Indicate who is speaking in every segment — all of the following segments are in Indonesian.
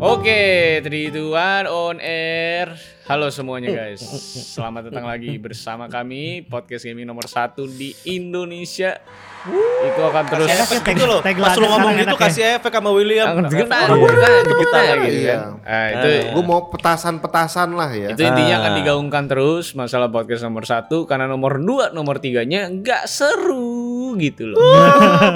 Speaker 1: Oke, 3, 2, 1, on air. Halo semuanya guys, selamat datang lagi bersama kami, podcast gaming nomor satu di Indonesia. Itu akan terus
Speaker 2: Kasih efek gitu loh.
Speaker 3: tagline
Speaker 2: Pas lu ngomong gitu
Speaker 3: enak ya.
Speaker 2: kasih efek sama William.
Speaker 1: kita kita
Speaker 3: Iya.
Speaker 1: gitu
Speaker 4: Iya.
Speaker 1: kan. Ah, itu
Speaker 4: Gue mau petasan-petasan lah ya.
Speaker 1: itu intinya akan digaungkan terus masalah podcast nomor satu karena nomor dua, nomor tiganya nggak seru gitu loh.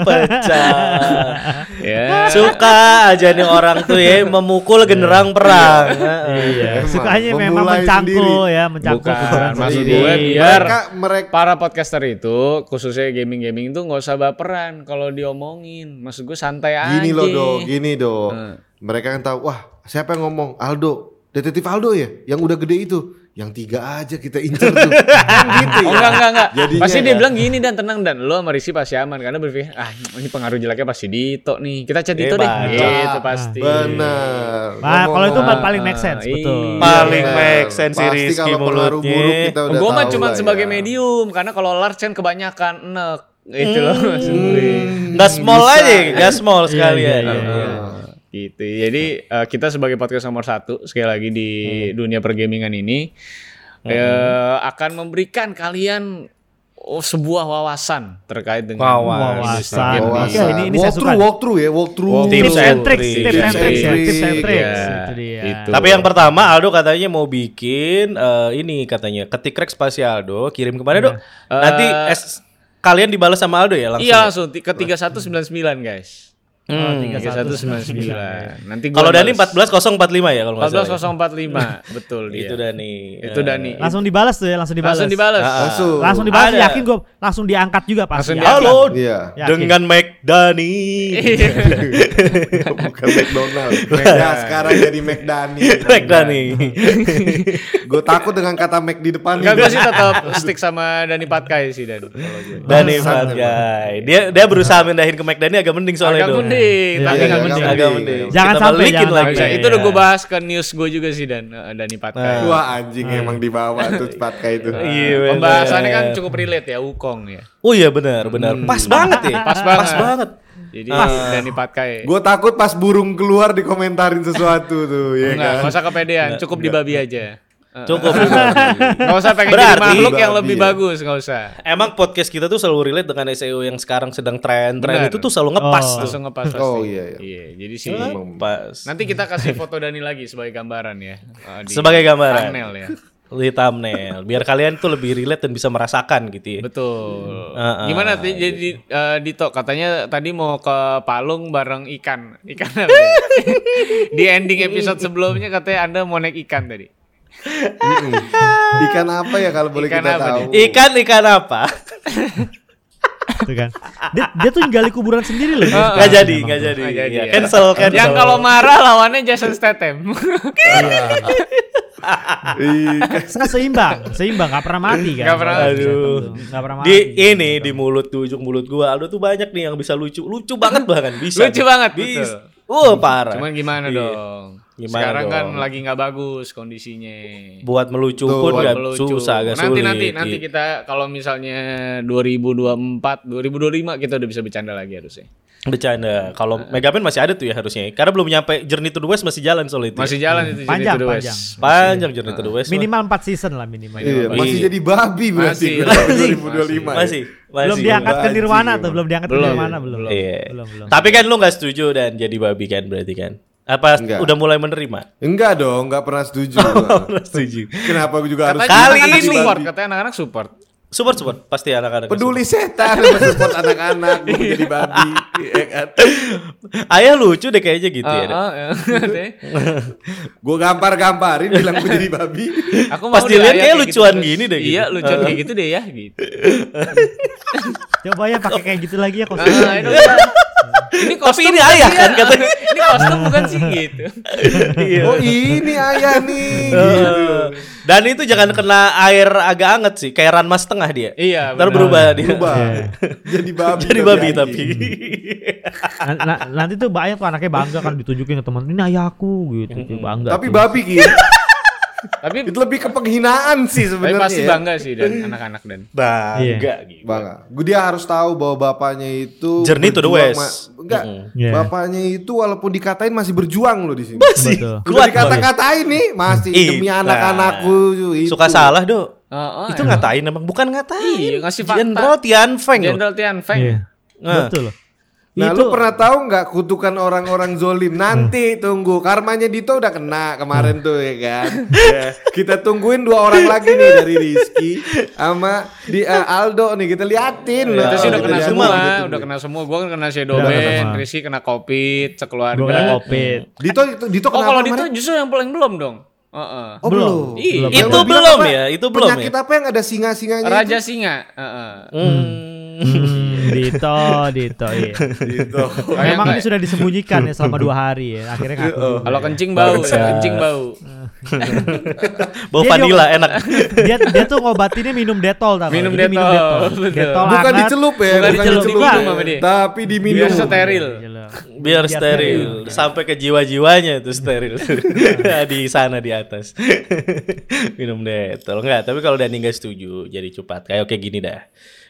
Speaker 2: Pecah.
Speaker 4: Ah.
Speaker 1: Ya.
Speaker 2: Suka aja nih orang tuh ya memukul generang perang.
Speaker 3: Iya,
Speaker 4: Memang,
Speaker 3: sukanya memang
Speaker 4: memulai
Speaker 3: mencangkul
Speaker 4: sendiri.
Speaker 3: ya, mencangkul
Speaker 1: Bukan,
Speaker 3: orang
Speaker 4: Kan
Speaker 1: maksud
Speaker 3: sendiri.
Speaker 1: gue biar
Speaker 4: Mereka mereka
Speaker 1: para podcaster itu khususnya gaming-gaming itu nggak usah baperan kalau diomongin. Maksud gue santai aja.
Speaker 4: gini loh dong, gini dong.
Speaker 1: Hmm.
Speaker 4: Mereka kan tahu, wah siapa yang ngomong Aldo, detektif Aldo ya, yang udah gede itu, yang tiga aja kita incer tuh. Kan gitu
Speaker 1: Oh
Speaker 4: ya.
Speaker 1: enggak enggak enggak.
Speaker 4: Jadinya
Speaker 1: pasti dia
Speaker 4: ya.
Speaker 1: bilang gini dan tenang dan lo sama Rizky pasti aman karena berpikir ah ini pengaruh jeleknya pasti Dito nih. Kita cat Dito
Speaker 2: Eh,
Speaker 1: deh.
Speaker 2: baca.
Speaker 1: Gitu pasti.
Speaker 4: Iya, Benar.
Speaker 3: Nah, kalau itu
Speaker 4: Ngomong-
Speaker 3: mah paling make sense,
Speaker 1: Ah,
Speaker 3: betul.
Speaker 1: iya.
Speaker 2: Paling
Speaker 4: Benar.
Speaker 2: make sense si
Speaker 4: Pasti
Speaker 2: Rizky
Speaker 4: kalau pengaruh
Speaker 2: mulutnya.
Speaker 4: buruk kita udah
Speaker 1: Gue mah
Speaker 4: tahu
Speaker 1: cuma
Speaker 4: lah
Speaker 1: sebagai
Speaker 4: ya.
Speaker 1: medium karena kalau Lars kan kebanyakan enek gitu loh maksud gue.
Speaker 4: Ah.
Speaker 2: Gas small
Speaker 4: Bisa.
Speaker 2: aja, gas small sekali
Speaker 3: iya,
Speaker 2: ya.
Speaker 3: iya,
Speaker 1: Gitu. Jadi eh, kita sebagai podcast nomor satu sekali lagi di
Speaker 4: Hmm.
Speaker 1: dunia pergamingan ini eh, akan memberikan kalian oh, sebuah wawasan terkait dengan
Speaker 2: Wawasan.
Speaker 1: industri
Speaker 3: Wawasan.
Speaker 1: gaming.
Speaker 4: Wawasan.
Speaker 3: Iya, ini- ini saya
Speaker 4: walkthrough,
Speaker 3: suka.
Speaker 4: walkthrough ya, walkthrough.
Speaker 1: Walkthrough.
Speaker 3: Tips and tricks,
Speaker 2: Tips
Speaker 3: tips and
Speaker 2: and
Speaker 3: tricks, ya,
Speaker 4: tricks.
Speaker 3: tips and
Speaker 4: Iya,
Speaker 3: tricks.
Speaker 1: Iya,
Speaker 3: Itu dia.
Speaker 1: itu.
Speaker 2: Tapi yang pertama Aldo katanya mau bikin eh, ini katanya ketik rek spasi Aldo kirim kemana Dok? Nanti
Speaker 1: Eh,
Speaker 2: es- kalian dibalas sama Aldo ya langsung.
Speaker 1: Iya langsung ti- ke 3199 guys.
Speaker 2: Hmm.
Speaker 1: 3199. Nanti gua
Speaker 2: Kalau Dani
Speaker 1: balas.
Speaker 2: 14045 ya kalau nggak salah.
Speaker 1: 14045. Betul dia.
Speaker 2: Itu Dani.
Speaker 1: Iya.
Speaker 2: Ah,
Speaker 1: Itu Dani.
Speaker 3: Langsung dibalas tuh ya, langsung dibalas.
Speaker 1: Langsung dibalas.
Speaker 4: Langsung.
Speaker 3: Langsung dibalas,
Speaker 2: Ada.
Speaker 3: yakin gue langsung diangkat juga pasti.
Speaker 1: Langsung
Speaker 3: ya.
Speaker 1: diangkat.
Speaker 2: Halo
Speaker 4: Iya.
Speaker 3: Yakin. Iya.
Speaker 2: dengan Mike Dani.
Speaker 4: Bukan McDonald. Nah, sekarang jadi McDani.
Speaker 2: Mike Dani.
Speaker 4: Gue takut dengan kata Mac di depan.
Speaker 1: Enggak gue sih tetap stick sama Dani Patkai sih Dan. Kalau gue.
Speaker 2: Dani
Speaker 4: Bangsat
Speaker 2: Fat Guy. Dia dia berusaha mindahin ke Mike Dani agak mending soalnya
Speaker 1: Agak
Speaker 2: itu.
Speaker 1: mending,
Speaker 3: Iya,
Speaker 1: tapi nggak
Speaker 3: iya,
Speaker 4: agak
Speaker 1: mending.
Speaker 2: Agak
Speaker 4: mending.
Speaker 2: mending.
Speaker 3: Jangan
Speaker 2: Kita
Speaker 3: sampai,
Speaker 2: balikin
Speaker 3: jangan
Speaker 1: Bisa,
Speaker 2: lagi. Iya,
Speaker 3: sampai. Iya,
Speaker 1: itu udah gue bahas ke news gue juga sih dan eh, Dani Patkai.
Speaker 2: Nah.
Speaker 4: Wah anjing emang dibawa tuh Patka itu.
Speaker 2: Iya, bener.
Speaker 1: Pembahasannya kan cukup relate ya Wukong ya.
Speaker 2: Oh iya benar, benar. Pas banget ya.
Speaker 1: Pas banget.
Speaker 2: Pas banget.
Speaker 1: Jadi
Speaker 3: Ah.
Speaker 1: Dani Patkai.
Speaker 4: Gue takut pas burung keluar dikomentarin sesuatu tuh, ya
Speaker 1: Enggak,
Speaker 4: kan?
Speaker 1: nggak usah kepedean, cukup di babi aja.
Speaker 2: Cukup.
Speaker 1: Enggak usah pengen jadi
Speaker 2: Berarti-
Speaker 1: makhluk yang
Speaker 4: Babi
Speaker 1: lebih
Speaker 4: ya.
Speaker 1: bagus, enggak usah.
Speaker 2: Emang podcast kita tuh selalu relate dengan SEO yang sekarang sedang tren.
Speaker 1: Benar.
Speaker 2: Tren itu tuh selalu ngepas tuh.
Speaker 1: Langsung ngepas pasti.
Speaker 4: Oh, iya, iya.
Speaker 1: jadi sih
Speaker 2: Ngepas.
Speaker 1: nanti kita kasih foto Dani lagi sebagai gambaran ya. eh, di
Speaker 2: Sebagai gambaran.
Speaker 1: Thumbnail ya.
Speaker 2: Di thumbnail. Biar kalian tuh lebih relate dan bisa merasakan gitu ya.
Speaker 1: Betul.
Speaker 2: Ah, ah,
Speaker 1: Gimana Ti? jadi eh,
Speaker 2: Iya.
Speaker 1: Dito katanya tadi mau ke Palung bareng ikan. Ikan apa? ya? di ending episode sebelumnya katanya Anda mau naik ikan tadi.
Speaker 4: Mm-mm. Ikan apa ya kalau boleh
Speaker 1: Ikan
Speaker 4: kita
Speaker 1: apa
Speaker 4: tahu?
Speaker 1: nih?
Speaker 2: Ikan ikan apa?
Speaker 3: Gitu kan. Dia, dia tuh gali kuburan sendiri loh. dia suka.
Speaker 2: Gak jadi, gak jadi.
Speaker 1: Nggak jadi
Speaker 2: Iya,
Speaker 1: ya.
Speaker 2: Cancel, cancel.
Speaker 1: Yang kalau marah lawannya Jason Statham.
Speaker 4: Ikan.
Speaker 3: Sekarang Kan, seimbang, seimbang, gak pernah mati kan.
Speaker 1: Nggak pernah.
Speaker 2: Aduh.
Speaker 3: Gak pernah mati.
Speaker 2: di ini di mulut di ujung mulut gua Aldo tuh banyak nih yang bisa lucu lucu banget bahkan bisa
Speaker 1: Hmm. Lucu banget,
Speaker 2: bisa
Speaker 1: betul.
Speaker 2: Wah, parah
Speaker 1: Cuman gimana
Speaker 2: Iya.
Speaker 1: dong?
Speaker 2: Gimana
Speaker 1: Sekarang kan
Speaker 2: dong?
Speaker 1: lagi nggak bagus kondisinya.
Speaker 2: buat melucu
Speaker 4: Tuh,
Speaker 2: pun
Speaker 4: buat
Speaker 2: gak
Speaker 1: Melucu.
Speaker 2: susah agak
Speaker 1: nanti
Speaker 2: sulit
Speaker 1: nanti nanti kita kalau misalnya 2024, 2025 kita udah bisa bercanda lagi harusnya.
Speaker 2: Iya. bercanda kalau Megaman masih ada tuh ya harusnya karena belum nyampe Journey to the West masih jalan soalnya itu ya.
Speaker 1: Masih jalan itu Journey
Speaker 3: Panjang,
Speaker 1: to the West.
Speaker 3: panjang.
Speaker 2: panjang Journey to the West mah.
Speaker 3: Minimal ya. 4 season lah minimal.
Speaker 4: Iya, masih
Speaker 2: Iya.
Speaker 4: jadi babi berarti
Speaker 1: Masih.
Speaker 4: kalau
Speaker 1: Masih.
Speaker 4: 2025. ya.
Speaker 2: masih masih
Speaker 3: belum diangkat ke
Speaker 4: Wajib
Speaker 3: Nirwana
Speaker 4: emang.
Speaker 3: tuh, belum diangkat ke
Speaker 1: Belum.
Speaker 3: Nirwana belum.
Speaker 2: Iya.
Speaker 3: Belum, belum.
Speaker 2: tapi kan lu nggak setuju dan jadi babi kan berarti kan apa
Speaker 4: Enggak.
Speaker 2: udah mulai menerima
Speaker 4: Enggak dong, enggak pernah setuju.
Speaker 2: setuju
Speaker 4: Kenapa gue juga harus
Speaker 1: Katanya
Speaker 2: Kali
Speaker 1: anak-anak
Speaker 2: ini.
Speaker 1: support, katanya anak-anak support.
Speaker 2: support support pasti anak-anak
Speaker 4: peduli setan sama support anak-anak gua jadi babi, ya kan?
Speaker 2: ayah lucu deh kayaknya gitu ya
Speaker 1: Ah, ah, eh.
Speaker 4: Gue gampar-gamparin bilang gue jadi babi.
Speaker 1: Aku
Speaker 2: Pas
Speaker 1: deh
Speaker 2: dilihat
Speaker 1: ayah
Speaker 2: kayak lucuan
Speaker 1: terus.
Speaker 2: gini deh,
Speaker 1: Iya,
Speaker 2: gitu.
Speaker 1: lucuan
Speaker 2: Ah.
Speaker 1: kayak gitu deh ya gitu.
Speaker 3: Coba ya pakai kayak gitu lagi ya kostum.
Speaker 1: Ah, ini- ini
Speaker 2: tapi
Speaker 1: kostum
Speaker 2: ini
Speaker 1: bukan
Speaker 2: ayah
Speaker 1: sih,
Speaker 2: kan
Speaker 1: ya?
Speaker 2: katanya
Speaker 1: Ini kostum bukan sih gitu.
Speaker 2: Iya.
Speaker 4: Oh ini ayah nih.
Speaker 1: gitu.
Speaker 2: Eh, Dan itu jangan kena air agak anget sih, kayak ranma setengah dia.
Speaker 1: Iya, benar.
Speaker 2: Ntar berubah dia.
Speaker 4: Berubah.
Speaker 3: Iya.
Speaker 4: Jadi babi.
Speaker 2: Jadi babi
Speaker 4: anjing.
Speaker 2: tapi.
Speaker 3: Nan- nan- Nah, nanti tuh banyak tuh anaknya bangga kan ditunjukin ke teman ini ayahku gitu tuh bangga.
Speaker 4: Tapi
Speaker 3: tuh.
Speaker 4: babi gitu.
Speaker 1: Tapi
Speaker 4: Itu lebih ke penghinaan sih
Speaker 1: tapi
Speaker 4: sebenarnya.
Speaker 1: pasti
Speaker 4: ya.
Speaker 1: bangga sih dan anak-anak dan.
Speaker 3: Iya.
Speaker 2: Bangga gitu.
Speaker 1: Iya.
Speaker 4: Bangga. Gua- Dia harus tahu bahwa bapaknya itu
Speaker 2: Journey to the
Speaker 4: berjuang
Speaker 2: West.
Speaker 4: ma- enggak.
Speaker 3: Iya.
Speaker 4: Bapaknya itu walaupun dikatain masih berjuang loh di sini.
Speaker 2: Masih
Speaker 3: Betul.
Speaker 4: Udah
Speaker 2: kuat banget.
Speaker 4: dikata-katain nih masih
Speaker 2: Ih,
Speaker 4: demi
Speaker 2: nah.
Speaker 4: anak-anakku itu.
Speaker 2: Suka salah, Dok.
Speaker 1: Oh, oh,
Speaker 2: itu
Speaker 1: emang.
Speaker 2: ngatain emang bukan ngatain.
Speaker 1: Iya, ngasih fakta.
Speaker 2: Jenderal Tian Feng. loh.
Speaker 1: Jenderal Tian Feng.
Speaker 3: Iya.
Speaker 2: Nah.
Speaker 3: Betul loh.
Speaker 4: Nah, lu pernah tahu nggak kutukan orang-orang zolim? Nanti tunggu karmanya Dito udah kena kemarin tuh ya kan. Ya, Kita tungguin dua orang lagi nih dari Rizky sama di eh, Aldo nih kita liatin.
Speaker 3: Iya,
Speaker 1: Itu sih Iya. udah
Speaker 4: Kita
Speaker 1: kena
Speaker 4: liatin,
Speaker 1: semua,
Speaker 4: kita tungguin.
Speaker 1: udah kena semua. Gua kan kena
Speaker 3: gitu. Udah kena
Speaker 1: Shadowen,
Speaker 3: semua.
Speaker 1: Rizky kena Covid,
Speaker 3: Gua kena
Speaker 1: sekeluarga.
Speaker 3: covid.
Speaker 4: Dito Dito, Dito
Speaker 1: Oh,
Speaker 4: kenapa
Speaker 1: kalau
Speaker 4: kemarin?
Speaker 1: itu justru yang paling belum dong. Heeh.
Speaker 4: Oh,
Speaker 3: Belum.
Speaker 4: belum.
Speaker 1: Ih,
Speaker 3: Belum.
Speaker 4: Yang
Speaker 2: Itu
Speaker 4: lu bilang
Speaker 2: belum
Speaker 4: apa?
Speaker 2: ya, itu belum
Speaker 4: Penyakit apa yang ada singa-singanya?
Speaker 1: Raja
Speaker 4: itu?
Speaker 1: Singa. Heeh.
Speaker 2: Hmm.
Speaker 3: Hmm, Dito, Dito, iya.
Speaker 4: Dito.
Speaker 1: Makanya
Speaker 3: Memang
Speaker 1: nggak-
Speaker 3: ini sudah disembunyikan ya selama dua hari ya. Akhirnya ngaku.
Speaker 4: Oh.
Speaker 3: juga
Speaker 1: kalau
Speaker 3: ya.
Speaker 1: kencing bau,
Speaker 2: Bangsat.
Speaker 1: kencing bau.
Speaker 2: Bau
Speaker 3: Dia
Speaker 2: vanilla
Speaker 3: juga-
Speaker 2: enak.
Speaker 3: dia dia tuh ngobatinnya minum detol tau
Speaker 1: Minum
Speaker 3: Dia
Speaker 1: Dettol,
Speaker 3: Dettol,
Speaker 1: betul.
Speaker 3: Dettol
Speaker 4: Bukan
Speaker 3: hangat.
Speaker 4: dicelup ya,
Speaker 1: Bukan
Speaker 4: bukan
Speaker 1: dicelup,
Speaker 4: dicelup.
Speaker 1: diminum sama dia.
Speaker 4: Tapi diminum.
Speaker 1: Biar steril.
Speaker 3: Gila.
Speaker 2: Biar steril ya. sampai ke jiwa-jiwanya itu steril. di sana di atas. Minum detol enggak, tapi kalau Dani enggak setuju jadi cupat. Kayak oke gini dah.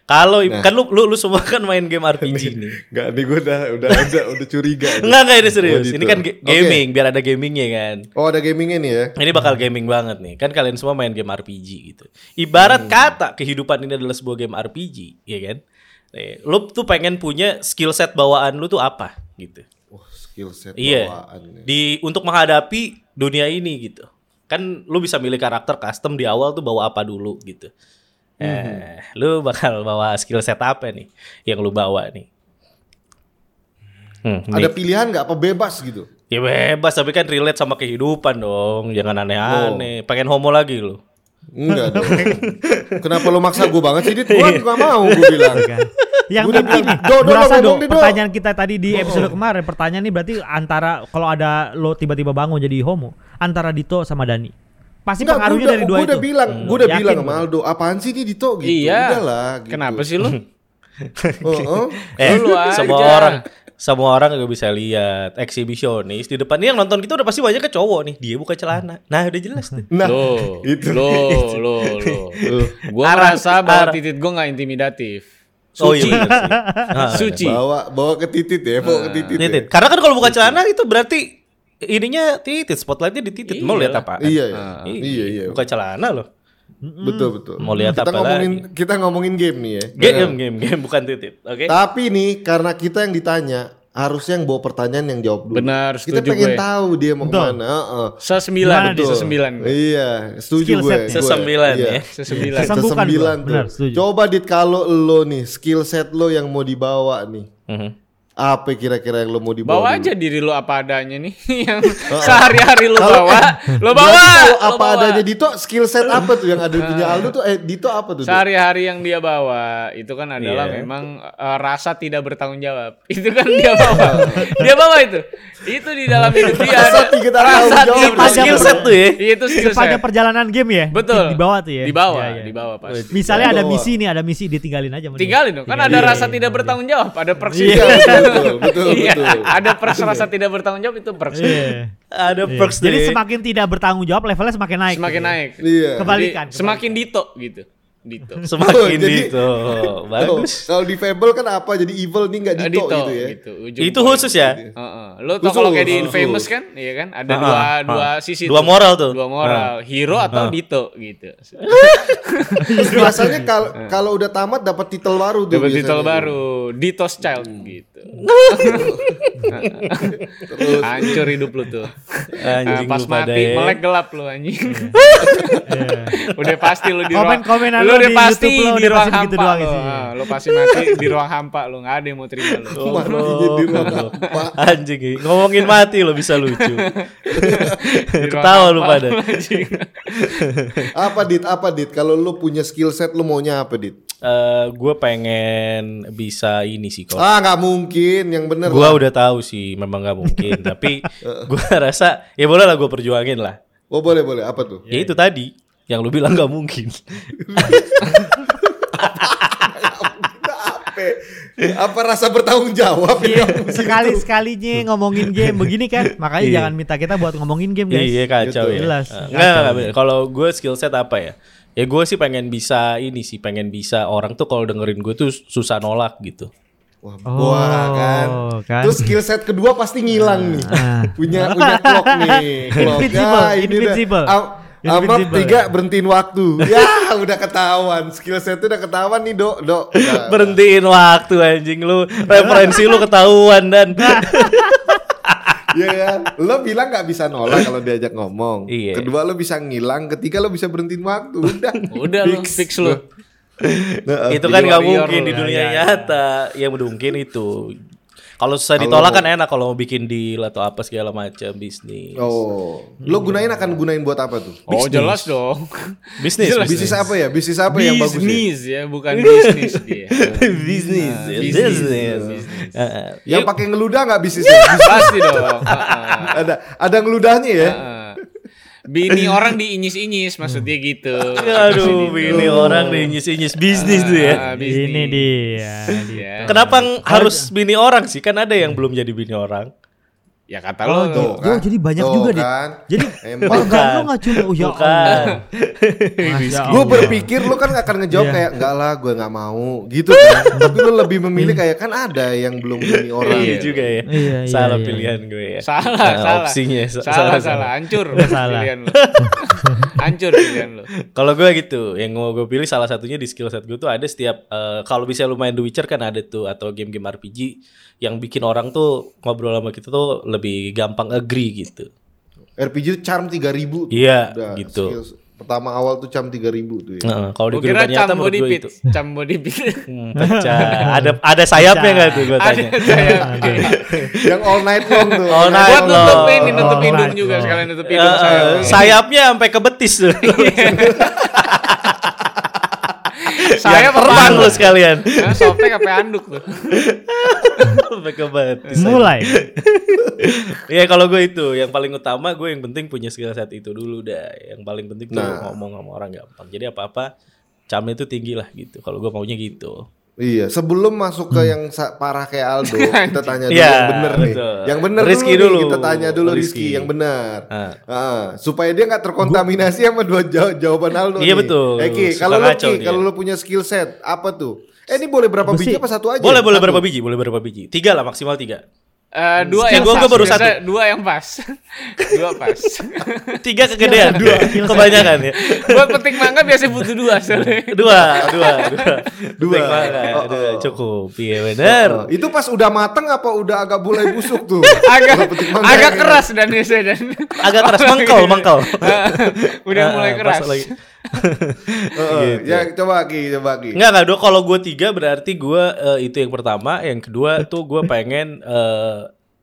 Speaker 2: Kalau
Speaker 4: Nah.
Speaker 2: kan lu, lu lu semua kan main game RPG nih.
Speaker 4: Enggak, nih gue udah udah udah, udah curiga. nih.
Speaker 2: Enggak enggak ini serius.
Speaker 4: Oh, gitu.
Speaker 2: Ini kan ga-
Speaker 4: Oke.
Speaker 2: gaming, biar ada gamingnya kan.
Speaker 4: Oh, ada gamingnya nih ya.
Speaker 2: Ini bakal gaming banget nih. Kan kalian semua main game RPG gitu.
Speaker 4: Hmm.
Speaker 2: Ibarat kata kehidupan ini adalah sebuah game RPG, ya kan? Eh, Lu tuh pengen punya skill set bawaan lu tuh apa gitu.
Speaker 4: Wah, skill set
Speaker 1: ya.
Speaker 2: Iya.
Speaker 4: bawaannya.
Speaker 2: Di untuk menghadapi dunia ini gitu. Kan lu bisa milih karakter custom di awal tuh bawa apa dulu gitu.
Speaker 1: Mhm.
Speaker 2: Eh, lu bakal bawa skill set apa nih yang lu bawa nih? Hmm,
Speaker 4: Ada pilihan nggak apa bebas gitu?
Speaker 2: Ya bebas tapi kan relate sama kehidupan dong. Jangan aneh-aneh. Pengen homo lagi lu.
Speaker 4: Enggak dong. Kenapa lo maksa gue banget sih? Dit? Gua nggak mau gue bilang.
Speaker 3: Yang
Speaker 4: Gua udah
Speaker 3: penting
Speaker 4: bilang,
Speaker 3: nih,
Speaker 4: Do, Do,
Speaker 3: berasa
Speaker 4: lo
Speaker 3: dong
Speaker 4: ngomong deh, Do.
Speaker 3: pertanyaan kita tadi di episode kemarin. Pertanyaan ini berarti antara kalau ada lo tiba-tiba bangun jadi homo, antara Dito sama Dani. Pasti
Speaker 4: Enggak, gua
Speaker 3: pengaruhnya
Speaker 4: udah-
Speaker 3: dari dua
Speaker 4: gua
Speaker 3: itu.
Speaker 4: udah bilang, gue udah
Speaker 3: Yakin
Speaker 4: bilang
Speaker 3: gua.
Speaker 4: sama Aldo, apaan sih ini Dito gitu?
Speaker 1: Iya.
Speaker 4: Udahlah, gitu.
Speaker 1: Kenapa sih lu?
Speaker 4: Oh, oh.
Speaker 2: Eh,
Speaker 1: Lu aja.
Speaker 2: semua orang semua orang juga bisa lihat eksibisionis di depan Ini yang nonton kita udah pasti banyak ke cowok nih dia buka celana nah udah jelas tuh
Speaker 4: Nah,
Speaker 1: Lo,
Speaker 4: itu.
Speaker 1: lo, lo, lo. Gua
Speaker 2: Arah-
Speaker 1: merasa bahwa
Speaker 2: arah.
Speaker 1: titit gua nggak intimidatif.
Speaker 2: oh iya bener sih. Ah,
Speaker 1: Suci.
Speaker 4: bawa bawa ke titit ya, bawa ke titit. ya.
Speaker 2: titit karena kan kalau buka celana itu berarti ininya titit spotlightnya di titit mau lihat apa
Speaker 1: kan?
Speaker 4: Iya, iya.
Speaker 1: Ah.
Speaker 4: iya, iya.
Speaker 2: buka celana loh
Speaker 4: Betul, betul.
Speaker 2: Mau lihat
Speaker 4: kita
Speaker 2: apa
Speaker 4: ngomongin kita ngomongin game nih ya.
Speaker 2: game game game bukan titit oke
Speaker 4: Tapi nih karena kita yang ditanya harusnya yang bawa pertanyaan yang jawab dulu.
Speaker 1: Benar,
Speaker 4: Kita
Speaker 1: setuju
Speaker 4: pengen
Speaker 1: gue.
Speaker 4: tahu dia mau
Speaker 3: Betul.
Speaker 4: kemana. Heeh.
Speaker 1: Sesembilan,
Speaker 3: Gimana, Dit?
Speaker 1: sesembilan.
Speaker 4: Iya, setuju
Speaker 3: Skill
Speaker 4: gue.
Speaker 3: setnya.
Speaker 4: gue.
Speaker 2: Sesembilan
Speaker 4: Iya.
Speaker 2: ya.
Speaker 1: Sesembilan.
Speaker 3: Sesem- Sembuhkan
Speaker 4: Sesembilan
Speaker 3: gue.
Speaker 4: tuh.
Speaker 3: Benar, setuju.
Speaker 4: Coba dit kalau lo nih skill set lo yang mau dibawa nih.
Speaker 2: Mhm.
Speaker 4: Apa kira-kira yang lo mau dibawa?
Speaker 1: Bawa aja
Speaker 4: dulu?
Speaker 1: diri lo apa adanya nih yang
Speaker 4: Oh,
Speaker 1: sehari-hari lo bawa, lo
Speaker 4: Berarti
Speaker 1: bawa. lo
Speaker 4: kalau eh,
Speaker 1: bawa.
Speaker 4: apa
Speaker 1: Ah.
Speaker 4: adanya Dito skill set apa tuh yang ada di punya Aldo tuh eh Dito apa tuh? Dito?
Speaker 1: Sehari-hari yang dia bawa itu kan adalah
Speaker 2: Iya.
Speaker 1: memang eh, rasa tidak bertanggung jawab. Itu kan
Speaker 4: Iya.
Speaker 1: dia bawa. dia bawa itu. Itu di dalam hidup dia
Speaker 4: Rasa
Speaker 1: ada Ah,
Speaker 4: tidak bertanggung
Speaker 1: rasa
Speaker 4: jawab.
Speaker 1: tidak
Speaker 2: Itu skill set tuh ya
Speaker 1: Iya, Itu skill
Speaker 3: Sepanjang
Speaker 1: set.
Speaker 3: perjalanan game ya.
Speaker 1: Betul.
Speaker 3: Di bawah tuh ya.
Speaker 1: Di bawah,
Speaker 3: Iya, iya.
Speaker 1: di bawah pas.
Speaker 3: Misalnya ada
Speaker 4: Bawah.
Speaker 3: misi nih, ada misi ditinggalin aja. mending.
Speaker 1: Tinggalin dong. Kan ada
Speaker 3: Tinggalin.
Speaker 1: rasa tidak bertanggung jawab, ada perks.
Speaker 4: Iya,
Speaker 1: juga.
Speaker 4: betul, betul,
Speaker 1: Iya,
Speaker 4: betul.
Speaker 1: Ada perks rasa tidak bertanggung jawab itu perks.
Speaker 3: Iya.
Speaker 2: ada
Speaker 3: Iya.
Speaker 2: perks ya.
Speaker 3: Jadi
Speaker 2: dari-
Speaker 3: semakin tidak bertanggung jawab, levelnya semakin naik.
Speaker 1: Semakin
Speaker 3: Gitu ya.
Speaker 1: naik.
Speaker 4: Iya.
Speaker 1: Jadi
Speaker 3: Kebalikan,
Speaker 1: Semakin dito gitu. Dito.
Speaker 2: semakin
Speaker 4: Oh, jadi-
Speaker 2: gitu
Speaker 4: Oh,
Speaker 2: bagus
Speaker 4: Kalau di Fable kan apa jadi evil nih nggak
Speaker 1: Eh,
Speaker 4: Dito, gitu ya.
Speaker 1: gitu, ujung
Speaker 2: itu
Speaker 1: poin.
Speaker 2: khusus ya
Speaker 1: Heeh. Lo tau kalau
Speaker 4: Khusus,
Speaker 1: kayak di
Speaker 4: khusus.
Speaker 1: Infamous kan, iya kan? Ada
Speaker 2: Ha-ha,
Speaker 1: dua
Speaker 2: ha.
Speaker 1: dua sisi.
Speaker 2: Dua moral tuh.
Speaker 1: Dua moral, hero atau Dito gitu.
Speaker 4: Terus biasanya kalau kalau udah tamat dapat titel baru tuh.
Speaker 1: Dapat
Speaker 4: biasanya.
Speaker 1: titel baru, Dito's Child
Speaker 4: Hmm.
Speaker 1: gitu. Hancur hidup lu tuh.
Speaker 2: Anjing
Speaker 1: Ah, pas
Speaker 2: lu pada
Speaker 1: mati
Speaker 2: ya.
Speaker 1: melek gelap lu anjing. udah pasti lu di ruang
Speaker 3: Komen-komenan
Speaker 1: lu
Speaker 3: lu
Speaker 1: udah
Speaker 3: di
Speaker 1: pasti
Speaker 3: YouTube lu
Speaker 1: di
Speaker 3: udah
Speaker 1: ruang
Speaker 3: pasti
Speaker 1: hampa
Speaker 3: begitu doang
Speaker 1: lu.
Speaker 3: isinya.
Speaker 1: Ah, lu pasti mati di ruang hampa lu nggak ada yang mau terima lu.
Speaker 4: Mati jadi ruang apa?
Speaker 2: Oh, Anjing ya. ngomongin mati lo bisa lucu.
Speaker 1: Di ruang
Speaker 2: Ketawa lu
Speaker 1: hampa
Speaker 2: pada.
Speaker 1: anjing.
Speaker 4: Apa dit? Apa dit? Kalau lu punya skill set lu maunya apa dit?
Speaker 2: Eh, gue pengen bisa ini sih kok.
Speaker 4: Ah nggak mungkin yang bener.
Speaker 2: Gue
Speaker 4: lah.
Speaker 2: udah tahu sih memang nggak mungkin, tapi gue rasa ya boleh lah gue perjuangin lah.
Speaker 4: Oh boleh boleh apa tuh?
Speaker 2: Ya itu tadi yang lu bilang nggak mungkin.
Speaker 4: Apa? Apa rasa bertanggung jawab?
Speaker 3: Iya, sekali-sekalinya ngomongin game begini kan. Makanya jangan minta kita buat ngomongin game, guys.
Speaker 2: Iya kacau
Speaker 3: Gitu.
Speaker 2: ya.
Speaker 3: Jelas,
Speaker 2: Eh,
Speaker 3: kacau.
Speaker 2: Nggak nggak, nggak. Kalau gue skill set apa ya? Ya gue sih pengen bisa ini sih, pengen bisa orang tuh kalau dengerin gue tuh susah nolak gitu.
Speaker 4: Wah, wah kan.
Speaker 3: oke. kan.
Speaker 4: Terus skill set kedua pasti ngilang nih.
Speaker 3: Ah.
Speaker 4: punya punya clock nih. Clock.
Speaker 3: Invincible,
Speaker 4: Ya, ini udah.
Speaker 3: invincible.
Speaker 4: Am- Amap
Speaker 3: Invincible.
Speaker 4: tiga berhentiin waktu. Ya udah ketahuan. Skill set udah ketahuan nih dok dok. Udah.
Speaker 2: Berhentiin waktu anjing lu. Referensi lu ketahuan dan
Speaker 3: Nah.
Speaker 4: Iya kan? Lo bilang nggak bisa nolak kalau diajak ngomong.
Speaker 2: Iya.
Speaker 4: Kedua lo bisa ngilang. Ketiga lo bisa berhentiin waktu. Udah.
Speaker 1: Udah lu fix lu.
Speaker 4: Nah,
Speaker 2: itu kan
Speaker 1: Jadi
Speaker 2: nggak
Speaker 1: warrior
Speaker 2: mungkin
Speaker 1: lu.
Speaker 2: di
Speaker 1: Ya,
Speaker 2: dunia
Speaker 1: ya, ya.
Speaker 2: nyata. Ya mungkin itu. Kalau susah
Speaker 4: Kalau
Speaker 2: ditolak
Speaker 4: mau-
Speaker 2: kan enak kalau mau bikin deal atau apa segala macam bisnis.
Speaker 4: Oh, lo gunain akan gunain buat apa tuh?
Speaker 1: Oh jelas dong.
Speaker 2: Bisnis,
Speaker 1: Jelas.
Speaker 4: Bisnis apa ya? Bisnis apa yang bagus? nih?
Speaker 1: Bisnis ya, bukan bisnis dia.
Speaker 2: bisnis,
Speaker 1: Nah,
Speaker 2: bisnis.
Speaker 1: bisnis, bisnis.
Speaker 2: Eh, eh.
Speaker 4: Yang pakai ngeludah nggak bisnisnya?
Speaker 1: Pasti dong. Heeh.
Speaker 4: ada ada ngeludahnya ya?
Speaker 1: Heeh. Bini orang diinyis-inyis maksudnya gitu.
Speaker 2: Aduh, ini orang nih nyis-nyis bisnis tuh
Speaker 1: Ah,
Speaker 2: ya.
Speaker 1: bisnis.
Speaker 3: Ini dia. dia.
Speaker 1: Ya.
Speaker 2: Kenapa ng- harus bini orang sih? Kan ada yang belum jadi bini orang.
Speaker 1: Ya kata lo
Speaker 3: Oh,
Speaker 1: tuh.
Speaker 4: Tuh,
Speaker 3: Oh,
Speaker 4: kan?
Speaker 3: jadi banyak
Speaker 4: Tuh,
Speaker 3: juga, Dit.
Speaker 4: kan?
Speaker 3: Jadi
Speaker 4: Emang.
Speaker 3: oh, enggak lu enggak cuma oh ya Allah.
Speaker 2: Bukan.
Speaker 3: Masya
Speaker 4: Gue
Speaker 3: Allah.
Speaker 4: berpikir lo kan akan ngejawab
Speaker 3: Iya.
Speaker 4: kayak enggak lah, gue nggak mau gitu kan. Tapi lo lebih memilih kayak kan ada yang belum bini orang.
Speaker 2: Iya juga ya.
Speaker 3: Iya, iya,
Speaker 2: salah
Speaker 3: iya.
Speaker 2: pilihan gue ya.
Speaker 1: Salah,
Speaker 2: Nah,
Speaker 1: salah.
Speaker 2: Opsinya sa-
Speaker 1: salah, salah, hancur
Speaker 3: salah.
Speaker 1: pilihan lo. hancur pilihan lo.
Speaker 2: Kalau gue gitu, yang mau gue pilih salah satunya di skill set gue tuh ada setiap eh, kalau bisa lu main The Witcher kan ada tuh atau game-game RPG yang bikin orang tuh ngobrol sama kita tuh lebih gampang agree gitu.
Speaker 4: RPG tuh charm 3000 tuh.
Speaker 2: Iya,
Speaker 4: Udah,
Speaker 2: gitu.
Speaker 4: skills. Pertama awal tuh charm 3000 tuh ya.
Speaker 2: Heeh, kalau di
Speaker 1: Gue kira
Speaker 2: kehidupan nyata
Speaker 1: cam
Speaker 2: menurut
Speaker 1: body
Speaker 2: gue
Speaker 1: pit,
Speaker 2: itu.
Speaker 1: cam body pit.
Speaker 2: Hmm, pecah. ada ada sayapnya nggak tuh gue
Speaker 1: Ada
Speaker 2: tanya?
Speaker 1: saya.
Speaker 4: yang all night long tuh.
Speaker 2: All night
Speaker 1: Buat
Speaker 2: long.
Speaker 1: nutup ini, nutup
Speaker 3: Oh,
Speaker 1: hidung
Speaker 3: right,
Speaker 1: juga
Speaker 3: oh.
Speaker 1: sekalian nutup
Speaker 2: Eh,
Speaker 1: hidung saya.
Speaker 2: eh, sayapnya sampai ke betis tuh.
Speaker 1: Saya
Speaker 2: perang
Speaker 1: pertama
Speaker 2: lu sekalian.
Speaker 1: Karena softtek apa anduk tuh.
Speaker 2: sampai ke betis.
Speaker 3: Mulai.
Speaker 2: Iya kalau gue itu yang paling utama gue yang penting punya skill set itu dulu dah. Yang paling penting tuh
Speaker 4: Nah.
Speaker 2: ngomong sama orang gampang. Jadi apa-apa camnya itu tinggi lah gitu. Kalau gue maunya gitu.
Speaker 4: Iya, sebelum masuk ke yang sa- parah kayak Aldo, kita
Speaker 2: Hmm.
Speaker 4: tanya dulu
Speaker 2: Iya,
Speaker 4: yang bener nih.
Speaker 2: betul.
Speaker 4: Yang bener
Speaker 2: Rizky
Speaker 4: dulu, nih,
Speaker 2: dulu.
Speaker 4: kita tanya dulu Rizky,
Speaker 2: Rizky.
Speaker 4: yang benar.
Speaker 2: Ah.
Speaker 4: Ah, supaya dia nggak terkontaminasi sama dua jaw- jawaban Aldo.
Speaker 2: Iya,
Speaker 4: nih.
Speaker 2: betul.
Speaker 4: Eh, Ki,
Speaker 2: Suka
Speaker 4: kalau lo
Speaker 2: kacau
Speaker 4: Ki,
Speaker 2: dia.
Speaker 4: kalau lo punya skill set apa tuh? Eh ini boleh berapa biji apa satu aja?
Speaker 2: Boleh boleh
Speaker 4: Iya. Satu.
Speaker 2: berapa biji? Boleh berapa biji? Tiga lah maksimal tiga.
Speaker 1: Eh, dua
Speaker 2: Skill
Speaker 1: yang
Speaker 2: gua-
Speaker 1: pas.
Speaker 2: gua baru
Speaker 1: Biasa
Speaker 2: satu.
Speaker 1: Dua yang pas. Dua pas.
Speaker 2: Tiga kegedean.
Speaker 3: Skill set dua.
Speaker 2: Kebanyakan ya.
Speaker 1: Buat petik mangga biasa butuh dua soalnya.
Speaker 2: Dua, dua, dua.
Speaker 4: Dua.
Speaker 2: Tek banget.
Speaker 4: Oh, oh.
Speaker 2: Dua, cukup. Iya bener.
Speaker 4: Oh, itu pas udah mateng apa udah agak mulai busuk tuh? Kalau
Speaker 1: agak
Speaker 4: petik mangga
Speaker 1: agak
Speaker 4: ini.
Speaker 1: keras dan biasanya dan
Speaker 4: oh.
Speaker 2: Agak keras mengkal, mengkal.
Speaker 1: udah
Speaker 2: Ah,
Speaker 1: mulai
Speaker 2: pas
Speaker 1: keras
Speaker 2: lagi.
Speaker 4: Heeh,
Speaker 2: Gitu.
Speaker 4: Ya coba Ki, coba Ki.
Speaker 2: Enggak enggak, dok. Kalau gue tiga berarti gue eh, itu yang pertama, yang kedua tuh gue pengen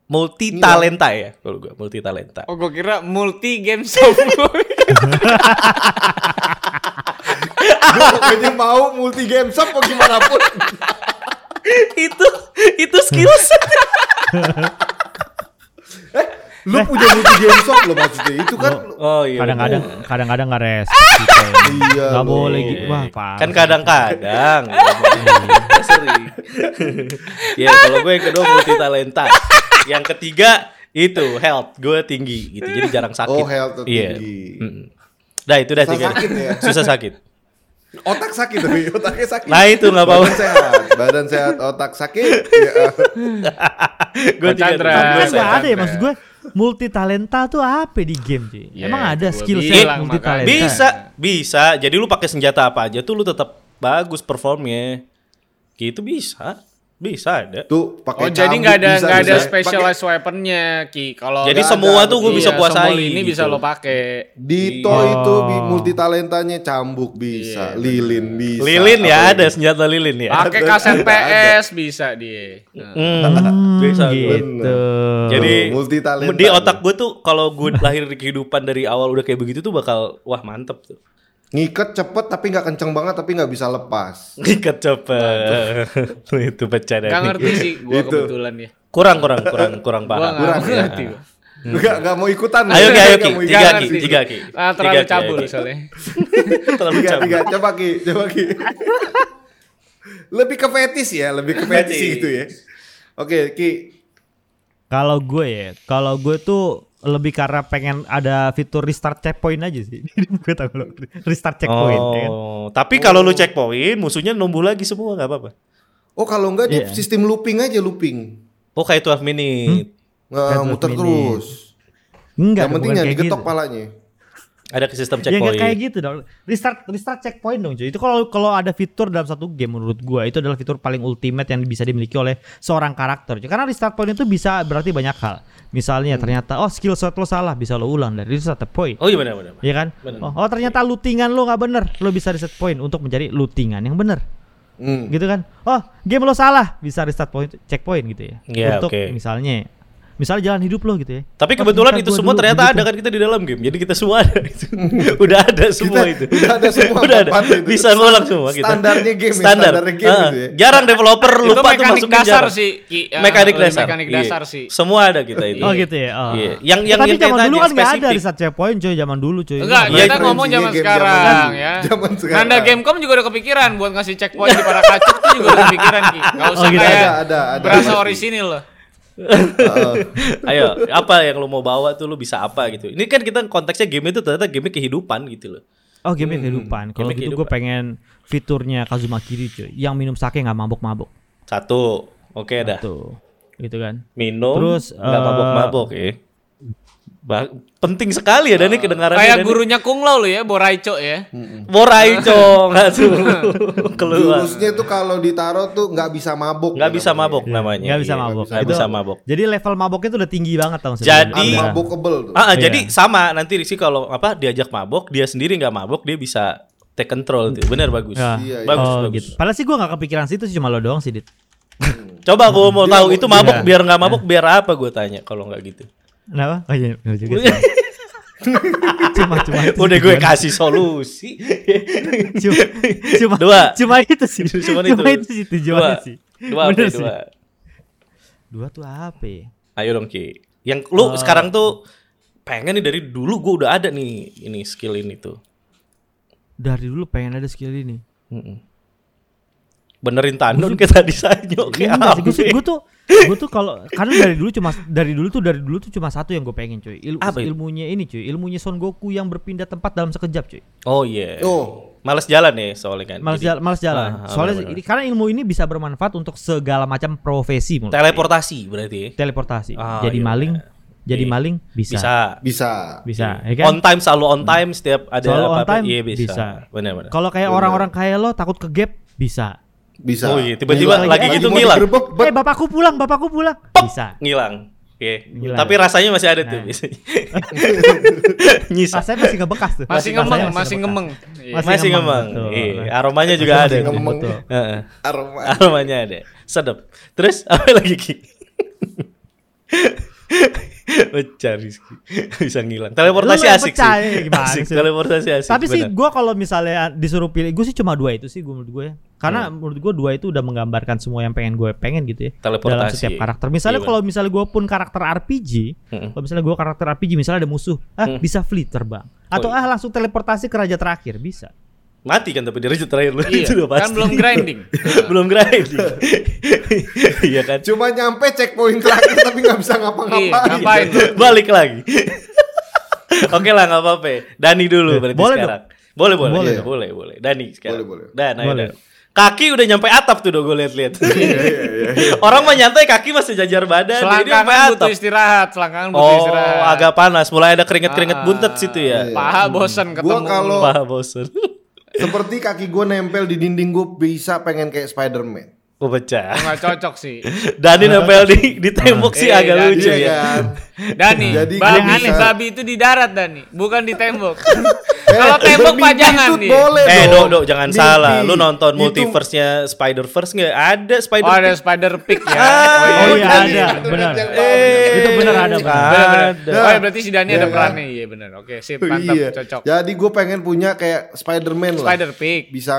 Speaker 2: multi talenta ya, kalau gue multi talenta.
Speaker 1: oh gue kira multi game shop
Speaker 4: Gua Pokoknya mau multi game shop apa gimana pun.
Speaker 2: itu itu skills.
Speaker 4: Lu punya multi game shop lo maksudnya. Itu kan
Speaker 2: oh iya.
Speaker 3: Kadang-kadang kadang-kadang enggak res. Gitu.
Speaker 4: Iya,
Speaker 3: Enggak
Speaker 4: lo.
Speaker 3: boleh gitu. Wah,
Speaker 2: bener.
Speaker 3: parah.
Speaker 2: Kan kadang-kadang.
Speaker 1: Iya.
Speaker 2: Sering. ya kalau gue yang kedua multi talenta. Yang ketiga itu health gue tinggi gitu. Jadi jarang sakit.
Speaker 4: Oh, health tuh
Speaker 2: Iya.
Speaker 4: tinggi.
Speaker 2: Mm-mm. Dah itu dah
Speaker 4: Susah
Speaker 2: tiga.
Speaker 4: sakit ya?
Speaker 2: Susah sakit.
Speaker 4: otak sakit tapi otaknya sakit.
Speaker 2: Nah, itu nggak apa-apa.
Speaker 4: Badan sehat, badan sehat, otak sakit. Ya,
Speaker 2: Gue
Speaker 1: Pak Chandra.
Speaker 2: gue
Speaker 3: Tapi
Speaker 1: Saya
Speaker 3: enggak ada ya
Speaker 1: tanda.
Speaker 3: maksud gue multi talenta tuh apa di game sih?
Speaker 1: Ya,
Speaker 3: Emang ada
Speaker 1: itu gua
Speaker 3: skill set
Speaker 1: bilang,
Speaker 3: Iya, multi
Speaker 1: makanya.
Speaker 3: talenta?
Speaker 2: Iya. Bisa, bisa. Jadi lu pakai senjata apa aja tuh lu tetap bagus performnya. Gitu bisa. Bisa ada.
Speaker 4: Tuh
Speaker 1: oh
Speaker 4: pakai
Speaker 1: jadi
Speaker 4: cambuk
Speaker 1: nggak ada
Speaker 4: bisa, ya.
Speaker 1: nggak ada
Speaker 4: bisa.
Speaker 1: specialized weaponnya ki kalau
Speaker 2: Jadi
Speaker 1: nggak
Speaker 2: semua
Speaker 1: ada,
Speaker 2: tuh gue
Speaker 1: iya,
Speaker 2: bisa kuasai.
Speaker 1: semua ini
Speaker 2: gitu.
Speaker 1: bisa lo pakai
Speaker 4: Pakai- Dito
Speaker 3: Oh.
Speaker 4: itu multi talentanya cambuk
Speaker 1: Iya,
Speaker 4: bisa, lilin bisa.
Speaker 2: Lilin ya
Speaker 4: Apa
Speaker 2: ada
Speaker 4: lagi?
Speaker 2: senjata lilin ya.
Speaker 3: Ah.
Speaker 1: pakai
Speaker 4: Ada,
Speaker 1: kaset
Speaker 4: ada.
Speaker 1: PS bisa dia Nah.
Speaker 2: Hmm, bisa.
Speaker 3: Gitu.
Speaker 2: Jadi
Speaker 4: multi talenta.
Speaker 2: di otak gue tuh kalau gue lahir di kehidupan dari awal udah kayak begitu tuh bakal wah mantep tuh.
Speaker 4: Ngiket cepet tapi nggak kenceng banget tapi nggak bisa lepas.
Speaker 2: Ikat cepet. itu pecah
Speaker 1: nggak
Speaker 2: dari.
Speaker 1: ngerti sih gue
Speaker 4: Itu. ya.
Speaker 1: kebetulan ya
Speaker 2: Kurang kurang kurang kurang
Speaker 1: gue
Speaker 2: parah.
Speaker 1: nggak ngerti gua.
Speaker 4: Nggak nggak mau ikutan.
Speaker 2: Hmm. Ayo Ki, ayo Ki.
Speaker 4: Nggak
Speaker 2: Tiga
Speaker 4: mau ikutan.
Speaker 2: Ki,
Speaker 1: ngerti.
Speaker 2: tiga Ki.
Speaker 1: Ah, terlalu
Speaker 2: Tiga Ki,
Speaker 1: cabul
Speaker 2: ayo Ki.
Speaker 1: soalnya
Speaker 2: Terlalu
Speaker 4: tiga
Speaker 2: cabul.
Speaker 4: tiga coba ki coba ki lebih ke fetis ya lebih ke fetis
Speaker 2: Fetis.
Speaker 4: gitu ya oke ki
Speaker 3: Kalau gue ya, kalau gue tuh lebih karena pengen ada fitur restart checkpoint aja sih. Jadi gue tahu lo restart checkpoint ya kan.
Speaker 2: Oh, tapi kalau lu checkpoint musuhnya numbuh lagi semua nggak apa-apa. Iya.
Speaker 4: oh kalau enggak di sistem looping aja looping
Speaker 2: Oh kayak 12
Speaker 3: Hmm.
Speaker 2: minute.
Speaker 4: Nggak,
Speaker 3: Red
Speaker 4: muter
Speaker 3: Bull
Speaker 4: terus.
Speaker 3: Enggak,
Speaker 4: yang penting
Speaker 3: bukan
Speaker 4: jangan
Speaker 3: kayak
Speaker 4: digetok
Speaker 3: gitu.
Speaker 4: palanya.
Speaker 2: Ada ke sistem
Speaker 3: Ya
Speaker 2: checkpoint.
Speaker 3: nggak kayak gitu dong. Restart restart checkpoint dong cuy. Itu kalau kalau ada fitur dalam satu game menurut gua itu adalah fitur paling ultimate yang bisa dimiliki oleh seorang karakter. cuy. Karena restart point itu bisa berarti banyak hal. Misalnya
Speaker 2: Hmm.
Speaker 3: ternyata oh skill shot lo salah bisa lo ulang dari restart point.
Speaker 2: Oh iya benar benar.
Speaker 3: Iya kan?
Speaker 2: Bener.
Speaker 3: Oh, oh, ternyata lootingan lo nggak bener. Lo bisa reset point untuk mencari lootingan yang bener.
Speaker 4: Hmm.
Speaker 3: Gitu kan? Oh game lo salah bisa restart point checkpoint gitu ya.
Speaker 2: Iya,
Speaker 3: untuk
Speaker 2: oke.
Speaker 3: misalnya misalnya jalan hidup lo gitu ya.
Speaker 2: Tapi
Speaker 3: Oh,
Speaker 2: kebetulan
Speaker 3: ternyata
Speaker 2: itu
Speaker 3: gua
Speaker 2: semua
Speaker 3: dulu
Speaker 2: ternyata
Speaker 3: begitu.
Speaker 2: ada kan kita di dalam game. Jadi kita semua ada itu. udah ada semua
Speaker 4: Kita-
Speaker 2: itu.
Speaker 4: udah ada semua
Speaker 2: udah ada.
Speaker 4: papan itu.
Speaker 2: Bisa ngulang semua kita.
Speaker 4: Standarnya game ya,
Speaker 2: Standar.
Speaker 4: standarnya game
Speaker 2: Ah,
Speaker 4: itu ya.
Speaker 2: Jarang developer lupa tuh
Speaker 1: mekanik
Speaker 2: masukin
Speaker 1: dasar
Speaker 2: jarang.
Speaker 1: sih, Ki. Ah,
Speaker 2: mekanik
Speaker 1: lebih
Speaker 2: dasar.
Speaker 1: mekanik
Speaker 2: Iya.
Speaker 1: dasar sih.
Speaker 2: Semua ada kita itu.
Speaker 3: Oh gitu ya. Oh.
Speaker 2: Iya. Yang yang
Speaker 3: Tapi
Speaker 2: yang kayak
Speaker 3: zaman dulu
Speaker 2: tadi,
Speaker 3: kan nggak ada
Speaker 2: spesifik.
Speaker 3: reset checkpoint cuy zaman dulu cuy.
Speaker 1: Enggak,
Speaker 2: Iya,
Speaker 1: kita
Speaker 2: itu
Speaker 1: ngomong
Speaker 4: referensinya
Speaker 1: zaman
Speaker 4: game
Speaker 1: sekarang
Speaker 4: zaman-
Speaker 1: ya.
Speaker 4: zaman sekarang.
Speaker 1: Nanda Gamecom juga udah kepikiran buat ngasih checkpoint di para kacuk tuh juga udah kepikiran Ki. Gak usah
Speaker 3: Oh, gitu.
Speaker 1: kayak
Speaker 4: Ada, ada, ada.
Speaker 1: berasa
Speaker 4: Pasti.
Speaker 1: orisinil loh.
Speaker 2: Ayo, apa yang lo mau bawa tuh lo bisa apa gitu. Ini kan kita konteksnya game itu ternyata game kehidupan gitu loh.
Speaker 3: Oh game kehidupan. Kalau
Speaker 2: Game
Speaker 3: gitu
Speaker 2: kehidupan.
Speaker 3: gue pengen fiturnya Kazuma Kiryu cuy. Yang minum sake nggak mabok-mabok.
Speaker 2: Satu. Oke dah.
Speaker 3: Tuh. Gitu kan.
Speaker 2: Minum
Speaker 3: Terus,
Speaker 2: nggak
Speaker 3: eh,
Speaker 2: mabok-mabok ya. Ba- penting sekali ya Dani kedengarannya.
Speaker 1: Ah. Kayak
Speaker 2: Dani.
Speaker 1: gurunya Kung Lao lo ya, Boraico ya.
Speaker 4: Hmm.
Speaker 2: Borai cong nggak tuh keluar.
Speaker 4: Jurusnya tuh kalau ditaruh tuh nggak bisa mabok.
Speaker 2: Nggak
Speaker 4: ya
Speaker 2: bisa
Speaker 4: namanya.
Speaker 2: mabok namanya.
Speaker 3: Nggak bisa
Speaker 2: Iya,
Speaker 3: mabok.
Speaker 2: Nggak
Speaker 3: Itu-
Speaker 2: bisa mabok.
Speaker 3: Jadi level maboknya tuh udah tinggi banget tau
Speaker 2: Jadi-
Speaker 3: Udah.
Speaker 4: Unmabokable Kan tuh.
Speaker 2: Iya. Ah, ah,
Speaker 3: Iya.
Speaker 2: jadi sama nanti Rizky kalau apa diajak mabok dia sendiri nggak mabok dia bisa take control tuh. Bener bagus.
Speaker 3: Ya.
Speaker 4: Iya, iya.
Speaker 2: Bagus
Speaker 3: oh,
Speaker 2: bagus.
Speaker 3: gitu. Padahal sih gue gak kepikiran situ sih cuma lo doang sih dit.
Speaker 2: Coba gue mau
Speaker 4: Dia
Speaker 2: tahu
Speaker 4: mau-
Speaker 2: itu mabok
Speaker 3: Iya.
Speaker 2: biar nggak mabok biar apa gue tanya kalau nggak gitu.
Speaker 3: Kenapa? Oh iya bener juga. cuma cuma itu
Speaker 2: Udah
Speaker 3: sih,
Speaker 2: gue
Speaker 3: cuman-
Speaker 2: kasih solusi.
Speaker 3: cuma, cuma,
Speaker 2: Dua.
Speaker 3: cuma itu sih cuma,
Speaker 2: Cuman itu.
Speaker 3: itu. sih tujuannya
Speaker 2: Dua.
Speaker 3: sih
Speaker 2: Dua apa
Speaker 3: Bener
Speaker 2: ya,
Speaker 3: sih.
Speaker 2: dua.
Speaker 3: dua tuh apa ya?
Speaker 2: Ayo dong Ki. Yang lu
Speaker 3: Oh.
Speaker 2: sekarang tuh pengen nih dari dulu gue udah ada nih ini skill ini tuh.
Speaker 3: dari dulu pengen ada skill ini
Speaker 2: Mm-mm. Benerin tandon ke tadi sanyo kayak
Speaker 3: Enggak sih,
Speaker 2: apa?
Speaker 3: gue Iya, sih- gue tuh gue tuh kalau karena dari dulu cuma dari dulu tuh dari dulu tuh cuma satu yang gue pengen cuy Il-
Speaker 2: Apa itu?
Speaker 3: ilmunya ini cuy ilmunya Son Goku yang berpindah tempat dalam sekejap cuy
Speaker 2: Oh iya.
Speaker 4: Oh.
Speaker 2: Males jalan ya soalnya kan.
Speaker 3: malas
Speaker 2: Jadi,
Speaker 3: jalan malas jalan
Speaker 2: Ah, ah,
Speaker 3: soalnya
Speaker 2: benar-benar.
Speaker 3: ini- karena ilmu ini bisa bermanfaat untuk segala macam profesi menurut gue.
Speaker 2: Teleportasi berarti ya.
Speaker 3: teleportasi
Speaker 2: Ah,
Speaker 3: jadi
Speaker 2: iya,
Speaker 3: maling
Speaker 2: iya.
Speaker 3: jadi
Speaker 2: Iya.
Speaker 3: maling bisa
Speaker 2: Bisa. Iya.
Speaker 4: Bisa.
Speaker 3: bisa, ya kan?
Speaker 2: On time selalu on time setiap ada
Speaker 3: Selalu on
Speaker 2: apa-apa.
Speaker 3: time,
Speaker 2: Iya bisa.
Speaker 3: bisa.
Speaker 2: Benar-benar.
Speaker 3: kalau kayak orang-orang
Speaker 2: iya.
Speaker 3: kaya lo takut ke gap bisa
Speaker 4: Bisa.
Speaker 2: Oh iya, tiba-tiba
Speaker 4: Ngilang.
Speaker 2: lagi
Speaker 4: Eh,
Speaker 2: gitu
Speaker 4: mau
Speaker 2: ngilang.
Speaker 4: digerebek, bet.
Speaker 3: eh bapakku pulang bapakku pulang bisa
Speaker 2: Ngilang. Oke.
Speaker 3: Ngilang.
Speaker 2: Tapi rasanya masih ada tuh
Speaker 3: Nah.
Speaker 2: biasanya. Nyisa.
Speaker 3: rasanya masih ngebekas tuh
Speaker 1: Masih
Speaker 3: Rasanya
Speaker 1: ngemeng, masih
Speaker 3: ngebekas.
Speaker 1: ngemeng. Iya.
Speaker 3: Mas-
Speaker 2: Masih,
Speaker 3: Masih
Speaker 2: ngemeng.
Speaker 3: ngemeng, betul.
Speaker 2: Iya, aromanya juga ada.
Speaker 4: Masih
Speaker 2: tuh.
Speaker 4: ngemeng.
Speaker 3: Betul.
Speaker 2: Heeh.
Speaker 4: Aroma.
Speaker 2: Aromanya ada. Sedap. Terus apa lagi Ki? Pecah Rizky. Bisa ngilang. Teleportasi
Speaker 3: Lu yang
Speaker 2: asik sih.
Speaker 3: pecah, ya, gimana
Speaker 2: Asik.
Speaker 3: sih?
Speaker 2: Teleportasi asik.
Speaker 3: Tapi sih
Speaker 2: benar.
Speaker 3: gue kalau misalnya disuruh pilih, gue sih cuma dua itu sih gue menurut gue. Karena
Speaker 2: Hmm.
Speaker 3: menurut gue dua itu udah menggambarkan semua yang pengen gue pengen gitu ya.
Speaker 2: Teleportasi.
Speaker 3: Dalam setiap karakter. Misalnya
Speaker 2: Iya, Hmm.
Speaker 3: kalau misalnya gue pun karakter RPG,
Speaker 2: Mm-mm.
Speaker 3: kalau misalnya gue karakter RPG misalnya ada musuh, ah bisa flee terbang. Atau
Speaker 2: Hmm. iya.
Speaker 3: ah langsung teleportasi ke raja terakhir bisa.
Speaker 2: Mati kan tapi dari terakhir lu
Speaker 1: Iya,
Speaker 2: itu udah pasti.
Speaker 1: kan belum grinding.
Speaker 2: belum grinding. iya kan.
Speaker 4: Cuma nyampe checkpoint terakhir tapi nggak bisa
Speaker 1: Iya,
Speaker 4: ngapa-ngapain.
Speaker 1: ngapain?
Speaker 2: Balik lagi. Oke lah nggak apa-apa. Dani dulu berarti
Speaker 3: Boleh
Speaker 2: sekarang. Boleh boleh boleh
Speaker 4: Boleh.
Speaker 2: boleh boleh. Dani sekarang.
Speaker 4: Boleh, boleh.
Speaker 2: Dan, ayo,
Speaker 3: Boleh. Iya.
Speaker 2: Dan. Kaki udah nyampe atap tuh dong gue lihat-lihat.
Speaker 4: Iya,
Speaker 2: Orang mah nyantai kaki masih jajar badan. Jadi dia nyampe
Speaker 1: Selangkangan
Speaker 2: atap.
Speaker 1: butuh istirahat, selangkangan butuh
Speaker 2: Oh,
Speaker 1: istirahat. Ah.
Speaker 2: agak panas. Mulai ada keringet-keringet buntet situ ya.
Speaker 1: paha bosen ketemu.
Speaker 4: Iya. Gua kalau
Speaker 2: Wah, bosen.
Speaker 4: seperti kaki gue nempel di dinding gue bisa pengen kayak Spiderman.
Speaker 2: Gue pecah.
Speaker 1: nggak cocok sih.
Speaker 2: Dani nempel di, di tembok sih
Speaker 1: Iya,
Speaker 2: agak
Speaker 1: Dani.
Speaker 2: lucu
Speaker 4: Iya
Speaker 2: ya.
Speaker 4: kan?
Speaker 1: Dani,
Speaker 4: Jadi gua
Speaker 1: babi,
Speaker 4: bisa-
Speaker 1: babi itu di darat Dani, bukan di tembok.
Speaker 4: Eh,
Speaker 1: Kalau tembok
Speaker 4: bermimpi
Speaker 1: pajangan
Speaker 4: itu
Speaker 1: nih.
Speaker 4: Boleh
Speaker 2: Eh, dok,
Speaker 4: dong.
Speaker 2: dok, jangan
Speaker 4: Mimpi.
Speaker 2: salah. Lu nonton
Speaker 4: Itu-
Speaker 2: multiverse-nya Spider-Verse nggak? Ada
Speaker 1: Oh
Speaker 2: Spider-Verse.
Speaker 1: ada spider pig ya.
Speaker 2: Ah,
Speaker 3: Oh,
Speaker 4: Oh,
Speaker 3: iya
Speaker 4: tadi
Speaker 3: ada,
Speaker 4: itu
Speaker 3: benar.
Speaker 4: yang
Speaker 2: Eh,
Speaker 3: Itu benar ada,
Speaker 1: Bener,
Speaker 3: benar.
Speaker 1: bener.
Speaker 2: Ada.
Speaker 1: Oh ya berarti si Dani
Speaker 4: Iya
Speaker 1: ada
Speaker 4: kan?
Speaker 1: perannya, iya benar. Oke sip, mantap,
Speaker 4: Iya.
Speaker 1: cocok.
Speaker 4: Jadi gue pengen punya kayak Spiderman lah.
Speaker 1: Spider pig.
Speaker 4: Bisa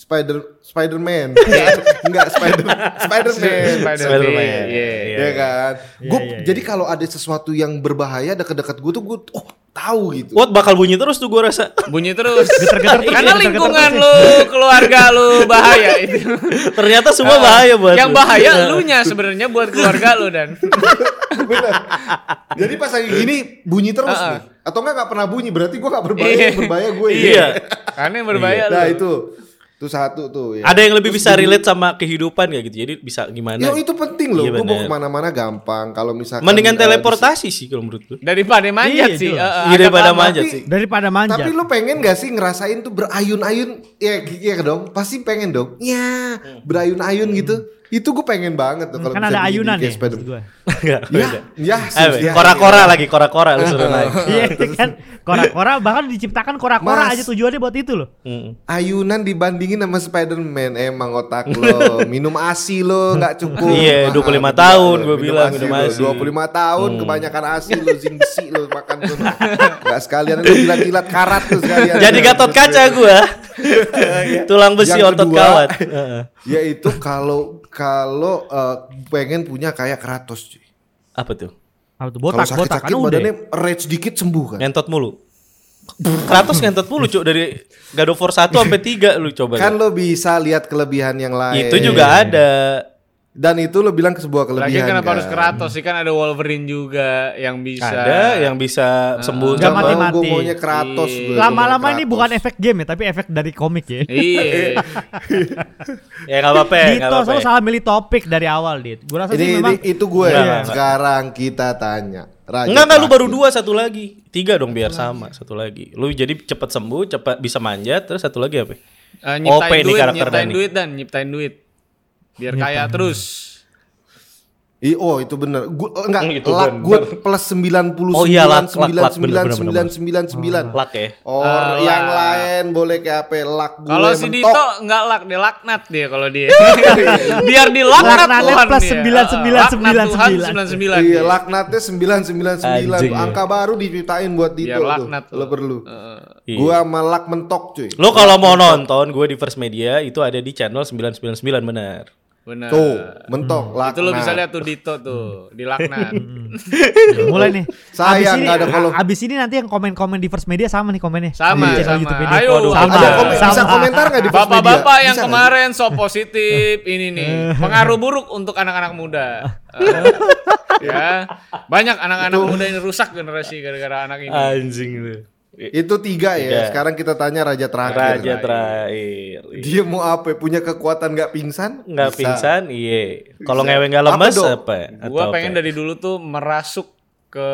Speaker 4: Spider Spiderman. Enggak Spider Spiderman.
Speaker 1: Spider pig.
Speaker 2: Spider-Man.
Speaker 1: Iya.
Speaker 2: Iya.
Speaker 4: Ya kan.
Speaker 3: Iya,
Speaker 4: Gue
Speaker 3: iya, iya.
Speaker 4: jadi kalau ada sesuatu yang berbahaya dekat-dekat gue tuh gue oh tahu gitu.
Speaker 2: What bakal bunyi terus tuh gue rasa.
Speaker 1: Bunyi terus.
Speaker 3: Geter-geter terus,
Speaker 1: Karena
Speaker 3: geter-geter
Speaker 1: lingkungan
Speaker 3: terus.
Speaker 1: lu, keluarga lu bahaya itu.
Speaker 2: Ternyata semua bahaya buat
Speaker 1: Ah, Yang
Speaker 2: lu. Iya.
Speaker 1: bahaya elunya sebenarnya buat keluarga lu dan.
Speaker 4: Benar. Jadi pas lagi gini bunyi
Speaker 1: Ah,
Speaker 4: terus
Speaker 1: ah.
Speaker 4: nih. Atau enggak nggak pernah bunyi berarti gue nggak berbahaya
Speaker 1: Iya.
Speaker 4: yang berbahaya gue.
Speaker 2: Iya.
Speaker 1: Karena yang berbahaya
Speaker 4: Nah
Speaker 1: lu.
Speaker 4: itu. Itu satu tuh ya.
Speaker 2: Ada yang lebih bisa relate sama kehidupan gak gitu. Jadi bisa gimana?
Speaker 4: Ya itu penting loh.
Speaker 2: Iya,
Speaker 4: Gue mau
Speaker 2: bener.
Speaker 4: kemana-mana gampang. Kalau misalkan
Speaker 2: Mendingan
Speaker 4: eh,
Speaker 2: teleportasi sih kalau menurut gue.
Speaker 1: Daripada manjat
Speaker 3: Iya,
Speaker 1: sih.
Speaker 3: jelas.
Speaker 1: eh, eh,
Speaker 2: Iya daripada
Speaker 1: agak lama.
Speaker 2: manjat
Speaker 4: tapi-
Speaker 2: sih.
Speaker 3: Daripada Kan manja.
Speaker 4: Tapi lu pengen gak sih ngerasain tuh berayun-ayun? Ya, iya dong. Pasti pengen dong. Ya,
Speaker 2: Hmm.
Speaker 4: berayun-ayun gitu. Itu gue pengen banget tuh.
Speaker 3: Hmm.
Speaker 4: kalau
Speaker 3: kan
Speaker 4: bisa
Speaker 3: ada
Speaker 4: bikin
Speaker 3: ayunan
Speaker 4: kayak
Speaker 3: ya.
Speaker 4: sepeda.
Speaker 3: maksud gua.
Speaker 2: Enggak.
Speaker 4: Ya,
Speaker 2: beda.
Speaker 4: ya,
Speaker 2: Eh,
Speaker 4: sus, ya,
Speaker 2: Kora-kora lagi, kora-kora lu suruh naik.
Speaker 3: Iya kan kora-kora bahkan diciptakan kora-kora
Speaker 4: Ah, Mas.
Speaker 3: aja tujuannya buat itu loh.
Speaker 2: Mm.
Speaker 4: Ayunan dibandingin sama Spider-Man Eh, emang otak lo minum asi lo nggak cukup.
Speaker 2: Iya,
Speaker 4: Mahal gitu kan.
Speaker 2: 25
Speaker 4: bener.
Speaker 2: tahun gua bilang minum Hmm.
Speaker 4: lo.
Speaker 2: asi.
Speaker 4: 25 tahun kebanyakan asi lo zingsi lo makan tuh. Nggak sekalian lo jilat-jilat karat tuh sekalian.
Speaker 2: Jadi gatot kaca gua. Tulang besi
Speaker 4: Iya. Yang
Speaker 2: otot
Speaker 4: kedua-
Speaker 2: kawat. Heeh.
Speaker 4: Yaitu Ya kalau kalau eh, pengen punya kayak Kratos. cuy.
Speaker 2: Apa tuh?
Speaker 3: Apa tuh
Speaker 4: Kalau
Speaker 3: botak botak kan
Speaker 4: sakit-sakit
Speaker 3: udah.
Speaker 4: badannya rage dikit sembuh kan.
Speaker 2: Ngentot mulu. Kratos ngentot mulu, Cuk, dari God of War 1 sampai 3 lu coba.
Speaker 4: Kan Iya, lo bisa lihat kelebihan yang lain.
Speaker 2: Itu juga ada.
Speaker 4: Dan itu lo bilang ke sebuah
Speaker 1: Lagi
Speaker 4: kelebihan.
Speaker 1: kenapa
Speaker 4: kan?
Speaker 1: harus Kratos sih kan ada Wolverine juga yang bisa.
Speaker 2: Ada yang bisa
Speaker 4: Ah.
Speaker 2: sembuh.
Speaker 3: Nggak
Speaker 4: Gak
Speaker 2: sama-
Speaker 3: mati.
Speaker 4: mau gue "Oh, maunya Kratos.
Speaker 1: Iya.
Speaker 4: gua.
Speaker 3: Lama-lama ini
Speaker 4: Kratos.
Speaker 3: bukan efek game ya, tapi efek dari komik ya.
Speaker 1: Iya.
Speaker 2: Ya enggak apa-apa, enggak
Speaker 3: Dito,
Speaker 2: apa-apa.
Speaker 1: ya.
Speaker 3: selalu salah milih topik dari awal, Dit. Gua rasa
Speaker 4: Ini,
Speaker 3: sih
Speaker 4: ini
Speaker 3: memang
Speaker 4: itu gue.
Speaker 2: Nggak, nggak,
Speaker 4: Sekarang kita tanya. Raja
Speaker 2: Iya, Enggak enggak lu baru
Speaker 4: Kratos.
Speaker 2: dua satu lagi. Tiga dong biar sama satu lagi. Lu jadi cepet sembuh, cepat bisa manjat, terus satu lagi apa?
Speaker 1: Eh, nyiptain
Speaker 2: OP nih
Speaker 1: duit,
Speaker 2: karakter
Speaker 1: nyiptain
Speaker 2: Dani.
Speaker 1: duit dan nyiptain duit. Biar kaya terus.
Speaker 4: Ih, oh itu bener. Gua enggak
Speaker 2: Hmm, itu
Speaker 4: luck
Speaker 2: bener.
Speaker 4: gue plus 99
Speaker 2: Oh iya, luck, luck, luck, bener, bener, bener.
Speaker 4: 99 99
Speaker 2: Lak ya.
Speaker 4: Or yang lain boleh ke apa luck gue
Speaker 1: Kalau si
Speaker 4: mentok. Iya.
Speaker 1: Dito nggak lak, dia laknat dia kalau dia. Biar dilaknat
Speaker 3: Laknatnya
Speaker 1: Tuhan
Speaker 3: plus
Speaker 1: dia.
Speaker 3: 99,
Speaker 1: Laknat Tuhan
Speaker 3: 99.
Speaker 1: 99.
Speaker 4: Iya,
Speaker 1: dia.
Speaker 4: laknatnya 999
Speaker 2: Anjing.
Speaker 4: tuh. angka baru diciptain buat Dito
Speaker 1: Biar
Speaker 4: tuh.
Speaker 1: Iya, laknat tuh.
Speaker 4: Lo perlu.
Speaker 1: Eh,
Speaker 2: Iya.
Speaker 4: Gua sama luck mentok cuy.
Speaker 2: Lu kalau mau nonton gue di First Media itu ada di channel 999 benar.
Speaker 1: Benar.
Speaker 4: Tuh, mentok
Speaker 1: Hmm.
Speaker 4: laknat.
Speaker 1: Itu lo bisa lihat tuh Dito tuh, dilaknat.
Speaker 3: mulai nih.
Speaker 4: Sayang,
Speaker 3: Abis ini-
Speaker 4: nggak ada follow.
Speaker 3: Abis ini nanti yang komen-komen di First Media sama nih komennya.
Speaker 1: Sama,
Speaker 3: Di channel
Speaker 1: sama.
Speaker 3: Iya, YouTube ini.
Speaker 1: Ayo,
Speaker 3: Waduh,
Speaker 1: sama.
Speaker 4: Ada komen,
Speaker 1: Sama.
Speaker 4: bisa komentar nggak Eh, di First Media?
Speaker 1: Bapak-bapak yang
Speaker 4: Bisa nggak?
Speaker 1: kemarin so positif ini nih pengaruh buruk untuk anak-anak muda. Eh, ya banyak anak-anak muda yang rusak generasi gara-gara anak ini.
Speaker 2: Anjing lu.
Speaker 4: Itu tiga
Speaker 2: Tiga.
Speaker 4: ya. Sekarang kita tanya raja terakhir.
Speaker 1: Iya.
Speaker 2: Raja terakhir.
Speaker 4: Dia mau apa? Punya kekuatan nggak pingsan?
Speaker 2: Nggak
Speaker 4: Bisa.
Speaker 2: pingsan, iya. Kalau
Speaker 4: Bisa.
Speaker 2: ngewe nggak lemes
Speaker 4: Apa,
Speaker 2: apa?
Speaker 4: Dok?
Speaker 2: Atau
Speaker 1: Gua pengen
Speaker 2: apa?
Speaker 1: dari dulu tuh merasuk ke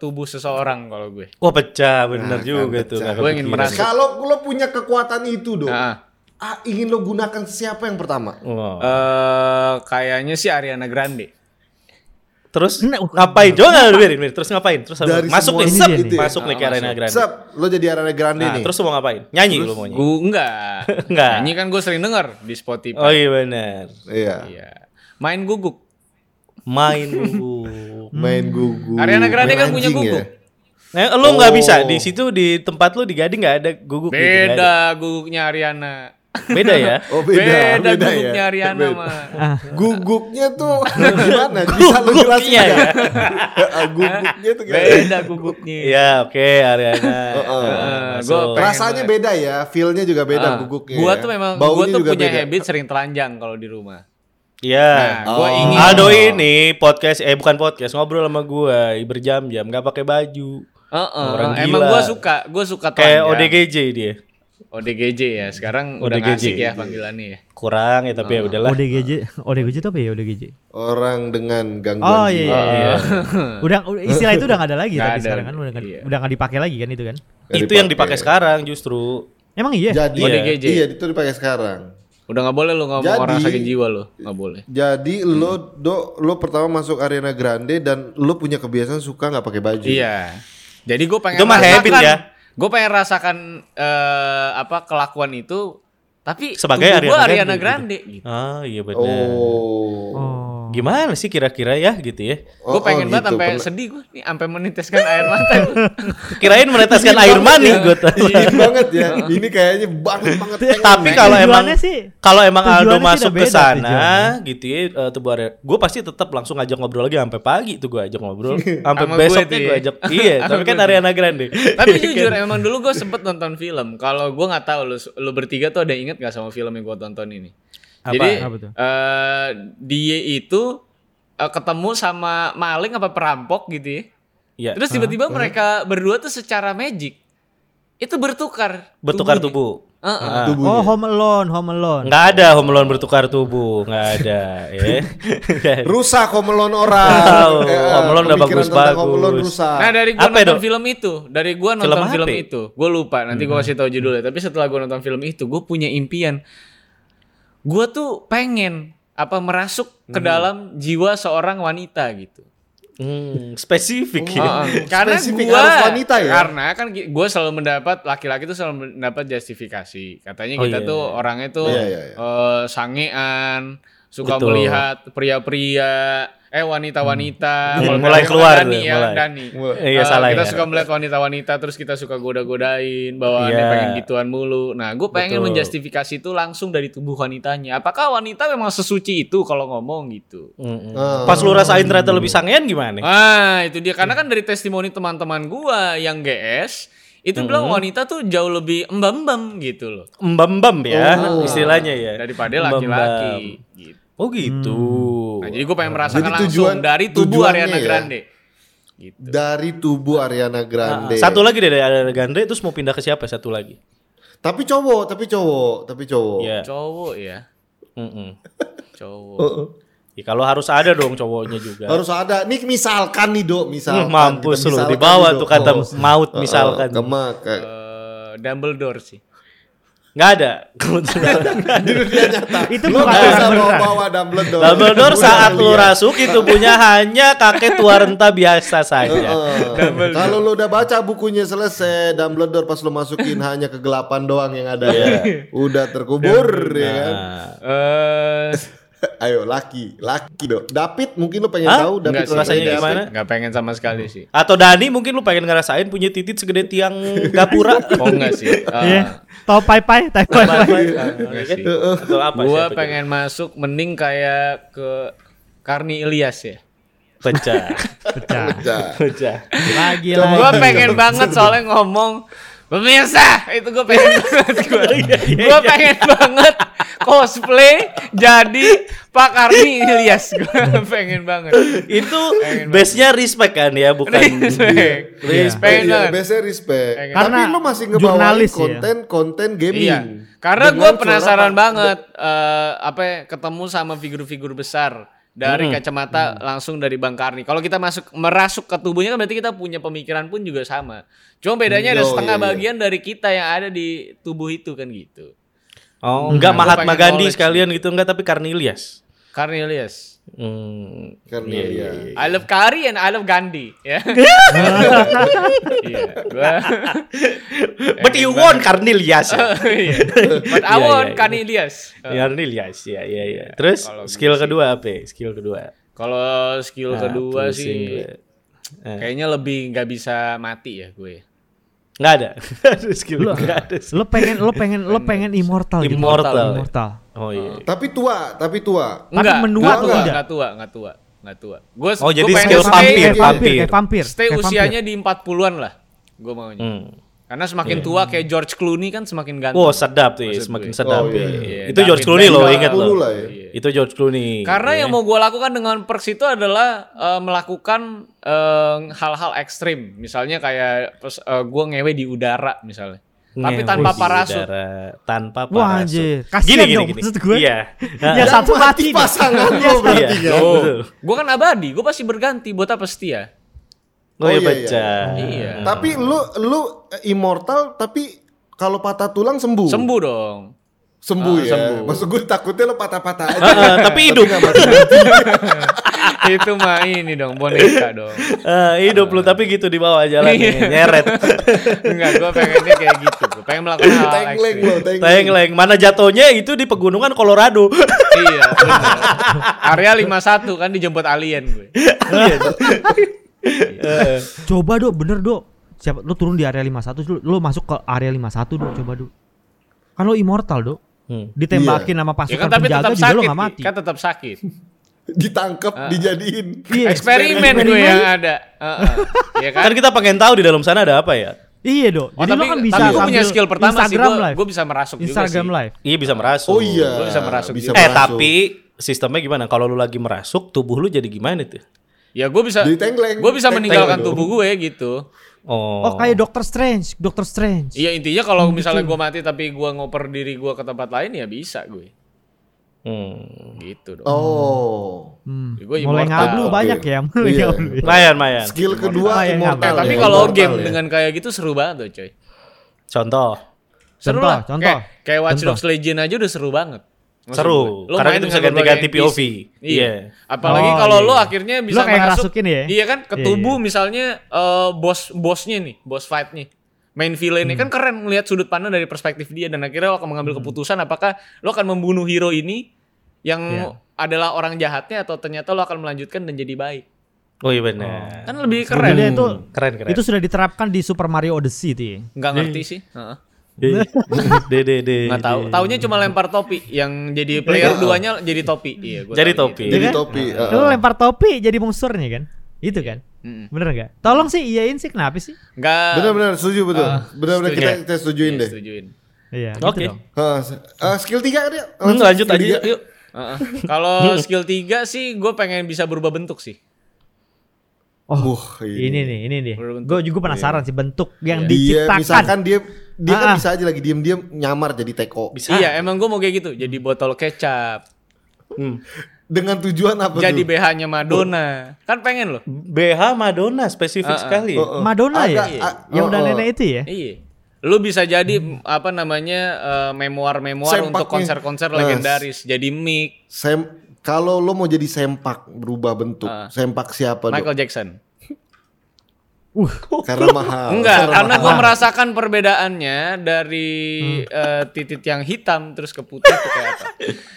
Speaker 1: tubuh seseorang kalau gue.
Speaker 2: Wah pecah bener juga tuh.
Speaker 4: Nah, kan pecah.
Speaker 2: nggak
Speaker 1: Gua ingin
Speaker 2: kepikiran.
Speaker 1: merasa-
Speaker 4: Kalau lo punya kekuatan itu dong,
Speaker 1: Nah,
Speaker 4: ah, ingin lo gunakan siapa yang pertama?
Speaker 2: Wah.
Speaker 1: eh, kayaknya sih Ariana Grande.
Speaker 2: Terus
Speaker 3: Nah, uh,
Speaker 2: ngapain? Jangan nggak biarin, biarin. Terus ngapain? Terus apa?
Speaker 4: Dari
Speaker 2: masuk
Speaker 4: semua
Speaker 2: nih,
Speaker 4: ini
Speaker 2: sep,
Speaker 3: dia nih.
Speaker 2: masuk nih ke
Speaker 1: Ah,
Speaker 2: Arena Grande.
Speaker 4: Sep, lo jadi Ariana Grande
Speaker 2: Nah,
Speaker 4: nih.
Speaker 2: terus lu mau ngapain? Nyanyi lu
Speaker 4: Iya.
Speaker 2: maunya.
Speaker 1: Gue enggak.
Speaker 2: Nggak.
Speaker 1: Nyanyi kan gue sering denger di Spotify.
Speaker 2: Oh iya bener.
Speaker 4: iya.
Speaker 1: Iya. Main guguk.
Speaker 2: Main dulu.
Speaker 4: Main gugu.
Speaker 1: Ariana Grande
Speaker 4: Main
Speaker 1: kan punya
Speaker 4: anjing
Speaker 1: gugu.
Speaker 4: ya?
Speaker 2: Nah, lu nggak
Speaker 4: Oh.
Speaker 2: bisa di situ di tempat lu di Gading nggak ada guguk gitu, nggak ada.
Speaker 1: Beda guguknya Ariana.
Speaker 2: Beda ya.
Speaker 4: Oh beda, beda,
Speaker 1: guguknya
Speaker 4: ya.
Speaker 1: Ariana
Speaker 4: Beda.
Speaker 1: mah.
Speaker 4: Guguknya tuh gimana? Bisa lo jelasin
Speaker 2: Guguknya
Speaker 4: nggak?
Speaker 2: ya.
Speaker 4: Ah, guguknya tuh kayak
Speaker 1: Beda guguknya.
Speaker 2: Iya, oke Ariana. Nah,
Speaker 4: Heeh.
Speaker 1: Eh, Gua
Speaker 2: Masuk.
Speaker 1: pengen-
Speaker 4: Rasanya beda ya, feel-nya juga beda
Speaker 1: Ah,
Speaker 4: guguknya.
Speaker 1: Gua
Speaker 4: ya.
Speaker 1: tuh memang gua
Speaker 4: Baunya
Speaker 1: tuh
Speaker 4: juga
Speaker 1: punya
Speaker 4: beda.
Speaker 1: habit sering telanjang kalau di rumah.
Speaker 2: Iya.
Speaker 1: Nah, gua
Speaker 4: Oh.
Speaker 1: ingin
Speaker 2: Aldo ini podcast eh bukan podcast ngobrol sama gua berjam-jam nggak pakai baju
Speaker 1: Heeh,
Speaker 2: Orang
Speaker 1: emang
Speaker 2: gila.
Speaker 1: gua suka, gua suka
Speaker 2: kayak
Speaker 1: telanjang.
Speaker 2: ODGJ dia
Speaker 1: ODGJ ya. Sekarang udah
Speaker 2: ODGJ.
Speaker 1: ngasik ya panggilannya ya.
Speaker 2: kurang ya tapi ya udahlah
Speaker 3: ODGJ, ODGJ itu apa ya ODGJ?
Speaker 4: Orang dengan gangguan
Speaker 3: Oh iya,
Speaker 4: jiwa.
Speaker 3: iya, iya. Udah udah- istilah itu udah gak ada lagi
Speaker 1: Nggak
Speaker 3: tapi
Speaker 1: ada.
Speaker 3: sekarang kan udah nggak
Speaker 1: Iya.
Speaker 3: udah nggak dipakai lagi kan itu kan.
Speaker 2: itu yang dipakai sekarang justru
Speaker 3: Emang iya.
Speaker 4: Jadi
Speaker 2: Iya.
Speaker 1: ODGJ.
Speaker 4: iya itu dipakai sekarang.
Speaker 1: Udah nggak boleh lu ngomong
Speaker 4: Jadi-
Speaker 1: orang sakit jiwa lu, nggak boleh.
Speaker 4: Jadi lo do lo pertama masuk Arena Grande dan lo punya kebiasaan suka nggak pakai baju.
Speaker 1: Iya. Jadi gue pengen
Speaker 2: Itu mah habit ya.
Speaker 1: Gue pengen rasakan eh, apa kelakuan itu tapi
Speaker 2: Sebagai
Speaker 1: tubuh gua Ariana
Speaker 2: Ariana Grande
Speaker 1: Grande, gitu.
Speaker 2: ah iya benar
Speaker 4: Oh.
Speaker 3: Oh.
Speaker 2: gimana sih kira-kira ya gitu ya
Speaker 4: Oh,
Speaker 1: gue pengen
Speaker 4: oh,
Speaker 1: banget
Speaker 4: gitu.
Speaker 1: sampai
Speaker 4: Pernah-
Speaker 1: sedih gue nih sampai meneteskan air mata gua.
Speaker 2: kirain meneteskan air mani gue
Speaker 1: Iya.
Speaker 4: Dingin banget ya. Ini kayaknya banget banget. pengen.
Speaker 2: tapi kalau emang
Speaker 3: Tujuannya sih-
Speaker 2: kalau emang Aldo
Speaker 3: tujuannya sih
Speaker 2: masuk
Speaker 3: udah
Speaker 2: ke
Speaker 3: beda
Speaker 2: sana gitu ya eh, tubuh area gue pasti tetap langsung ngajak ngobrol lagi sampai pagi tuh gue ajak ngobrol sampai
Speaker 1: Sama gue
Speaker 2: besoknya
Speaker 1: tuh ya.
Speaker 2: gue ajak iya
Speaker 1: Sama
Speaker 2: tapi kan
Speaker 1: gue tuh.
Speaker 2: Ariana Grande
Speaker 1: Tapi jujur emang dulu gue sempet nonton film. Kalau gue nggak tahu lu lu bertiga tuh ada yang inget nggak sama film yang gue tonton ini?
Speaker 2: Apa?
Speaker 1: Jadi
Speaker 3: Apa tuh?
Speaker 1: eh, dia itu eh, ketemu sama maling apa perampok gitu ya.
Speaker 2: Iya.
Speaker 1: Terus tiba-tiba mereka berdua tuh secara magic itu bertukar
Speaker 2: bertukar
Speaker 1: tubuhnya.
Speaker 2: tubuh
Speaker 3: Oh, Home Alone, Home Alone.
Speaker 2: Nggak ada home loan bertukar tubuh, nggak ada. ya. Nggak ada.
Speaker 4: Rusak homelon orang.
Speaker 2: Tahu,
Speaker 4: Eh,
Speaker 2: Oh, Home Alone udah
Speaker 4: pemikiran tentang
Speaker 2: bagus-bagus.
Speaker 4: Home Alone rusak.
Speaker 1: Nah dari gua
Speaker 2: Apa ya,
Speaker 1: nonton
Speaker 2: Dok?
Speaker 1: film itu, dari gua nonton
Speaker 2: Film
Speaker 1: film,
Speaker 2: apa? Hmm.
Speaker 1: itu, gua lupa nanti gua kasih tahu judulnya. Tapi setelah gua nonton film itu, gua punya impian. Gua tuh pengen apa merasuk ke dalam jiwa seorang wanita gitu.
Speaker 2: Hmm, spesifik. ya.
Speaker 1: Heeh. karena
Speaker 4: Spesifik
Speaker 1: gua
Speaker 4: harus wanita ya?
Speaker 1: karena kan gi- gua selalu mendapat laki-laki tuh selalu mendapat justifikasi. Katanya
Speaker 2: Oh,
Speaker 1: kita
Speaker 2: iya.
Speaker 1: tuh orangnya tuh
Speaker 4: Iya, iya, iya.
Speaker 1: eh, sangean, suka
Speaker 2: Betul.
Speaker 1: melihat pria-pria, eh wanita-wanita.
Speaker 2: Hmm.
Speaker 1: Kalau bilang
Speaker 2: Mulai keluar
Speaker 1: Dani
Speaker 2: tuh,
Speaker 1: ya,
Speaker 2: mulai.
Speaker 1: Dani. Eh,
Speaker 2: Iya salah
Speaker 1: kita
Speaker 2: ya.
Speaker 1: suka melihat wanita-wanita terus kita suka goda-godain bawaannya
Speaker 2: Iya.
Speaker 1: pengen gituan mulu. Nah, gue pengen
Speaker 2: Betul.
Speaker 1: menjustifikasi itu langsung dari tubuh wanitanya. Apakah wanita memang sesuci itu kalau ngomong gitu?
Speaker 2: Mm-mm.
Speaker 4: Ah.
Speaker 2: Pas lu rasain ternyata lebih sangean gimana?
Speaker 1: Ah, itu dia karena kan dari testimoni teman-teman gua yang GS itu bilang wanita tuh jauh lebih embam-embam gitu loh
Speaker 2: Embam-bam ya
Speaker 1: Oh.
Speaker 2: istilahnya ya.
Speaker 1: daripada
Speaker 2: Embam-bam.
Speaker 1: laki-laki. Gitu.
Speaker 2: Oh gitu.
Speaker 1: Nah, jadi gue pengen merasakan
Speaker 4: Jadi
Speaker 1: langsung
Speaker 4: tujuan-
Speaker 1: dari tubuh
Speaker 4: tujuannya
Speaker 1: Ariana
Speaker 4: ya.
Speaker 1: Grande. Gitu.
Speaker 4: Dari tubuh Ariana Grande.
Speaker 1: Hmm.
Speaker 2: Ah, Satu lagi deh dari Ariana Grande terus mau pindah ke siapa satu lagi?
Speaker 4: Tapi cowok, tapi cowok, tapi cowok.
Speaker 2: Iya.
Speaker 1: Cowok ya,
Speaker 2: Mm-mm.
Speaker 1: cowok.
Speaker 4: Heeh.
Speaker 2: Ya, kalau harus ada dong cowoknya juga.
Speaker 4: Harus ada. Nih misalkan nih,
Speaker 2: Hmm,
Speaker 4: Dok, misalkan.
Speaker 2: mampus
Speaker 4: Kita
Speaker 2: lu
Speaker 4: misalkan nih,
Speaker 2: dibawa
Speaker 4: Dok.
Speaker 2: tuh kata
Speaker 4: Oh.
Speaker 2: maut
Speaker 4: Heeh,
Speaker 2: misalkan.
Speaker 4: Kema, kayak-
Speaker 1: Eh, Dumbledore sih.
Speaker 2: Nggak ada. Kebetulan.
Speaker 4: di dunia nyata.
Speaker 3: Itu
Speaker 4: lu
Speaker 3: bukan
Speaker 4: nggak bisa
Speaker 3: orang
Speaker 4: bawa
Speaker 3: beneran.
Speaker 4: bawa Dumbledore.
Speaker 2: Dumbledore
Speaker 4: Gua
Speaker 2: saat
Speaker 4: udah
Speaker 2: lu
Speaker 4: lihat.
Speaker 2: rasuki tubuhnya hanya kakek tua renta biasa
Speaker 4: Oh,
Speaker 2: saja.
Speaker 4: Heeh. Eh, Kalau lu udah baca bukunya selesai, Dumbledore pas lu masukin hanya kegelapan doang yang ada ya. Udah terkubur ya kan.
Speaker 2: Iya. Nah,
Speaker 1: Eh,
Speaker 4: Ayo laki, laki dok. David mungkin lu pengen
Speaker 2: Hah?
Speaker 4: tahu David
Speaker 1: Enggak sih,
Speaker 2: rasanya
Speaker 1: enggak
Speaker 2: gimana?
Speaker 1: sih. Enggak pengen sama sekali sih.
Speaker 2: Atau Dani mungkin lu pengen ngerasain punya titit segede tiang
Speaker 4: Iya,
Speaker 2: gapura.
Speaker 1: Oh enggak sih. Ah,
Speaker 3: Iya. Tau pai pai, tai pai pai.
Speaker 4: iya,
Speaker 1: enggak
Speaker 2: Iya, Atau
Speaker 1: sih.
Speaker 2: apa
Speaker 1: Gua
Speaker 2: siapa
Speaker 1: pengen masuk mending kayak ke Karni Ilyas ya.
Speaker 2: gitu? pecah.
Speaker 3: Pecah.
Speaker 4: Nah,
Speaker 2: Pecah.
Speaker 3: Lagi lagi.
Speaker 1: Gua pengen banget soalnya ngomong pemirsa itu gue pengen banget gue pengen banget cosplay jadi Pak Karni Ilyas gue pengen banget
Speaker 2: Itu base-nya respect kan ya, bukan
Speaker 1: respect
Speaker 4: pengen
Speaker 1: pengen
Speaker 4: iya,
Speaker 1: banget
Speaker 4: biasanya respect.
Speaker 1: Pengen.
Speaker 4: Tapi
Speaker 3: Karena
Speaker 4: lu masih ngebawain
Speaker 3: jurnalis ya.
Speaker 4: konten konten gaming.
Speaker 1: Iya. Karena
Speaker 4: Dengan
Speaker 1: gue
Speaker 4: suara
Speaker 1: penasaran
Speaker 4: Pak-
Speaker 1: banget eh, apa ya, ketemu sama figur-figur besar dari kacamata langsung dari Bang Karni. Kalau kita masuk merasuk ke tubuhnya kan berarti kita punya pemikiran pun juga sama. Cuma bedanya ada
Speaker 4: Oh,
Speaker 1: setengah
Speaker 4: iya, iya.
Speaker 1: bagian dari kita yang ada di tubuh itu kan gitu.
Speaker 2: Oh, enggak
Speaker 1: Gua pengen
Speaker 2: Mahatma Gandhi
Speaker 1: knowledge.
Speaker 2: sekalian gitu enggak tapi Karnilias.
Speaker 1: Cornelius.
Speaker 2: Hmm.
Speaker 4: Karena
Speaker 2: Iya,
Speaker 4: iya.
Speaker 2: iya, iya.
Speaker 1: I love Kari and I love Gandhi ya. Iya. gua-
Speaker 2: But you want Karnilias. ya?
Speaker 1: Iya. But I
Speaker 2: Iya,
Speaker 1: want
Speaker 2: iya, iya.
Speaker 1: Cornelius. Eh,
Speaker 2: Karnilias, ya ya ya. Terus
Speaker 1: kalau gua
Speaker 2: skill kedua apa? Skill kedua.
Speaker 1: Kalau skill
Speaker 2: Nah,
Speaker 1: kedua
Speaker 2: pusing
Speaker 1: sih
Speaker 2: gua.
Speaker 1: kayaknya lebih nggak bisa mati ya gue.
Speaker 2: Nggak ada. Aduh, skill gua nggak ada.
Speaker 3: Lo pengen lo pengen lo pengen immortal gitu.
Speaker 2: Immortal.
Speaker 3: Immortal.
Speaker 2: Oh iya.
Speaker 4: Tapi tua, tapi tua.
Speaker 1: Nah.
Speaker 3: Tapi menua atau
Speaker 1: enggak,
Speaker 3: tidak?
Speaker 1: enggak tua, enggak tua, enggak tua. Gua,
Speaker 2: Oh, jadi
Speaker 1: pengen
Speaker 2: skill
Speaker 1: stay-
Speaker 2: vampir,
Speaker 3: Kayak vampir, kayak vampir.
Speaker 1: Stay
Speaker 3: kayak vampir.
Speaker 1: usianya di 40-an lah. Gue maunya.
Speaker 2: Hmm.
Speaker 1: Karena semakin tua kayak George Clooney kan semakin ganteng.
Speaker 2: Wow, sedap tuh, ya,
Speaker 1: Maksud
Speaker 2: semakin
Speaker 1: gue.
Speaker 2: sedap.
Speaker 4: Oh, iya,
Speaker 2: ya.
Speaker 1: iya.
Speaker 2: Itu George
Speaker 1: David
Speaker 2: Clooney loh,
Speaker 1: Beckham.
Speaker 2: ingat loh.
Speaker 4: 40 lah ya.
Speaker 2: Itu George Clooney.
Speaker 1: Karena
Speaker 2: ya.
Speaker 1: yang mau gue lakukan dengan perks itu adalah eh, melakukan eh, hal-hal ekstrim, misalnya kayak pes- eh, gue ngewe di udara misalnya, tapi
Speaker 2: Ngewe
Speaker 1: tanpa
Speaker 2: di
Speaker 1: parasut.
Speaker 2: udara, tanpa parasut.
Speaker 3: Wah, anjir. Kasian dong, maksud gue.
Speaker 2: Iya.
Speaker 3: Ya
Speaker 4: Yang
Speaker 3: satu
Speaker 4: mati
Speaker 3: mati nih.
Speaker 4: pasangan
Speaker 3: Iya,
Speaker 4: lo berarti
Speaker 2: Iya.
Speaker 4: kan?
Speaker 2: Oh,
Speaker 1: Gue kan abadi, gue pasti berganti. Buat apa setia?
Speaker 2: oh, iya,
Speaker 4: iya, iya.
Speaker 2: pecah.
Speaker 1: Iya.
Speaker 4: Tapi lu lu immortal tapi kalau patah tulang sembuh.
Speaker 2: Uh.
Speaker 1: Sembuh dong.
Speaker 4: Sembuh
Speaker 1: Ah,
Speaker 4: ya.
Speaker 1: sembuh.
Speaker 4: Maksud gue takutnya lu patah-patah aja.
Speaker 1: Ah,
Speaker 2: Heeh, tapi hidup.
Speaker 4: nggak mati-mati.
Speaker 1: itu mah ini dong boneka dong.
Speaker 2: Eh, hidup lu tapi gitu di bawah jalan
Speaker 1: Iya.
Speaker 2: nyeret.
Speaker 1: Enggak, gue pengennya kayak gitu. Gue pengen melakukan hal
Speaker 4: Tengleng
Speaker 1: ekstrim.
Speaker 4: lo, tengleng.
Speaker 2: Teng-leng. Mana jatuhnya itu di pegunungan Colorado.
Speaker 1: iya, benar. Area 51 kan dijemput alien gue. Ya kan,
Speaker 2: Iya,
Speaker 3: Coba dok, bener dok. Siapa lo turun di area 51 lo, lo masuk ke area 51 dok coba dok. Kan lo immortal dok.
Speaker 2: Hmm.
Speaker 3: Ditembakin sama
Speaker 1: Ya
Speaker 3: pasukan
Speaker 1: kan tapi
Speaker 3: penjaga
Speaker 1: tetap
Speaker 3: juga lo
Speaker 1: sakit.
Speaker 3: gak mati.
Speaker 1: Kan tetap sakit.
Speaker 4: Ditangkep,
Speaker 1: Ah.
Speaker 4: dijadiin.
Speaker 3: Iya.
Speaker 1: eksperimen gue ya.
Speaker 3: eksperimen.
Speaker 1: yang ada. Heeh. Iya kan?
Speaker 2: Kan kita pengen tahu di dalam sana ada apa ya?
Speaker 3: Iya dok.
Speaker 1: Oh,
Speaker 3: Jadi
Speaker 1: tapi,
Speaker 3: lo kan bisa
Speaker 1: tapi gue punya
Speaker 3: sambil
Speaker 1: skill pertama
Speaker 3: Instagram
Speaker 1: sih. Gue,
Speaker 3: live.
Speaker 1: gue bisa merasuk
Speaker 3: Instagram
Speaker 1: juga sih.
Speaker 3: live.
Speaker 2: Iya bisa merasuk.
Speaker 4: Oh iya.
Speaker 1: Gua bisa merasuk
Speaker 4: Bisa
Speaker 1: juga.
Speaker 2: Eh
Speaker 4: merasuk.
Speaker 2: tapi sistemnya gimana? Kalau lu lagi merasuk, tubuh lu jadi gima- gimana tuh?
Speaker 1: Ya gue bisa
Speaker 4: Jadi tengleng.
Speaker 1: Gue bisa
Speaker 4: Tengleng
Speaker 1: meninggalkan
Speaker 4: dong.
Speaker 1: tubuh gue gitu.
Speaker 2: Oh.
Speaker 3: Oh, kayak Doctor Strange, Doctor Strange.
Speaker 1: Iya intinya
Speaker 3: Oh,
Speaker 1: kalau
Speaker 3: gitu.
Speaker 1: misalnya gua mati tapi gua ngoper diri gua ke tempat lain ya bisa gue.
Speaker 2: Hmm.
Speaker 1: Gitu dong.
Speaker 4: Oh.
Speaker 3: Hmm.
Speaker 1: Ya, Gua
Speaker 3: Mulai
Speaker 1: immortal. Nah,
Speaker 3: ngablu
Speaker 4: Oke.
Speaker 3: banyak ya, mulai
Speaker 4: Iya.
Speaker 3: ngablu. ya.
Speaker 2: Mayan, mayan.
Speaker 4: Skill kedua
Speaker 3: Immortal.
Speaker 4: immortal.
Speaker 1: Eh, tapi
Speaker 4: ya,
Speaker 1: kalau
Speaker 4: immortal
Speaker 1: game
Speaker 4: ya.
Speaker 1: dengan kayak gitu seru banget tuh coy.
Speaker 2: Contoh.
Speaker 1: Seru
Speaker 3: Contoh,
Speaker 1: lah.
Speaker 3: contoh.
Speaker 1: Kayak, kayak Watch
Speaker 3: Contoh.
Speaker 1: Dogs Legend aja udah seru banget. Maksud
Speaker 2: Seru.
Speaker 1: gue. Lo
Speaker 2: Karena
Speaker 1: main
Speaker 2: kita bisa
Speaker 1: dengan
Speaker 2: ganti-ganti
Speaker 1: berbagai
Speaker 2: POV.
Speaker 1: NPC. Iya.
Speaker 2: Iya.
Speaker 1: Apalagi
Speaker 3: Oh,
Speaker 1: kalau
Speaker 3: iya,
Speaker 1: lo
Speaker 3: iya.
Speaker 1: akhirnya bisa
Speaker 3: Lo kayak
Speaker 1: merasuk-
Speaker 3: ngerasukin ya?
Speaker 1: Iya kan ke
Speaker 3: Iya,
Speaker 1: tubuh
Speaker 3: iya.
Speaker 1: misalnya eh, bos bosnya nih, bos fight-nih. Main villain-nya
Speaker 3: Hmm.
Speaker 1: kan keren melihat sudut pandang dari perspektif dia dan akhirnya lo akan mengambil keputusan apakah lo akan membunuh hero ini yang
Speaker 3: Iya.
Speaker 1: adalah orang jahatnya atau ternyata lo akan melanjutkan dan jadi baik.
Speaker 2: Oh iya benar.
Speaker 1: Kan lebih keren.
Speaker 3: Sebetulnya Ya. itu
Speaker 2: Keren keren.
Speaker 3: itu sudah diterapkan di Super Mario Odyssey tuh. ya.
Speaker 1: Nggak ngerti sih. Heeh.
Speaker 2: de de de.
Speaker 1: Nggak tahu. Taunya cuma lempar topi yang jadi
Speaker 4: Iya.
Speaker 1: player duanya jadi topi. Iya, gua
Speaker 2: Jadi
Speaker 1: tahu
Speaker 2: topi.
Speaker 1: gitu.
Speaker 4: Jadi
Speaker 3: Iya kan?
Speaker 4: topi. eh,
Speaker 3: Lu
Speaker 4: eh.
Speaker 3: lempar topi jadi monsternya kan? Itu kan?
Speaker 1: Mm-mm.
Speaker 3: Bener nggak? Tolong sih iyain sih kenapa sih?
Speaker 1: Nggak
Speaker 4: Benar-benar setuju betul. Benar-benar
Speaker 1: setuju.
Speaker 4: kita kita setujuin
Speaker 1: Iya,
Speaker 4: deh.
Speaker 1: Setujuin.
Speaker 3: Iya,
Speaker 2: Oke.
Speaker 3: gitu dong.
Speaker 4: Heeh. Eh, skill 3 kan ya?
Speaker 2: Hmm, lanjut
Speaker 4: skill
Speaker 2: aja
Speaker 4: tiga.
Speaker 2: yuk. yuk.
Speaker 1: Heeh. Kalau skill 3 sih gue pengen bisa berubah bentuk sih.
Speaker 3: Oh,
Speaker 4: Wah, iya.
Speaker 3: ini nih, ini nih.
Speaker 1: Berbentuk.
Speaker 3: Gue juga penasaran sih bentuk yang
Speaker 4: Dia
Speaker 3: diciptakan.
Speaker 4: misalkan dia dia kan
Speaker 3: Ah, ah.
Speaker 4: bisa aja lagi diem-diem nyamar jadi teko.
Speaker 2: Bisa.
Speaker 1: Iya, emang gue mau kayak gitu. Jadi botol kecap,
Speaker 2: Hmm.
Speaker 4: Dengan tujuan apa
Speaker 1: jadi
Speaker 4: tuh?
Speaker 1: BH-nya Madonna. Kan pengen loh.
Speaker 2: BH Madonna spesifik sekali.
Speaker 4: Oh, oh.
Speaker 3: Madonna ya?
Speaker 4: Agak, ah,
Speaker 3: yang udah
Speaker 4: oh, oh.
Speaker 3: nenek itu ya?
Speaker 1: Iya. Lu bisa jadi apa namanya eh, memoir-memoir
Speaker 4: Sempaknya.
Speaker 1: untuk konser-konser
Speaker 4: Nah.
Speaker 1: legendaris. Jadi Mick,
Speaker 4: Sem kalau lo mau jadi sempak berubah bentuk, sempak siapa dok?
Speaker 1: Michael Jackson.
Speaker 3: Uh.
Speaker 4: Karena mahal.
Speaker 2: Oh,
Speaker 1: Enggak, karena
Speaker 4: mahal.
Speaker 1: gue merasakan perbedaannya dari
Speaker 2: Hmm.
Speaker 1: eh, titik yang hitam terus ke putih ke kayak apa. Oh,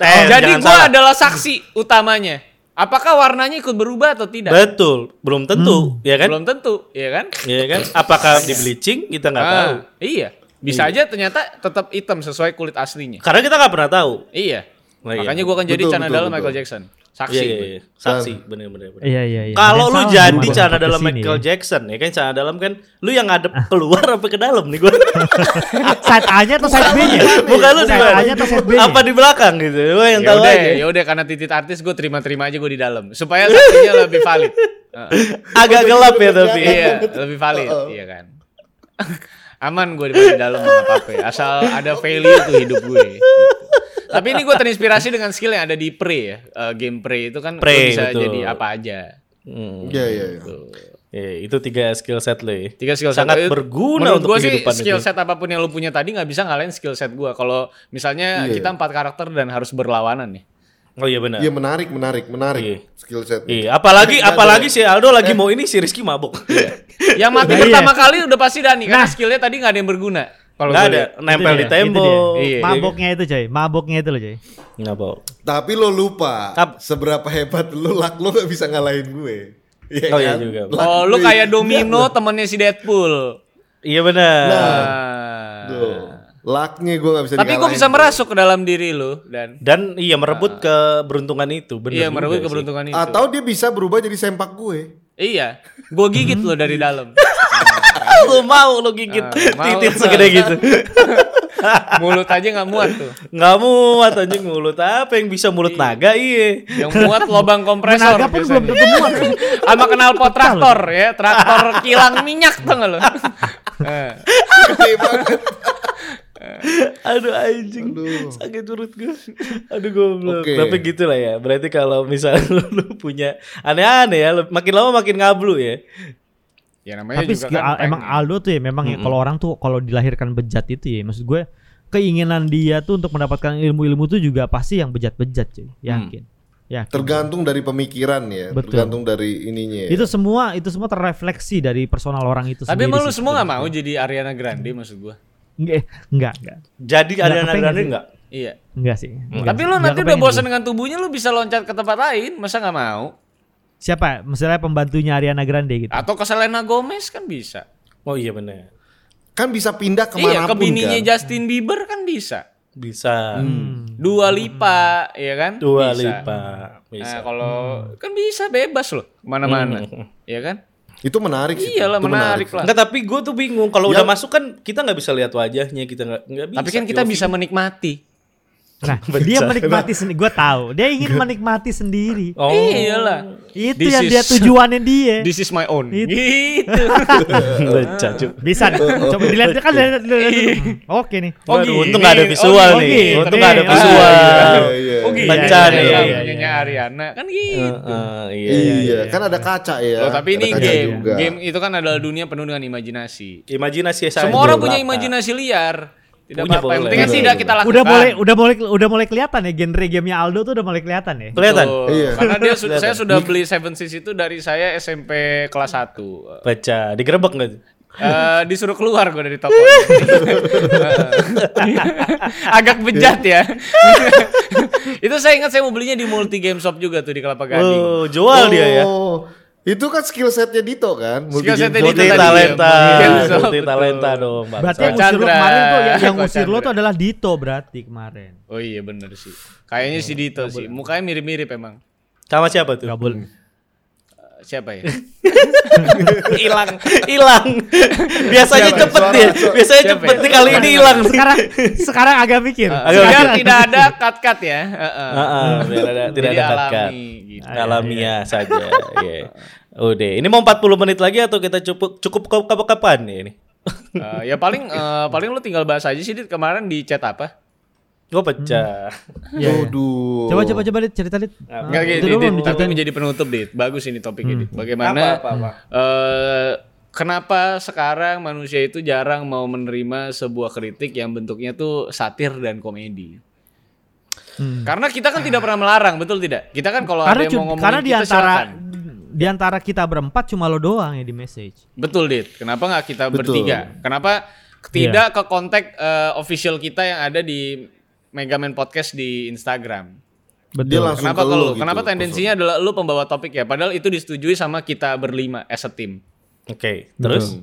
Speaker 2: Eh,
Speaker 1: Jadi
Speaker 2: jangan
Speaker 1: gue
Speaker 2: salah.
Speaker 1: adalah saksi utamanya. Apakah warnanya ikut berubah atau tidak?
Speaker 2: Betul, belum tentu, ya kan?
Speaker 1: Belum tentu, ya kan?
Speaker 2: Ya kan? Apakah di bleaching kita nggak
Speaker 1: Ah,
Speaker 2: tahu?
Speaker 1: Iya. Bisa aja ternyata tetap hitam sesuai kulit aslinya.
Speaker 2: Karena kita nggak pernah tahu.
Speaker 1: Iya.
Speaker 2: Nah, iya.
Speaker 1: Makanya gua akan jadi
Speaker 4: Betul,
Speaker 1: Cana
Speaker 4: betul,
Speaker 1: dalam
Speaker 4: betul.
Speaker 1: Michael Jackson. Saksi.
Speaker 2: Iya, iya, iya. Saksi, bener-bener.
Speaker 3: Iya, iya, iya.
Speaker 2: Kalau lu jadi
Speaker 3: Ada yang salah berubah
Speaker 2: cana
Speaker 3: bentuk
Speaker 2: dalam
Speaker 3: kesini
Speaker 2: Michael
Speaker 3: ya.
Speaker 2: Jackson ya kan cana dalam kan lu yang ngadep keluar apa ke dalam nih gua.
Speaker 3: Side A-nya atau side B-nya?
Speaker 2: Bukan lu di
Speaker 3: side
Speaker 2: mana?
Speaker 3: A-nya atau side B-nya?
Speaker 2: Apa di belakang gitu? Lu yang tahu
Speaker 1: Yaudah, ya.
Speaker 2: aja.
Speaker 1: yaudah karena titik artis gue terima-terima aja gue di dalam supaya saksinya lebih valid. Ah. Heeh.
Speaker 2: Agak gelap ya tapi.
Speaker 1: iya, lebih valid,
Speaker 2: Oh.
Speaker 1: iya kan. Aman gue di di dalam nggak apa-apa, ya. asal ada value tuh hidup gue. gitu. Tapi ini gue terinspirasi dengan skill yang ada di pre ya, Eh, game pre itu kan lu
Speaker 2: Prey,
Speaker 1: bisa
Speaker 2: betul.
Speaker 1: jadi apa aja.
Speaker 2: Hmm.
Speaker 4: Iya iya. iya.
Speaker 2: Eh, itu tiga skill set lu. ya.
Speaker 1: Tiga skill set. Eh,
Speaker 2: sangat berguna
Speaker 1: menurut
Speaker 2: untuk
Speaker 1: gue sih
Speaker 2: kehidupan
Speaker 1: skill
Speaker 2: itu.
Speaker 1: set apapun yang lu punya tadi nggak bisa ngalahin skill set gue. Kalau misalnya
Speaker 4: Iya.
Speaker 1: kita empat karakter dan harus berlawanan nih.
Speaker 2: Oh iya benar.
Speaker 4: Iya menarik menarik menarik
Speaker 2: Iya.
Speaker 4: skill set.
Speaker 2: Iya, apalagi apalagi si Aldo lagi mau ini si Rizky mabuk.
Speaker 1: Yang mati
Speaker 3: Nah, iya.
Speaker 1: pertama kali udah pasti Dani,
Speaker 2: Nah.
Speaker 1: karena skillnya tadi nggak ada yang berguna. Kalau
Speaker 2: Nggak
Speaker 1: gue
Speaker 2: ada
Speaker 1: lihat.
Speaker 2: nempel
Speaker 3: Itu
Speaker 2: di
Speaker 3: dia,
Speaker 2: tembok.
Speaker 3: itu dia.
Speaker 1: Iya.
Speaker 3: Maboknya itu coy, maboknya itu loh coy.
Speaker 2: Mabok.
Speaker 4: Tapi lo lupa
Speaker 2: Ap-
Speaker 4: seberapa hebat lo lak lo gak bisa ngalahin gue. Iya
Speaker 2: Oh, iya juga.
Speaker 4: Lak
Speaker 1: Oh, lu
Speaker 4: gue-
Speaker 1: kayak domino temennya si Deadpool.
Speaker 2: Iya benar.
Speaker 1: Nah. Ah.
Speaker 4: Tuh. Laknya gue gak bisa
Speaker 1: Tapi gue
Speaker 4: dikalahin.
Speaker 1: bisa merasuk ke dalam diri lu dan
Speaker 2: Dan iya merebut keberuntungan itu, benar.
Speaker 1: iya
Speaker 2: juga
Speaker 1: merebut
Speaker 2: sih.
Speaker 1: keberuntungan itu.
Speaker 4: Atau dia bisa berubah jadi sempak gue.
Speaker 1: Iya, gue gigit lo dari dalam.
Speaker 2: Ah, lu mau lu gigit
Speaker 1: mau.
Speaker 2: titit segede gitu.
Speaker 1: Mulut aja nggak muat tuh.
Speaker 2: Nggak muat anjing mulut apa yang bisa mulut naga iya.
Speaker 1: Yang muat lubang kompresor
Speaker 3: Naga pun
Speaker 1: biasanya.
Speaker 3: belum tentu muat.
Speaker 1: Sama knalpot traktor ya, traktor kilang minyak tuh nggak lo? Eh,
Speaker 4: Gede banget.
Speaker 2: Aduh anjing. Sakit perut gue. Aduh goblok.
Speaker 4: Oke.
Speaker 2: Tapi gitu lah ya. Berarti kalau misalnya lu, lu punya aneh-aneh ya, lu- makin lama makin ngablu ya.
Speaker 1: Ya namanya
Speaker 3: Tapi
Speaker 1: juga
Speaker 3: skill-
Speaker 1: kan
Speaker 3: emang
Speaker 1: pengen.
Speaker 3: Aldo tuh ya memang ya kalau orang tuh kalau dilahirkan bejat itu ya maksud gue keinginan dia tuh untuk mendapatkan ilmu-ilmu tuh juga pasti yang bejat-bejat cuy, yakin.
Speaker 2: Mm.
Speaker 3: Yakin.
Speaker 4: Tergantung dari pemikiran ya.
Speaker 3: Betul.
Speaker 4: Tergantung dari ininya. ya.
Speaker 1: Iya,
Speaker 3: Itu semua itu semua terrefleksi dari personal orang itu
Speaker 1: Tapi
Speaker 3: sendiri.
Speaker 1: emang lu
Speaker 3: sih.
Speaker 1: semua nggak mau jadi Ariana Grande maksud gue?
Speaker 3: Nggak, enggak, enggak.
Speaker 2: Jadi
Speaker 3: Nggak
Speaker 2: ada
Speaker 3: kepengen
Speaker 2: aneh-aneh
Speaker 3: sih.
Speaker 2: enggak?
Speaker 1: Iya.
Speaker 3: Enggak sih. enggak
Speaker 1: Tapi
Speaker 3: sih.
Speaker 1: lu
Speaker 3: Nggak
Speaker 1: nanti udah
Speaker 3: kepengen
Speaker 1: bosan
Speaker 3: gue.
Speaker 1: dengan tubuhnya lu bisa loncat ke tempat lain, masa nggak mau?
Speaker 3: Siapa? Misalnya pembantunya Ariana Grande gitu.
Speaker 1: Atau ke Selena Gomez kan bisa.
Speaker 2: Oh iya benar.
Speaker 4: Kan bisa pindah
Speaker 1: Iya,
Speaker 4: kemana
Speaker 1: ke
Speaker 4: pun
Speaker 1: bininya
Speaker 4: kan.
Speaker 1: Justin Bieber kan bisa.
Speaker 2: Bisa.
Speaker 3: Hmm.
Speaker 1: Dua lipa, ya kan?
Speaker 2: Dua
Speaker 1: Bisa.
Speaker 2: lipa.
Speaker 1: Nah,
Speaker 2: Bisa.
Speaker 1: kalau kan bisa bebas loh, mana-mana,
Speaker 2: Hmm.
Speaker 1: ya kan?
Speaker 4: Itu menarik sih.
Speaker 1: Iyalah
Speaker 4: Itu
Speaker 1: menarik, lah.
Speaker 2: Enggak tapi gue tuh bingung kalau
Speaker 4: Ya.
Speaker 2: udah masuk kan kita nggak bisa lihat wajahnya kita nggak nggak bisa.
Speaker 1: Tapi kan kita
Speaker 2: POV.
Speaker 1: bisa menikmati.
Speaker 3: Nah, dia menikmati sendiri. Gue tahu. Dia ingin menikmati sendiri.
Speaker 2: Oh.
Speaker 1: Iyalah.
Speaker 3: Itu
Speaker 1: This
Speaker 3: yang
Speaker 1: is-
Speaker 3: dia tujuannya dia.
Speaker 1: This is my own.
Speaker 3: It-
Speaker 1: Gitu.
Speaker 2: Lecah, cu.
Speaker 3: Bisa nih. Coba dilihat kan dilihat- dilihat- dilihat. Hmm, Oke nih.
Speaker 1: Oh,
Speaker 2: Waduh,
Speaker 1: gini.
Speaker 2: untung gak ada
Speaker 1: Oh,
Speaker 2: visual
Speaker 3: gini.
Speaker 2: nih.
Speaker 3: Oh,
Speaker 2: Untung
Speaker 3: gini.
Speaker 2: gak ada
Speaker 3: Ah,
Speaker 2: visual. Ah,
Speaker 5: iya.
Speaker 1: Oh gitu. Iya,
Speaker 2: Kencan, iya,
Speaker 1: iya,
Speaker 2: iya,
Speaker 1: Punyanya Ariana kan
Speaker 2: Eh,
Speaker 1: gitu.
Speaker 2: eh, Iya.
Speaker 5: Iya,
Speaker 2: iya.
Speaker 5: kan ada kaca ya.
Speaker 1: Loh, tapi ini
Speaker 5: Ada kaca
Speaker 1: game.
Speaker 5: juga.
Speaker 1: Game itu kan adalah dunia penuh dengan
Speaker 2: Iya,
Speaker 1: imajinasi.
Speaker 2: Imajinasi saya.
Speaker 1: Semua orang punya
Speaker 2: belaka.
Speaker 1: imajinasi liar. Tidak
Speaker 2: iya,
Speaker 1: apa-apa.
Speaker 2: Punya,
Speaker 1: Yang
Speaker 2: boleh. Iya,
Speaker 1: penting kan
Speaker 5: Boleh,
Speaker 1: tidak
Speaker 5: boleh.
Speaker 1: kita lakukan.
Speaker 3: Udah boleh udah boleh udah mulai kelihatan ya genre gamenya Aldo tuh udah mulai kelihatan ya.
Speaker 2: Kelihatan?
Speaker 1: Betul.
Speaker 5: Iya.
Speaker 1: Karena dia su- saya sudah beli Seven Seas itu dari saya SMP kelas 1.
Speaker 2: Baca. Digerebek gak?
Speaker 1: Eh disuruh keluar gue dari toko. Agak bejat ya. itu saya ingat saya mau belinya di Multi Game Shop juga tuh di Kelapa Gading.
Speaker 2: Oh, jual dia ya.
Speaker 5: Oh, Itu kan skill setnya Dito kan.
Speaker 1: Skill setnya
Speaker 5: Multi-game
Speaker 1: Dito
Speaker 2: Multi
Speaker 4: ya,
Speaker 1: tadi
Speaker 5: player.
Speaker 2: talenta.
Speaker 1: Iya, betul.
Speaker 2: Multi talenta dong. bangsa.
Speaker 3: Berarti yang
Speaker 1: Coach
Speaker 3: ngusir lo
Speaker 1: Chandra.
Speaker 3: kemarin tuh ya, yang, yang
Speaker 1: Coach
Speaker 3: ngusir lo
Speaker 1: Chandra.
Speaker 3: tuh adalah Dito berarti kemarin.
Speaker 1: Oh iya bener sih. Kayaknya si Dito sih. Mukanya mirip-mirip emang.
Speaker 2: Sama siapa tuh?
Speaker 3: Gak boleh.
Speaker 1: Eh, Siapa ya?
Speaker 2: Hilang, hilang. Biasanya
Speaker 5: Siapa?
Speaker 2: cepet
Speaker 5: Suara-
Speaker 2: deh.
Speaker 5: suara-
Speaker 2: Biasanya
Speaker 1: siapa
Speaker 2: cepet
Speaker 1: ya?
Speaker 2: nih kali ini hilang.
Speaker 3: Sekarang sekarang agak mikir.
Speaker 2: Agak
Speaker 1: Biar
Speaker 2: mikir.
Speaker 1: Eh, tidak ada cut-cut ya. Heeh.
Speaker 2: Heeh, biar ada- Ah,
Speaker 1: Jadi
Speaker 2: tidak ada cut-cut.
Speaker 1: alami gitu.
Speaker 2: Alamiah saja. Iya. Udah, ini mau 40 menit lagi atau kita cukup cukup ke- ke- kapan ya ini?
Speaker 1: Eh, ya paling eh, paling lu tinggal bahas aja sih Dit kemarin di chat apa?
Speaker 2: Gue pecah.
Speaker 3: Iya, iya.
Speaker 5: Aduh.
Speaker 3: Coba coba coba Dit, cerita Dit. Ah,
Speaker 1: Enggak
Speaker 3: itu
Speaker 1: gini, Dit,
Speaker 3: dulu belum
Speaker 1: tapi
Speaker 3: diceritain. Hmm.
Speaker 1: menjadi penutup Dit. Bagus ini topiknya Dit. Bagaimana eh, kenapa sekarang manusia itu jarang mau menerima sebuah kritik yang bentuknya tuh satir dan komedi?
Speaker 3: Hmm.
Speaker 1: Karena kita kan tidak pernah melarang, betul tidak? Kita kan kalau ada
Speaker 3: Karena
Speaker 1: yang
Speaker 3: cu-
Speaker 1: mau ngomongin
Speaker 3: karena di
Speaker 1: kita
Speaker 3: antara
Speaker 1: silakan.
Speaker 3: di antara kita berempat cuma lo doang ya di message.
Speaker 1: Betul, Dit. Kenapa nggak kita
Speaker 5: Betul.
Speaker 1: bertiga? Kenapa tidak
Speaker 3: Iya.
Speaker 1: ke kontak eh, official kita yang ada di Megaman Podcast di Instagram?
Speaker 5: Dia langsung ke
Speaker 1: Kenapa kalau
Speaker 5: lu gitu.
Speaker 1: kenapa tendensinya adalah lu pembawa topik ya? Padahal itu disetujui sama kita berlima as a team.
Speaker 2: Oke, terus?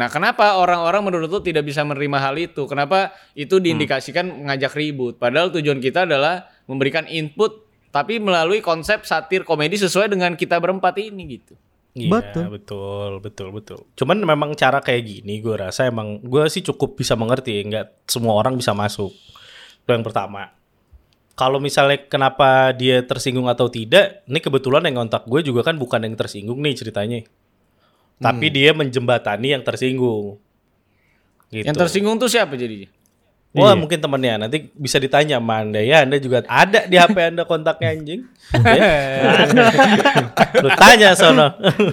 Speaker 1: Nah, kenapa orang-orang menurut lu tidak bisa menerima hal itu? Kenapa
Speaker 5: Hmm.
Speaker 1: itu diindikasikan mengajak ribut? Padahal tujuan kita adalah memberikan input tapi melalui konsep satir komedi sesuai dengan kita berempat ini gitu.
Speaker 2: Iya,
Speaker 3: Betul.
Speaker 2: betul, betul, betul. Cuman memang cara kayak gini gue rasa emang gue sih cukup bisa mengerti, nggak semua orang bisa masuk. Itu yang pertama. Kalau misalnya kenapa dia tersinggung atau tidak, ini kebetulan yang kontak gue juga kan bukan yang tersinggung nih ceritanya. Tapi dia menjembatani yang tersinggung. Gitu.
Speaker 1: Yang tersinggung tuh siapa jadinya?
Speaker 2: Wah mungkin temennya nanti bisa ditanya sama anda ya anda juga ada di HP anda kontaknya anjing Ya. lu tanya sono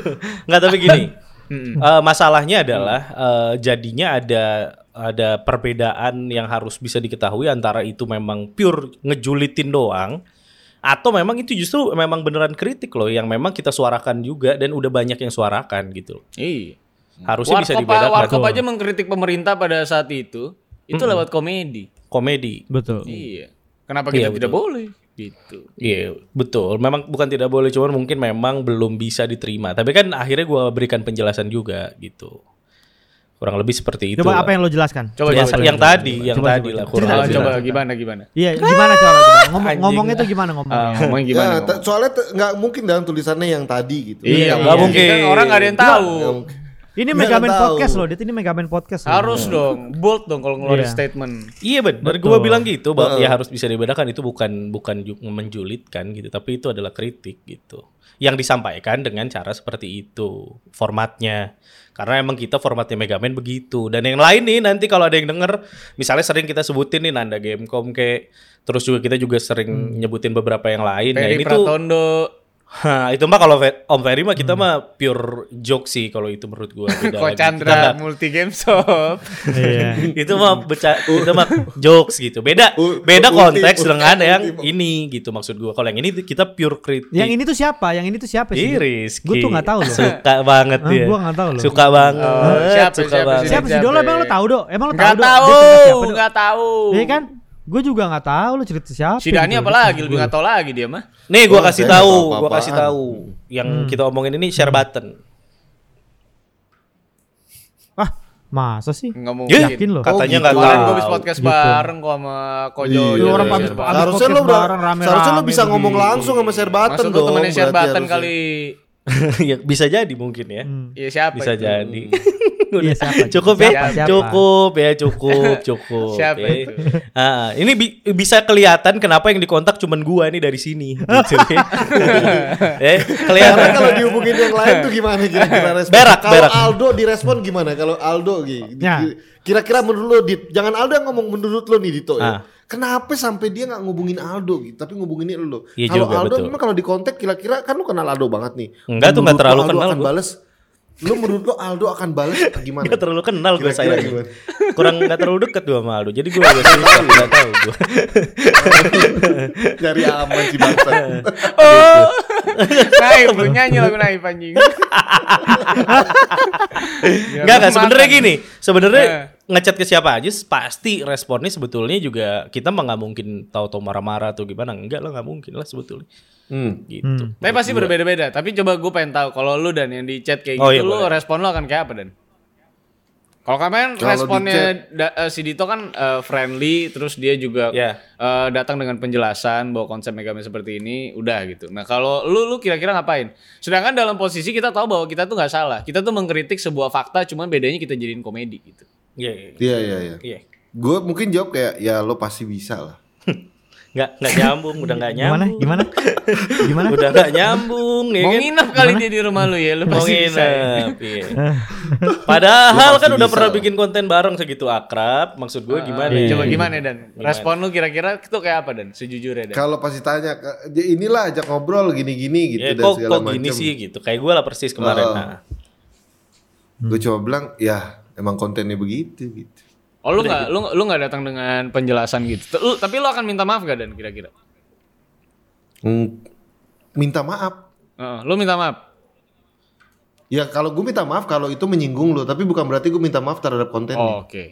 Speaker 2: nggak tapi gini eh, masalahnya adalah eh, jadinya ada ada perbedaan yang harus bisa diketahui antara itu memang pure ngejulitin doang atau memang itu justru memang beneran kritik loh yang memang kita suarakan juga dan udah banyak yang suarakan gitu
Speaker 1: Iya.
Speaker 2: harusnya bisa
Speaker 1: Warkop,
Speaker 2: dibedakan
Speaker 1: warkop aja mengkritik pemerintah pada saat itu, itu
Speaker 5: Hmm.
Speaker 1: lewat komedi.
Speaker 2: komedi
Speaker 3: Betul.
Speaker 1: Iya. Kenapa kita tidak boleh? Gitu.
Speaker 2: Iya betul. Memang bukan tidak boleh, cuman mungkin memang belum bisa diterima. Tapi kan akhirnya gua berikan penjelasan juga gitu. Kurang lebih seperti itu.
Speaker 3: Coba
Speaker 2: lah.
Speaker 3: apa yang lo jelaskan?
Speaker 1: Gitu. Coba
Speaker 2: yang,
Speaker 1: coba,
Speaker 2: yang
Speaker 1: coba,
Speaker 2: tadi, yang tadi lah kurang
Speaker 1: coba,
Speaker 2: lebih.
Speaker 1: coba gimana gimana?
Speaker 3: Iya, gimana cara coba? Ngomong,
Speaker 2: Anjing.
Speaker 3: ngomongnya tuh gimana
Speaker 1: Ah,
Speaker 3: ngomongnya?
Speaker 1: ngomongin
Speaker 5: Ya,
Speaker 1: gimana?
Speaker 5: ta- soalnya te- nggak mungkin dalam tulisannya yang tadi gitu.
Speaker 1: Iya,
Speaker 2: nggak
Speaker 1: nggak mungkin.
Speaker 2: mungkin.
Speaker 1: Kan orang nggak ada yang tahu.
Speaker 5: Nggak mungkin.
Speaker 3: Ini
Speaker 5: Nggak
Speaker 3: Megaman
Speaker 5: tahu.
Speaker 3: Podcast loh, Dit. Ini Megaman Podcast. loh.
Speaker 1: Harus dong, bold dong kalau ngeluarin
Speaker 3: Iya.
Speaker 1: statement.
Speaker 2: Iya benar. Gua bilang gitu bahwa ya harus bisa dibedakan itu bukan bukan ju- menjulitkan gitu, tapi itu adalah kritik gitu. Yang disampaikan dengan cara seperti itu formatnya. Karena emang kita formatnya Megaman begitu. Dan yang lain nih nanti kalau ada yang denger, misalnya sering kita sebutin nih Nanda Gamecom kayak terus juga kita juga sering nyebutin beberapa yang lain.
Speaker 1: Hmm.
Speaker 2: Nah,
Speaker 1: Ferry
Speaker 2: ini tuh
Speaker 1: Pratondo.
Speaker 2: Hah, itu mah kalau Fe- Om Ferry mah kita
Speaker 1: Hmm.
Speaker 2: mah pure joke sih kalau itu menurut gua. Beda
Speaker 1: Ko
Speaker 2: lagi. Kita
Speaker 1: Chandra
Speaker 2: nggak-
Speaker 1: Multi Game Shop.
Speaker 3: Iya.
Speaker 2: itu mah beca itu mah jokes gitu beda
Speaker 5: U-
Speaker 2: beda
Speaker 5: ulti-
Speaker 2: konteks
Speaker 5: ulti-
Speaker 2: dengan yang
Speaker 5: ulti-
Speaker 2: ini gitu maksud gua kalau yang ini kita pure kritik
Speaker 3: Yang ini tuh siapa? Yang ini tuh siapa sih? Dit?
Speaker 2: Iris
Speaker 3: Gua tuh nggak tahu loh.
Speaker 2: suka banget
Speaker 3: Ah,
Speaker 2: dia
Speaker 3: gua nggak tahu loh.
Speaker 2: suka banget
Speaker 5: Eh,
Speaker 1: Oh, siapa-
Speaker 2: suka
Speaker 1: siapa
Speaker 2: banget
Speaker 1: sih?
Speaker 3: Siapa sih Dolo?
Speaker 1: Siapa?
Speaker 3: Emang lo tahu, Do? Emang lo tahu,
Speaker 1: Nggak
Speaker 3: Do? Dia
Speaker 1: tahu,
Speaker 3: cerita siapa, Do?
Speaker 1: nggak tahu.
Speaker 3: Iya kan? Gue juga nggak tahu lo cerita siapa.
Speaker 1: Si Dani
Speaker 3: gitu.
Speaker 1: apalagi lebih nggak tahu lagi dia mah.
Speaker 2: nih gua
Speaker 5: Oh, saya
Speaker 2: kasih
Speaker 5: nggak
Speaker 2: tahu
Speaker 5: tahu
Speaker 2: gua kasih
Speaker 5: apa-apaan.
Speaker 2: tahu yang
Speaker 3: Hmm.
Speaker 2: kita omongin ini share button
Speaker 3: Ah, masa sih?
Speaker 1: Nggak mungkin.
Speaker 2: Ya,
Speaker 3: Iya. Yakin lo?
Speaker 2: katanya
Speaker 5: Oh,
Speaker 2: nggak
Speaker 5: gitu.
Speaker 1: Kemarin
Speaker 2: tahu
Speaker 1: gue habis podcast
Speaker 3: Gitu.
Speaker 1: bareng kok sama Kojo.
Speaker 5: Iya,
Speaker 1: Iya,
Speaker 5: orang
Speaker 1: iya,
Speaker 5: pabrik-
Speaker 1: iya.
Speaker 3: pabrik-
Speaker 5: Harusnya
Speaker 3: podcast
Speaker 5: lo udah-
Speaker 3: bareng, rame-rame
Speaker 5: harusnya lo bisa
Speaker 3: gitu.
Speaker 5: ngomong langsung sama share button
Speaker 1: Maksud lu
Speaker 5: dong.
Speaker 1: temennya share
Speaker 5: berarti
Speaker 1: button
Speaker 5: harusnya.
Speaker 1: kali.
Speaker 2: ya, bisa jadi mungkin ya.
Speaker 3: Hmm.
Speaker 1: Ya siapa
Speaker 2: Bisa
Speaker 1: itu?
Speaker 2: jadi.
Speaker 3: Iya, siapa itu?
Speaker 2: cukup ya,
Speaker 3: Siapa, siapa?
Speaker 2: cukup ya, cukup, cukup.
Speaker 1: Siapa
Speaker 2: ya.
Speaker 1: itu?
Speaker 2: Ah, ini bi- bisa kelihatan kenapa yang dikontak cuman gua nih dari sini. Gitu, ya. eh,
Speaker 4: Karena
Speaker 2: kelihatan
Speaker 4: kalau dihubungin yang lain tuh gimana kira-kira respon?
Speaker 2: Berak,
Speaker 4: kalau
Speaker 2: berak.
Speaker 4: Aldo direspon gimana? Kalau Aldo gi-
Speaker 3: Ya.
Speaker 4: di- kira-kira menurut lo Dit, jangan Aldo yang ngomong menurut lo nih Dito
Speaker 2: Ah.
Speaker 4: ya. Kenapa sampai dia nggak ngubungin Aldo gitu, tapi ngubungin lo?
Speaker 2: Iya
Speaker 4: kalau
Speaker 2: juga,
Speaker 4: Aldo
Speaker 2: betul.
Speaker 4: memang kalau di kontak kira-kira kan lu kenal Aldo banget nih.
Speaker 2: Enggak tuh, nggak
Speaker 4: Menurut lo
Speaker 2: terlalu
Speaker 4: Aldo
Speaker 2: kenal
Speaker 4: Akan
Speaker 2: gua.
Speaker 4: balas, lu menurut lo Aldo akan balas atau gimana?
Speaker 2: Gak terlalu kenal gue
Speaker 4: Kira-kira
Speaker 2: saya
Speaker 4: gimana?
Speaker 2: Kurang gak terlalu deket gue sama Aldo Jadi gue agak susah gak tau gue
Speaker 4: Nyari aman si bangsa.
Speaker 1: Oh. Naif lu nyanyi lagu naif anjing.
Speaker 2: Enggak enggak sebenarnya gini. Sebenarnya
Speaker 1: Ya, Eh.
Speaker 2: ngechat ke siapa aja pasti responnya sebetulnya juga kita mah nggak mungkin tahu-tahu marah-marah atau gimana. Enggak lah nggak mungkin lah sebetulnya.
Speaker 3: Hmm.
Speaker 2: Gitu.
Speaker 1: Tapi pasti berbeda-beda. Tapi coba gue pengen tahu kalau lu dan yang di chat kayak
Speaker 2: Oh,
Speaker 1: gitu,
Speaker 2: iya,
Speaker 1: lu
Speaker 2: boleh.
Speaker 1: respon lu akan kayak apa dan? Kalau kemarin
Speaker 4: Kalau di
Speaker 1: responnya
Speaker 4: chat-
Speaker 1: da- eh, si Dito kan eh, friendly, terus dia juga
Speaker 2: Iya.
Speaker 1: eh, datang dengan penjelasan bahwa konsep Megami seperti ini, udah gitu. Nah kalau lu lu kira-kira ngapain? Sedangkan dalam posisi kita tahu bahwa kita tuh nggak salah, kita tuh mengkritik sebuah fakta, cuman bedanya kita jadiin komedi gitu.
Speaker 2: Iya. iya,
Speaker 4: Iya iya iya.
Speaker 2: Iya.
Speaker 4: Gue mungkin jawab kayak ya lo pasti bisa lah.
Speaker 2: Enggak enggak nyambung, udah
Speaker 1: Ya.
Speaker 2: enggak
Speaker 3: Gimana?
Speaker 2: nyambung.
Speaker 3: Gimana? Gimana?
Speaker 2: Udah enggak nyambung
Speaker 4: Iya
Speaker 2: ya
Speaker 1: Mau
Speaker 2: kan.
Speaker 1: nginep kali dia di rumah lu ya, lu
Speaker 2: Mau
Speaker 1: pasti bisa. ya.
Speaker 2: nginep, iya. Padahal
Speaker 4: Lu pasti
Speaker 2: kan udah
Speaker 4: bisa
Speaker 2: pernah
Speaker 4: lah.
Speaker 2: bikin konten bareng segitu akrab. Maksud gue gimana?
Speaker 1: Iya,
Speaker 2: ya?
Speaker 1: Coba gimana Dan? Respon lu kira-kira itu kayak apa Dan? Sejujurnya Dan.
Speaker 4: Kalau pasti tanya "Ke- ya inilah ajak ngobrol gini-gini gitu
Speaker 2: Ya,
Speaker 4: dan
Speaker 2: kok,
Speaker 4: segala
Speaker 2: kok gini
Speaker 4: macam.
Speaker 2: sih gitu. Kayak gue lah persis kemarin.
Speaker 4: Oh.
Speaker 2: Nah.
Speaker 4: Gue cuma bilang ya emang kontennya begitu gitu.
Speaker 1: Oh lu nggak lu lu nggak datang dengan penjelasan gitu. T- Lu, tapi lu akan minta maaf gak Dan kira-kira?
Speaker 4: Hmm, Minta maaf.
Speaker 1: Heeh, lu minta maaf.
Speaker 4: Ya kalau gue minta maaf kalau itu menyinggung lo, tapi bukan berarti gue minta maaf terhadap konten.
Speaker 1: Oh, Oke.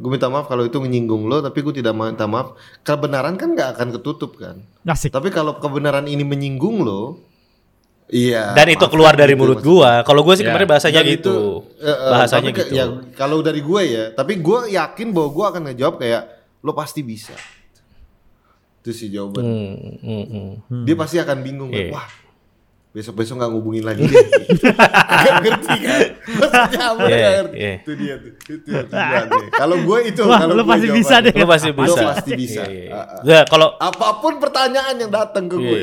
Speaker 4: gue minta maaf kalau itu menyinggung lo, tapi gue tidak minta maaf. Kebenaran kan nggak akan ketutup kan.
Speaker 3: Asik.
Speaker 4: Tapi kalau kebenaran ini menyinggung lo, iya.
Speaker 2: Dan itu
Speaker 4: maaf,
Speaker 2: keluar dari
Speaker 4: gitu
Speaker 2: mulut
Speaker 4: maksudnya.
Speaker 2: gua. Kalau gua sih
Speaker 1: Ya.
Speaker 2: kemarin bahasanya
Speaker 4: Dan
Speaker 2: gitu.
Speaker 4: eh, eh,
Speaker 2: bahasanya
Speaker 4: tapi ke-
Speaker 2: gitu.
Speaker 4: Ya, kalau dari gue ya, tapi gue yakin bahwa gue akan ngejawab kayak lo pasti bisa. Itu sih jawaban.
Speaker 2: Hmm, hmm, hmm.
Speaker 4: Dia pasti akan bingung.
Speaker 2: Iya.
Speaker 4: Wah, besok-besok nggak ngubungin lagi. deh." Gak ngerti kan? Maksudnya apa?
Speaker 2: Iya,
Speaker 4: Gak ngerti.
Speaker 2: iya.
Speaker 4: Itu dia tuh. Itu yang tujuannya. Kalau gue itu,
Speaker 3: Wah,
Speaker 4: kalau
Speaker 3: lo
Speaker 4: gue
Speaker 3: pasti
Speaker 4: jawabannya.
Speaker 3: bisa deh.
Speaker 2: Lu pasti
Speaker 4: Lo
Speaker 2: bisa.
Speaker 4: pasti bisa.
Speaker 2: Iya, iya.
Speaker 4: Ah, ah.
Speaker 2: Ya, kalau
Speaker 4: Apapun pertanyaan yang datang ke gue,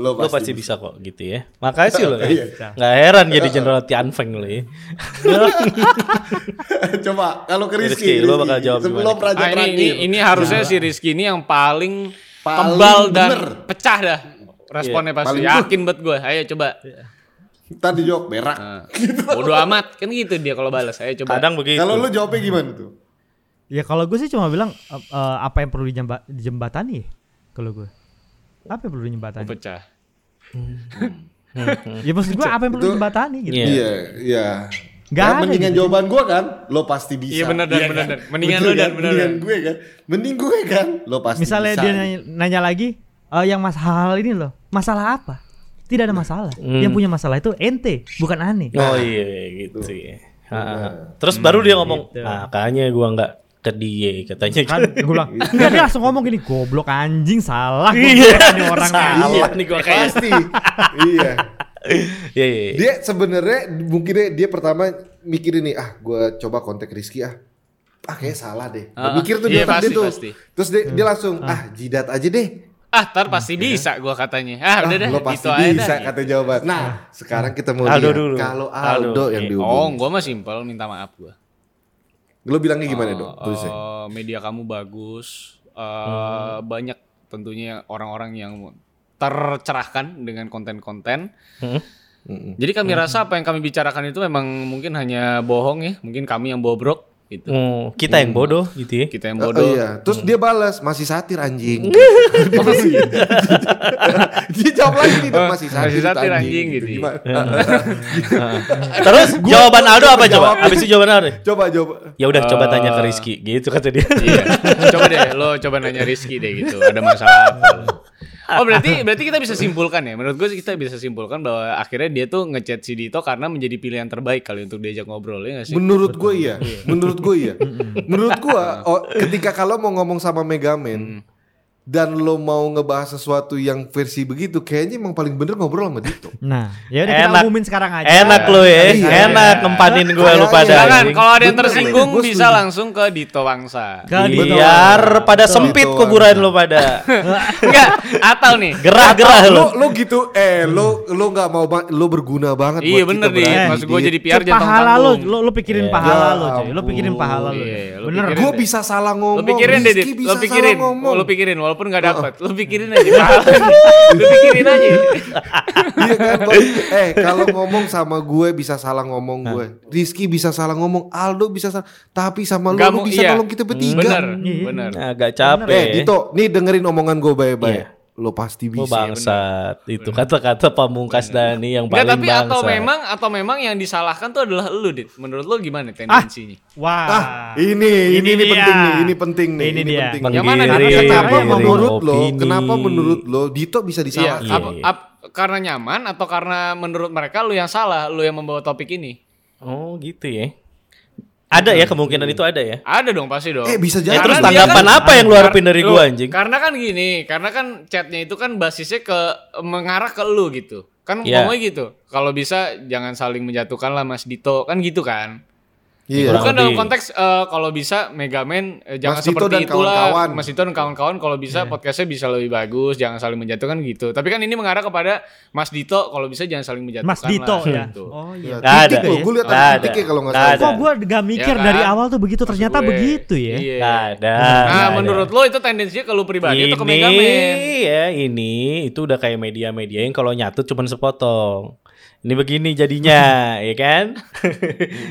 Speaker 4: lo
Speaker 2: lu
Speaker 4: pasti,
Speaker 2: pasti bisa kok gitu ya. Makasih lo.
Speaker 4: Iya. eh.
Speaker 2: Ya. Nggak heran jadi Jenderal Tianfeng lo ya.
Speaker 4: Coba kalau ke Rizky,
Speaker 2: Rizky, lo bakal jawab
Speaker 4: sebelum
Speaker 2: gimana?
Speaker 4: Raja
Speaker 1: Ah, ini, ini
Speaker 4: terakhir.
Speaker 1: ini harusnya si Rizky ini yang paling,
Speaker 4: Paling
Speaker 1: tebal dan
Speaker 4: bener. Iya,
Speaker 1: pecah dah. Responnya pasti
Speaker 4: paling- Iya.
Speaker 1: yakin buat gue. Ayo coba.
Speaker 4: Tadi jawab berak.
Speaker 1: Bodoh amat kan gitu dia kalau balas. Ayo coba.
Speaker 2: Kadang begitu.
Speaker 4: Kalau lu jawabnya gimana tuh?
Speaker 3: Ya kalau gue sih cuma bilang eh, eh, apa yang perlu dijemba- dijembatani ya? kalau gue. Apa yang perlu dijembatani?
Speaker 1: pecah.
Speaker 3: Ya maksud gue apa yang perlu
Speaker 4: Itu-
Speaker 3: dijembatani gitu.
Speaker 2: Iya.
Speaker 4: Iya, iya.
Speaker 3: Nggak
Speaker 4: Nah,
Speaker 3: ada
Speaker 4: mendingan
Speaker 3: gitu.
Speaker 4: jawaban gua kan, lo pasti bisa.
Speaker 1: Iya, bener, Dan, bener, Dan. Mendingan lu,
Speaker 4: Betul
Speaker 1: Dan,
Speaker 4: kan?
Speaker 1: bener,
Speaker 4: Mendingan
Speaker 1: Dan.
Speaker 4: gue kan. Mending gue kan, lo pasti
Speaker 3: Misalnya
Speaker 4: bisa.
Speaker 3: dia nanya, nanya lagi eh, yang mas hal ini loh, masalah apa? Tidak ada masalah. Yang punya masalah itu ente, bukan aneh.
Speaker 2: Oh iya gitu ya. Ah, ah, ah. Terus baru dia ngomong, makanya gua nggak ke dia katanya
Speaker 3: Kan
Speaker 2: kan.
Speaker 3: gue bilang, enggak dia langsung ngomong gini, goblok anjing salah gue ini orang
Speaker 2: Salah nih
Speaker 4: Iya,
Speaker 2: gua kayak.
Speaker 4: pasti. iya.
Speaker 2: Iya, iya, iya.
Speaker 4: Dia sebenarnya mungkin dia, dia pertama mikir ini, ah gua coba kontak Rizky ah. Ah kayaknya salah deh.
Speaker 1: Ah,
Speaker 4: mikir tuh
Speaker 1: iya,
Speaker 4: dia tadi
Speaker 1: pasti,
Speaker 4: tuh.
Speaker 1: pasti.
Speaker 4: Terus dia, dia
Speaker 3: Hmm.
Speaker 4: langsung, ah jidat aja deh.
Speaker 1: Ah, ntar pasti bisa gue katanya. Ah, udah
Speaker 4: Iya. Ah,
Speaker 1: deh. Ah.
Speaker 4: lo pasti
Speaker 1: gitu aja
Speaker 4: bisa
Speaker 1: dah.
Speaker 4: kata jawaban. Nah, sekarang kita mau
Speaker 2: Aldo
Speaker 4: lihat
Speaker 2: dulu.
Speaker 4: kalau
Speaker 2: Aldo,
Speaker 4: Aldo, yang
Speaker 2: oke.
Speaker 4: dihubungi.
Speaker 1: Oh, gue mah simpel minta maaf gue.
Speaker 4: Lo bilangnya gimana dong?
Speaker 1: Eh,
Speaker 4: Tulisnya.
Speaker 1: eh, media kamu bagus. Eh, Banyak tentunya orang-orang yang tercerahkan dengan konten-konten.
Speaker 4: Hmm.
Speaker 1: Jadi kami rasa apa yang kami bicarakan itu memang mungkin hanya bohong ya. Mungkin kami yang bobrok gitu.
Speaker 2: Hmm, kita yang bodoh gitu ya.
Speaker 1: Kita yang
Speaker 4: Oh,
Speaker 1: bodoh.
Speaker 4: iya. Terus dia balas masih satir anjing. dia jawab lagi nih dong masih satir,
Speaker 1: Masih satir, anjing," gitu.
Speaker 4: Gimana?
Speaker 2: Terus jawaban Aldo apa coba?
Speaker 4: jawab.
Speaker 2: Habis itu jawaban Aldo.
Speaker 4: coba coba.
Speaker 2: Ya udah coba tanya ke Rizky gitu kata dia.
Speaker 1: Iya. coba deh lo coba nanya Rizky deh gitu. Ada masalah apa lo? Oh berarti berarti kita bisa simpulkan ya. Menurut gue sih kita bisa simpulkan bahwa akhirnya dia tuh ngechat si Dito karena menjadi pilihan terbaik kali untuk diajak ngobrol ya gak sih?
Speaker 4: Menurut gue iya.
Speaker 1: Hmm.
Speaker 4: Menurut gue iya. Menurut gue oh, ketika kalau mau ngomong sama Megaman, dan lo mau ngebahas sesuatu yang versi begitu, kayaknya emang paling bener ngobrol sama Dito.
Speaker 3: Nah, ya udah kita
Speaker 2: Enak.
Speaker 3: umumin sekarang aja.
Speaker 2: Enak lu ya,
Speaker 4: Iya.
Speaker 2: enak tempatin gue lu
Speaker 4: Kayaknya.
Speaker 2: pada.
Speaker 1: Silakan
Speaker 2: anjing.
Speaker 1: kalau ada yang
Speaker 4: Bener,
Speaker 1: tersinggung
Speaker 4: bener. Gua
Speaker 1: bisa
Speaker 4: setuju.
Speaker 1: langsung ke Dito Wangsa.
Speaker 3: Ke Dito.
Speaker 2: Iya, Biar pada
Speaker 4: Betul.
Speaker 2: sempit
Speaker 4: Betul.
Speaker 2: kuburan lu pada.
Speaker 1: Enggak, atau nih. Ah,
Speaker 2: Gerah-gerah lu.
Speaker 4: lo, lo gitu, eh lo lo nggak mau ba- lo berguna banget.
Speaker 1: Iya
Speaker 4: buat
Speaker 1: bener
Speaker 4: kita
Speaker 1: nih,
Speaker 4: berarti,
Speaker 1: maksud gue
Speaker 4: Dit.
Speaker 1: jadi PR
Speaker 3: Itu
Speaker 1: jangan
Speaker 3: pahala lu,
Speaker 1: tanggung.
Speaker 3: lu, lu pikirin
Speaker 2: Ya
Speaker 3: pahala lu,
Speaker 4: ampun.
Speaker 3: cuy. Lu pikirin pahala lu.
Speaker 1: Iya, lu
Speaker 3: Bener.
Speaker 1: pikirin.
Speaker 4: Gue bisa salah ngomong.
Speaker 1: Lu pikirin deh, Dit.
Speaker 4: Rizky bisa
Speaker 1: Lu pikirin.
Speaker 4: salah ngomong.
Speaker 1: Lu pikirin walaupun gak dapet. Lu pikirin aja. pahala. lu pikirin aja.
Speaker 4: Iya kan? Boy? eh kalau ngomong sama gue bisa salah ngomong gue. Rizky bisa salah ngomong, Aldo bisa salah. Tapi sama lu,
Speaker 1: Gak
Speaker 4: lu
Speaker 1: mau-
Speaker 4: bisa
Speaker 1: iya.
Speaker 4: nolong kita
Speaker 1: Bener,
Speaker 4: bertiga.
Speaker 3: Iya.
Speaker 1: bener.
Speaker 2: Nah, Agak
Speaker 4: Eh
Speaker 2: capek. ya.
Speaker 4: Dito, nih dengerin omongan gue baik-baik.
Speaker 2: Iya.
Speaker 4: Lo pasti
Speaker 2: Lu
Speaker 4: bisa.
Speaker 2: bangsat. Itu kata-kata pamungkas Dani yang
Speaker 1: Enggak,
Speaker 2: paling
Speaker 1: tapi
Speaker 2: bangsat.
Speaker 1: atau memang atau memang yang disalahkan tuh adalah lu, Dit. Menurut lu gimana tendensinya?
Speaker 3: Wah.
Speaker 4: Ah, ini ini, ini
Speaker 3: dia.
Speaker 4: penting nih, ini penting nih,
Speaker 3: Ini dia.
Speaker 4: penting.
Speaker 1: Yang mana, Dit?
Speaker 2: Menggiring,
Speaker 4: Kenapa
Speaker 3: Iya,
Speaker 2: menggiring
Speaker 4: menurut lo?
Speaker 2: opini.
Speaker 4: Kenapa menurut lo Dito bisa
Speaker 1: Iya,
Speaker 4: disalahkan?
Speaker 1: apa- ap- karena nyaman atau karena menurut mereka lu yang salah, lu yang membawa topik ini?
Speaker 2: Oh, gitu ya. Ada ya kemungkinan itu ada ya.
Speaker 1: Ada dong pasti dong.
Speaker 4: Eh, bisa
Speaker 2: Eh,
Speaker 4: jadi.
Speaker 1: Karena
Speaker 2: terus
Speaker 1: dia
Speaker 2: tanggapan
Speaker 1: kan-
Speaker 2: apa yang lu harapin dari
Speaker 1: Lu,
Speaker 2: gua anjing?
Speaker 1: Karena kan gini, karena kan chatnya itu kan basisnya ke mengarah ke lu gitu. Kan
Speaker 2: Iya.
Speaker 1: ngomongnya gitu. Kalau bisa jangan saling menjatuhkan lah Mas Dito, kan gitu kan.
Speaker 4: Iya.
Speaker 2: Kurang
Speaker 1: Bukan dalam
Speaker 2: lebih.
Speaker 1: konteks eh, kalau bisa Megaman eh, jangan
Speaker 4: Mas Dito
Speaker 1: seperti
Speaker 4: dan
Speaker 1: itulah
Speaker 4: kawan-kawan.
Speaker 1: Mas Dito dan kawan-kawan kalau bisa
Speaker 2: Iya.
Speaker 1: podcastnya bisa lebih bagus, jangan saling menjatuhkan gitu. Tapi kan ini mengarah kepada Mas Dito kalau bisa jangan saling menjatuhkan
Speaker 3: Mas
Speaker 1: Iya,
Speaker 3: Dito
Speaker 1: lah,
Speaker 3: ya.
Speaker 1: gitu.
Speaker 3: Oh
Speaker 4: Iya,
Speaker 3: iya.
Speaker 2: Nggak ada.
Speaker 4: titik lo, gue liat
Speaker 2: Nggak
Speaker 4: ada
Speaker 2: ada.
Speaker 4: titiknya kalau nggak
Speaker 2: Nggak
Speaker 4: salah.
Speaker 2: ada.
Speaker 3: Kok gua gak mikir
Speaker 1: kan?
Speaker 3: dari awal tuh begitu,
Speaker 1: Maksud
Speaker 3: ternyata
Speaker 1: gue.
Speaker 3: begitu ya.
Speaker 1: Iya.
Speaker 2: Ada.
Speaker 1: Nah,
Speaker 2: ada.
Speaker 1: menurut lo itu tendensinya ke lu pribadi atau ke Megaman?
Speaker 2: ini ya ini itu udah kayak media-media yang kalau nyatut cuman sepotong ini begini jadinya ya kan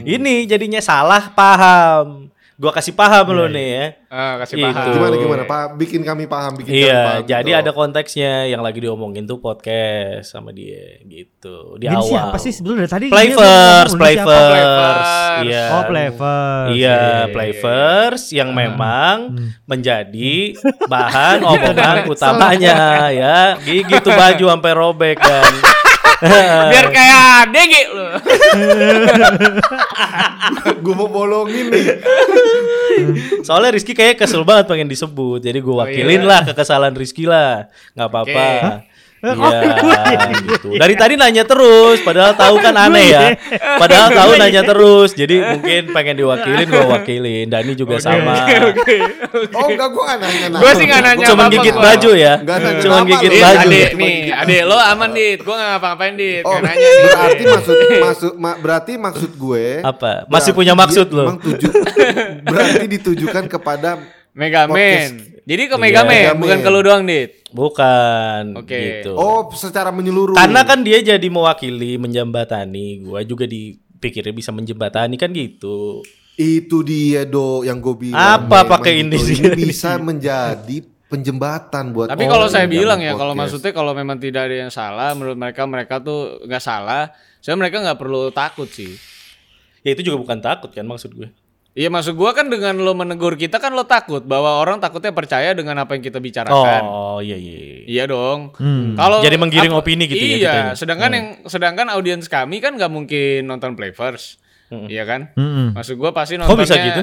Speaker 2: ini jadinya salah paham gua kasih paham lo nih ya
Speaker 1: Ah, kasih
Speaker 2: Itu.
Speaker 1: paham.
Speaker 4: Gimana gimana Pak? Bikin kami paham, bikin kami
Speaker 2: iya
Speaker 4: paham,
Speaker 2: jadi
Speaker 4: Dito.
Speaker 2: ada konteksnya yang lagi diomongin tuh podcast sama dia gitu di
Speaker 3: Game
Speaker 2: awal
Speaker 3: siapa sih sebelum dari tadi? dia
Speaker 2: Playverse,
Speaker 3: ngomong, lu siapa?
Speaker 2: playverse,
Speaker 1: Playverse.
Speaker 2: iya,
Speaker 3: Oh, Ah. Playverse.
Speaker 2: iya, playverse yang memang
Speaker 3: Hmm.
Speaker 2: menjadi bahan
Speaker 3: Iya,
Speaker 2: omongan utamanya ya, gigi tuh baju sampai robek dan Eh,
Speaker 1: Biar kayak DG lu.
Speaker 4: gue mau bolongin nih.
Speaker 2: soalnya Rizky kayak kesel banget pengen disebut, jadi gue wakilin
Speaker 1: iya.
Speaker 2: lah kekesalan Rizky lah, nggak apa-apa.
Speaker 3: Hah?
Speaker 2: Iya, gitu. Dari tadi nanya terus, padahal tahu kan aneh ya. Padahal tahu nanya terus, jadi mungkin pengen diwakilin, gue wakilin. Dani juga sama.
Speaker 1: iya.
Speaker 4: Oh enggak gue nggak nanya.
Speaker 1: Gue sih nggak nanya
Speaker 2: Cuman
Speaker 1: apa-apa
Speaker 2: gigit
Speaker 1: kok.
Speaker 2: baju ya.
Speaker 4: Nggak nanya
Speaker 2: Cuman
Speaker 4: nama
Speaker 2: gigit
Speaker 4: lu.
Speaker 1: Dit,
Speaker 2: baju.
Speaker 1: Iya,
Speaker 2: gitu.
Speaker 1: adek
Speaker 4: Cuma
Speaker 1: nih,
Speaker 4: gigit
Speaker 1: adek
Speaker 4: baju.
Speaker 1: lo aman dit, gue gak ngapa-ngapain dit,
Speaker 4: Oh,
Speaker 1: nggak nanya dit.
Speaker 4: berarti maksud maksud ma- berarti maksud gue
Speaker 2: Apa? Masih
Speaker 4: berarti
Speaker 2: punya maksud
Speaker 4: dia
Speaker 2: lo?
Speaker 4: Emang tuju, berarti ditujukan kepada
Speaker 1: Megaman.
Speaker 4: Podcast.
Speaker 1: Jadi ke
Speaker 2: Iya.
Speaker 1: Megaman,
Speaker 4: Megaman.
Speaker 1: bukan ke lu doang dit.
Speaker 2: Bukan
Speaker 1: Oke.
Speaker 2: gitu.
Speaker 4: oh secara menyeluruh.
Speaker 2: Karena kan dia jadi mewakili menjembatani, gua juga dipikirnya bisa menjembatani kan gitu.
Speaker 4: Itu dia do yang gue bilang.
Speaker 2: Apa
Speaker 4: Memang
Speaker 2: pakai ini
Speaker 4: Dito,
Speaker 2: sih?
Speaker 4: Ini bisa menjadi penjembatan buat.
Speaker 1: Tapi
Speaker 4: orang
Speaker 1: kalau saya
Speaker 4: yang
Speaker 1: bilang
Speaker 4: dalam
Speaker 1: ya, kalau
Speaker 4: Oh, podcast.
Speaker 1: maksudnya kalau memang tidak ada yang salah, menurut mereka mereka tuh nggak salah. Saya mereka nggak perlu takut sih.
Speaker 2: Ya itu juga bukan takut kan maksud gue.
Speaker 1: Iya maksud gua kan dengan lo menegur kita kan lo takut bahwa orang takutnya percaya dengan apa yang kita bicarakan.
Speaker 2: Oh, iya iya.
Speaker 1: Iya dong. Kalau
Speaker 2: Jadi menggiring
Speaker 1: apa-
Speaker 2: opini gitu ya
Speaker 1: Iya.
Speaker 2: kitanya.
Speaker 1: Sedangkan yang sedangkan audiens kami kan nggak mungkin nonton play first. Iya kan?
Speaker 3: Mm-mm.
Speaker 1: Maksud gua pasti nontonnya.
Speaker 2: Hmm. bisa gitu?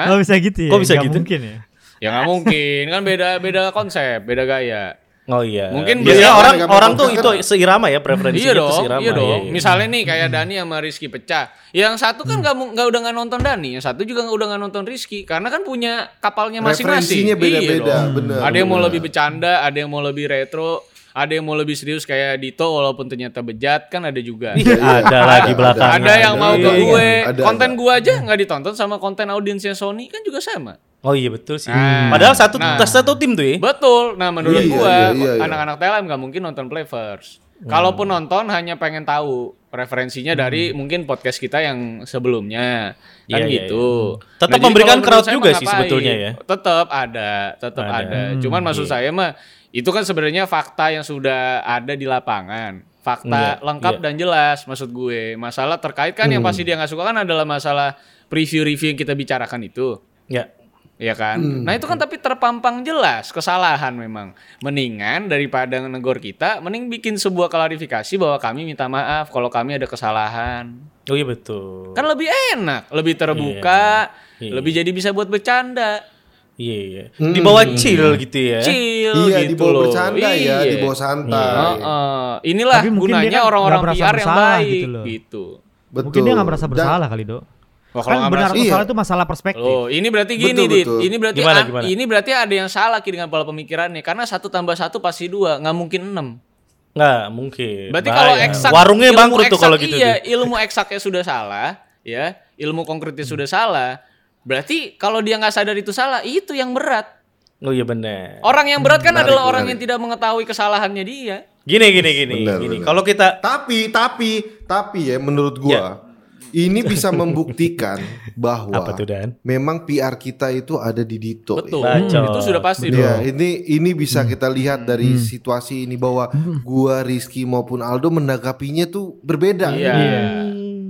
Speaker 1: Hah?
Speaker 3: Oh bisa gitu ya?
Speaker 2: Kok bisa
Speaker 3: Nggak
Speaker 2: gitu?
Speaker 3: mungkin ya?
Speaker 1: Ya nggak mungkin kan beda beda konsep, beda gaya.
Speaker 2: Oh iya.
Speaker 1: Mungkin
Speaker 2: biasanya
Speaker 1: beliau-
Speaker 2: orang
Speaker 4: Mereka
Speaker 2: orang tuh itu
Speaker 4: mengkontrol
Speaker 2: seirama ya preferensi
Speaker 1: Iya dong,
Speaker 2: seirama.
Speaker 1: iya dong.
Speaker 2: iya.
Speaker 1: Misalnya nih kayak Dani sama Rizky pecah. Yang satu kan nggak mu- nggak udah nggak nonton Dani, yang satu juga nggak udah nggak nonton Rizky, karena kan punya kapalnya masing-masing.
Speaker 4: Referensinya
Speaker 1: Iya
Speaker 4: beda-beda,
Speaker 1: dong.
Speaker 4: bener,
Speaker 1: Ada yang mau
Speaker 4: bener.
Speaker 1: lebih bercanda, ada yang mau lebih retro, ada yang mau lebih serius kayak Dito walaupun ternyata bejat kan ada juga.
Speaker 2: Ih, Iya, ada lagi
Speaker 4: Ada,
Speaker 2: belakangnya.
Speaker 1: Nah, ada yang mau ke
Speaker 2: Iya, iya.
Speaker 1: gue,
Speaker 4: Iya. Ada,
Speaker 1: konten
Speaker 4: ada.
Speaker 1: gue aja nggak ditonton sama konten audiensnya Sony kan juga sama.
Speaker 2: Oh iya betul sih.
Speaker 1: Nah.
Speaker 2: Padahal satu
Speaker 1: Nah.
Speaker 2: satu tim tuh ya.
Speaker 1: Betul. Nah, menurut
Speaker 4: Iya,
Speaker 1: gua
Speaker 4: iya, iya, iya.
Speaker 1: anak-anak TLM nggak mungkin nonton play first. Kalaupun
Speaker 2: Hmm.
Speaker 1: nonton hanya pengen tahu referensinya dari mungkin podcast kita yang sebelumnya. Kan
Speaker 2: Iya, iya,
Speaker 1: gitu.
Speaker 2: iya. Tetap
Speaker 1: jadi
Speaker 2: memberikan
Speaker 1: kalau
Speaker 2: crowd
Speaker 1: menurut saya
Speaker 2: juga
Speaker 1: mah
Speaker 2: sih
Speaker 1: ngapain?
Speaker 2: sebetulnya ya.
Speaker 1: Tetap ada, tetap ada.
Speaker 2: Ada. Hmm, iya.
Speaker 1: Cuman maksud saya mah itu kan sebenarnya fakta yang sudah ada di lapangan. Fakta
Speaker 2: Iya,
Speaker 1: lengkap
Speaker 2: iya. Hmm.
Speaker 1: dan jelas maksud gue. Masalah terkait kan yang pasti dia nggak suka kan adalah masalah preview-review yang kita bicarakan itu.
Speaker 2: Ya.
Speaker 1: Iya kan? Nah itu kan tapi terpampang jelas kesalahan memang. Mendingan daripada negor kita, mending bikin sebuah klarifikasi bahwa kami minta maaf kalau kami ada kesalahan.
Speaker 2: Oh iya betul.
Speaker 1: Kan lebih enak, lebih terbuka,
Speaker 2: Iya.
Speaker 1: lebih jadi bisa buat bercanda.
Speaker 2: Iya, iya. Di bawah chill gitu ya.
Speaker 1: Hmm. Chill
Speaker 4: Iya,
Speaker 1: gitu
Speaker 4: dibawa
Speaker 1: loh.
Speaker 4: bercanda ya,
Speaker 1: Iya.
Speaker 4: dibawa santai.
Speaker 1: Heeh. inilah
Speaker 3: Tapi mungkin dia
Speaker 1: gunanya
Speaker 3: kan
Speaker 1: orang-orang
Speaker 3: nggak
Speaker 1: PR
Speaker 3: merasa
Speaker 1: yang
Speaker 3: bersalah
Speaker 1: baik
Speaker 3: gitu
Speaker 1: gitu.
Speaker 3: loh.
Speaker 4: Betul.
Speaker 3: Mungkin dia nggak merasa
Speaker 4: Dan-
Speaker 3: bersalah kali dok.
Speaker 1: Wah, Oh, kalau
Speaker 3: Kan
Speaker 1: nggak
Speaker 3: benar
Speaker 1: merasa-
Speaker 3: atau salah itu masalah perspektif.
Speaker 1: Oh, ini berarti gini,
Speaker 4: Betul,
Speaker 1: Dit.
Speaker 4: betul.
Speaker 1: Ini berarti
Speaker 2: Gimana,
Speaker 1: a-
Speaker 2: gimana?
Speaker 1: ini berarti ada yang salah Ki, dengan pola pemikirannya karena satu tambah satu pasti dua, nggak mungkin enam.
Speaker 2: Nggak mungkin.
Speaker 1: Berarti
Speaker 2: Bahaya.
Speaker 1: kalau eksak
Speaker 2: warungnya
Speaker 1: ilmu
Speaker 2: bangkrut tuh
Speaker 1: eksak-
Speaker 2: kalau gitu.
Speaker 1: Iya,
Speaker 2: tuh.
Speaker 1: ilmu eksaknya sudah salah, ya. Ilmu konkretnya sudah salah. Berarti kalau dia nggak sadar itu salah, itu yang berat.
Speaker 2: Oh iya benar.
Speaker 1: Orang yang berat kan adalah orang yang tidak mengetahui kesalahannya dia.
Speaker 2: Gini gini gini.
Speaker 4: Benar,
Speaker 2: gini.
Speaker 4: benar.
Speaker 2: Kalau kita
Speaker 4: Tapi tapi tapi ya menurut gua ini bisa membuktikan bahwa
Speaker 2: Apa tuh, Dan?
Speaker 4: memang PR kita itu ada di Dito. ya.
Speaker 1: Betul.
Speaker 2: Bacot.
Speaker 1: Itu sudah pasti dong. Hmm.
Speaker 4: Ya, ini ini bisa kita lihat dari situasi ini bahwa gua Rizky maupun Aldo menanggapinya tuh berbeda.
Speaker 1: Iya.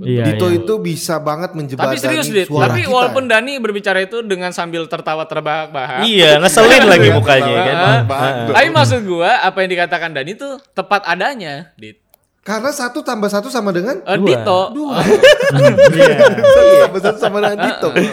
Speaker 3: Iya,
Speaker 4: Dito
Speaker 3: iya.
Speaker 4: itu bisa banget menjebak
Speaker 1: Tapi serius, Dit.
Speaker 4: suara
Speaker 1: Tapi
Speaker 4: kita.
Speaker 1: walaupun Dani berbicara itu dengan sambil tertawa terbahak-bahak,
Speaker 2: iya ngeselin lagi
Speaker 4: Iya,
Speaker 2: mukanya
Speaker 1: ya
Speaker 4: benar,
Speaker 2: kan.
Speaker 4: benar.
Speaker 2: Heeh.
Speaker 1: Tapi maksud gua apa yang dikatakan Dani tuh tepat adanya, Dit.
Speaker 4: karena satu tambah satu sama dengan
Speaker 1: Eh, Dito. Iya.
Speaker 4: satu tambah satu sama dengan Dito.
Speaker 2: Eh,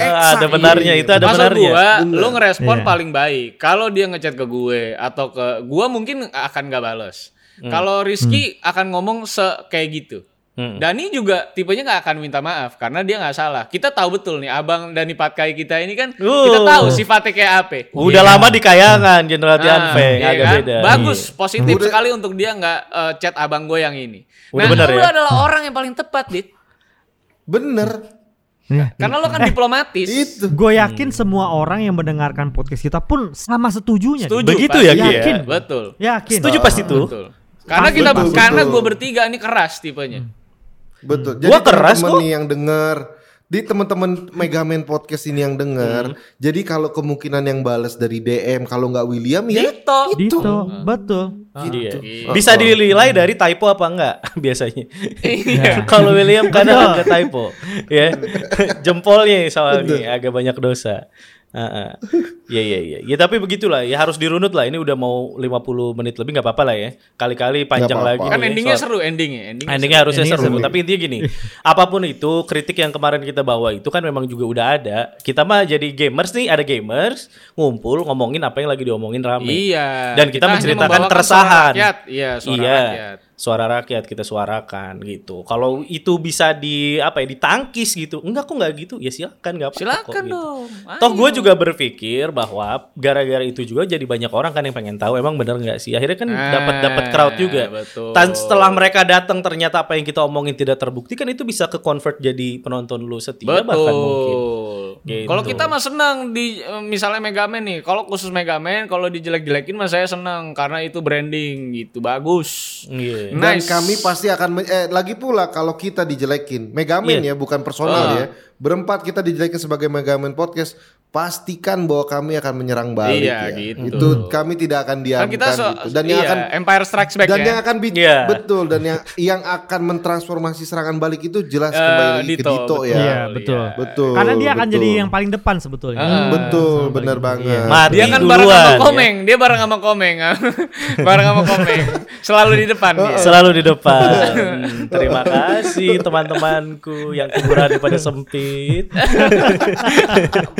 Speaker 4: Eksak,
Speaker 2: ada benarnya
Speaker 4: iya.
Speaker 2: itu ada
Speaker 1: maksud
Speaker 2: benarnya.
Speaker 1: gua,
Speaker 4: Bener.
Speaker 1: lu ngerespon
Speaker 3: Iya.
Speaker 1: paling baik. Kalau dia ngechat ke gue atau ke gua mungkin akan gak bales. Kalau Rizky akan ngomong se kayak gitu.
Speaker 2: Hmm.
Speaker 1: Dani juga tipenya nggak akan minta maaf karena dia nggak salah. Kita tahu betul nih Abang Dani Patkai kita ini kan kita
Speaker 2: Uh.
Speaker 1: tahu sifatnya kayak apa.
Speaker 2: Udah lama di kayangan Jenderal
Speaker 1: Ah,
Speaker 2: Tian Feng
Speaker 1: iya
Speaker 2: agak
Speaker 1: kan?
Speaker 2: beda.
Speaker 1: Bagus,
Speaker 2: Iya.
Speaker 1: positif sekali untuk dia nggak eh, chat abang gue yang ini.
Speaker 2: Udah
Speaker 1: nah,
Speaker 2: benar
Speaker 1: lu
Speaker 2: ya?
Speaker 1: adalah orang yang paling tepat, Dit.
Speaker 4: Bener.
Speaker 1: Karena lo kan diplomatis.
Speaker 4: Itu.
Speaker 3: Gue Iya. yakin semua orang yang mendengarkan podcast kita pun sama setujunya.
Speaker 1: Setuju.
Speaker 2: Begitu
Speaker 1: pasti.
Speaker 2: ya Ki ya.
Speaker 3: Yakin.
Speaker 1: Betul.
Speaker 3: Yakin.
Speaker 2: Setuju pasti tuh.
Speaker 1: Betul. Karena kita
Speaker 4: betul,
Speaker 1: karena
Speaker 4: betul.
Speaker 1: gue bertiga ini keras tipenya.
Speaker 4: Betul.
Speaker 1: Hmm.
Speaker 2: Gua keras
Speaker 4: temen-temen
Speaker 2: kok.
Speaker 4: nih yang denger di teman-teman Megaman podcast ini yang denger.
Speaker 1: Hmm.
Speaker 4: Jadi kalau kemungkinan yang balas dari DM kalau nggak William ya
Speaker 1: Dito.
Speaker 3: Dito, betul.
Speaker 2: Iya. Bisa dinilai dari typo apa enggak biasanya.
Speaker 1: Iya.
Speaker 2: Kalau William kadang ada typo, ya. Jempolnya soalnya agak banyak dosa. Heeh. Ya ya ya. Ya tapi begitulah, ya harus dirunut lah. Ini udah mau 50 menit lebih nggak apa-apa lah ya. Kali-kali panjang
Speaker 4: Nggak
Speaker 2: lagi.
Speaker 4: apa-apa.
Speaker 1: Kan
Speaker 2: ya,
Speaker 1: endingnya
Speaker 2: soal-
Speaker 1: seru, endingnya. Endingnya.
Speaker 2: Endingnya Nah, harusnya
Speaker 3: Endingnya
Speaker 2: seru, tapi intinya gini, apapun itu kritik yang kemarin kita bawa itu kan memang juga udah ada. Kita mah jadi gamers nih, ada gamers ngumpul ngomongin apa yang lagi diomongin rame.
Speaker 1: Iya.
Speaker 2: Dan kita,
Speaker 1: hanya
Speaker 2: menceritakan
Speaker 1: membawakan suara
Speaker 2: keresahan.
Speaker 1: rakyat. Iya, suara
Speaker 2: iya,
Speaker 1: rakyat.
Speaker 2: suara rakyat kita suarakan gitu. Kalau itu bisa di apa ya ditangkis gitu, enggak kok enggak gitu, ya silakan nggak apa-apa. kok,
Speaker 1: Silakan
Speaker 2: gitu.
Speaker 1: dong. Ah.
Speaker 2: Toh gue juga berpikir bahwa gara-gara itu juga jadi banyak orang kan yang pengen tahu emang bener nggak sih. Akhirnya kan
Speaker 1: Ah,
Speaker 2: dapat dapat crowd juga.
Speaker 1: betul.
Speaker 2: Dan setelah mereka datang ternyata apa yang kita omongin tidak terbukti kan itu bisa ke convert jadi penonton lu setia bahkan mungkin.
Speaker 1: Betul.
Speaker 2: Gitu.
Speaker 1: Iya, Kalau kita mah senang di eh, misalnya Megaman nih, kalau khusus Megaman kalau dijelek-jelekin mah saya senang karena itu branding gitu bagus.
Speaker 2: Iya.
Speaker 4: Dan
Speaker 1: Nice.
Speaker 4: kami pasti akan men- eh lagi pula kalau kita dijelekin Megaman
Speaker 1: Iya.
Speaker 4: ya bukan
Speaker 1: Ah.
Speaker 4: personal ya. Berempat kita dijelekin sebagai Megaman podcast pastikan bahwa kami akan menyerang balik
Speaker 1: Iya,
Speaker 4: ya.
Speaker 1: gitu.
Speaker 4: Itu kami tidak akan diamkan
Speaker 1: Kan kita so,
Speaker 4: gitu. Dan yang
Speaker 1: iya,
Speaker 4: akan
Speaker 1: Empire Strikes Back
Speaker 4: dan
Speaker 1: ya.
Speaker 4: yang akan bi-
Speaker 2: Iya.
Speaker 4: betul dan yang yang akan mentransformasi serangan balik itu jelas
Speaker 1: Eh,
Speaker 4: kembali lagi
Speaker 1: Dito,
Speaker 4: ke Dito
Speaker 1: betul.
Speaker 4: ya.
Speaker 3: Iya, betul.
Speaker 4: Betul.
Speaker 3: Karena dia akan
Speaker 4: betul.
Speaker 3: jadi yang paling depan sebetulnya.
Speaker 1: Ah,
Speaker 4: betul, benar banget.
Speaker 2: Mati
Speaker 1: dia kan bareng
Speaker 2: duluan.
Speaker 1: sama
Speaker 2: ya.
Speaker 1: Komeng, dia bareng sama Komeng. bareng sama Komeng. Selalu di depan
Speaker 4: Oh,
Speaker 1: dia.
Speaker 2: Iya, Selalu di depan. Hmm, Terima kasih teman-temanku yang kuburan pada sempit.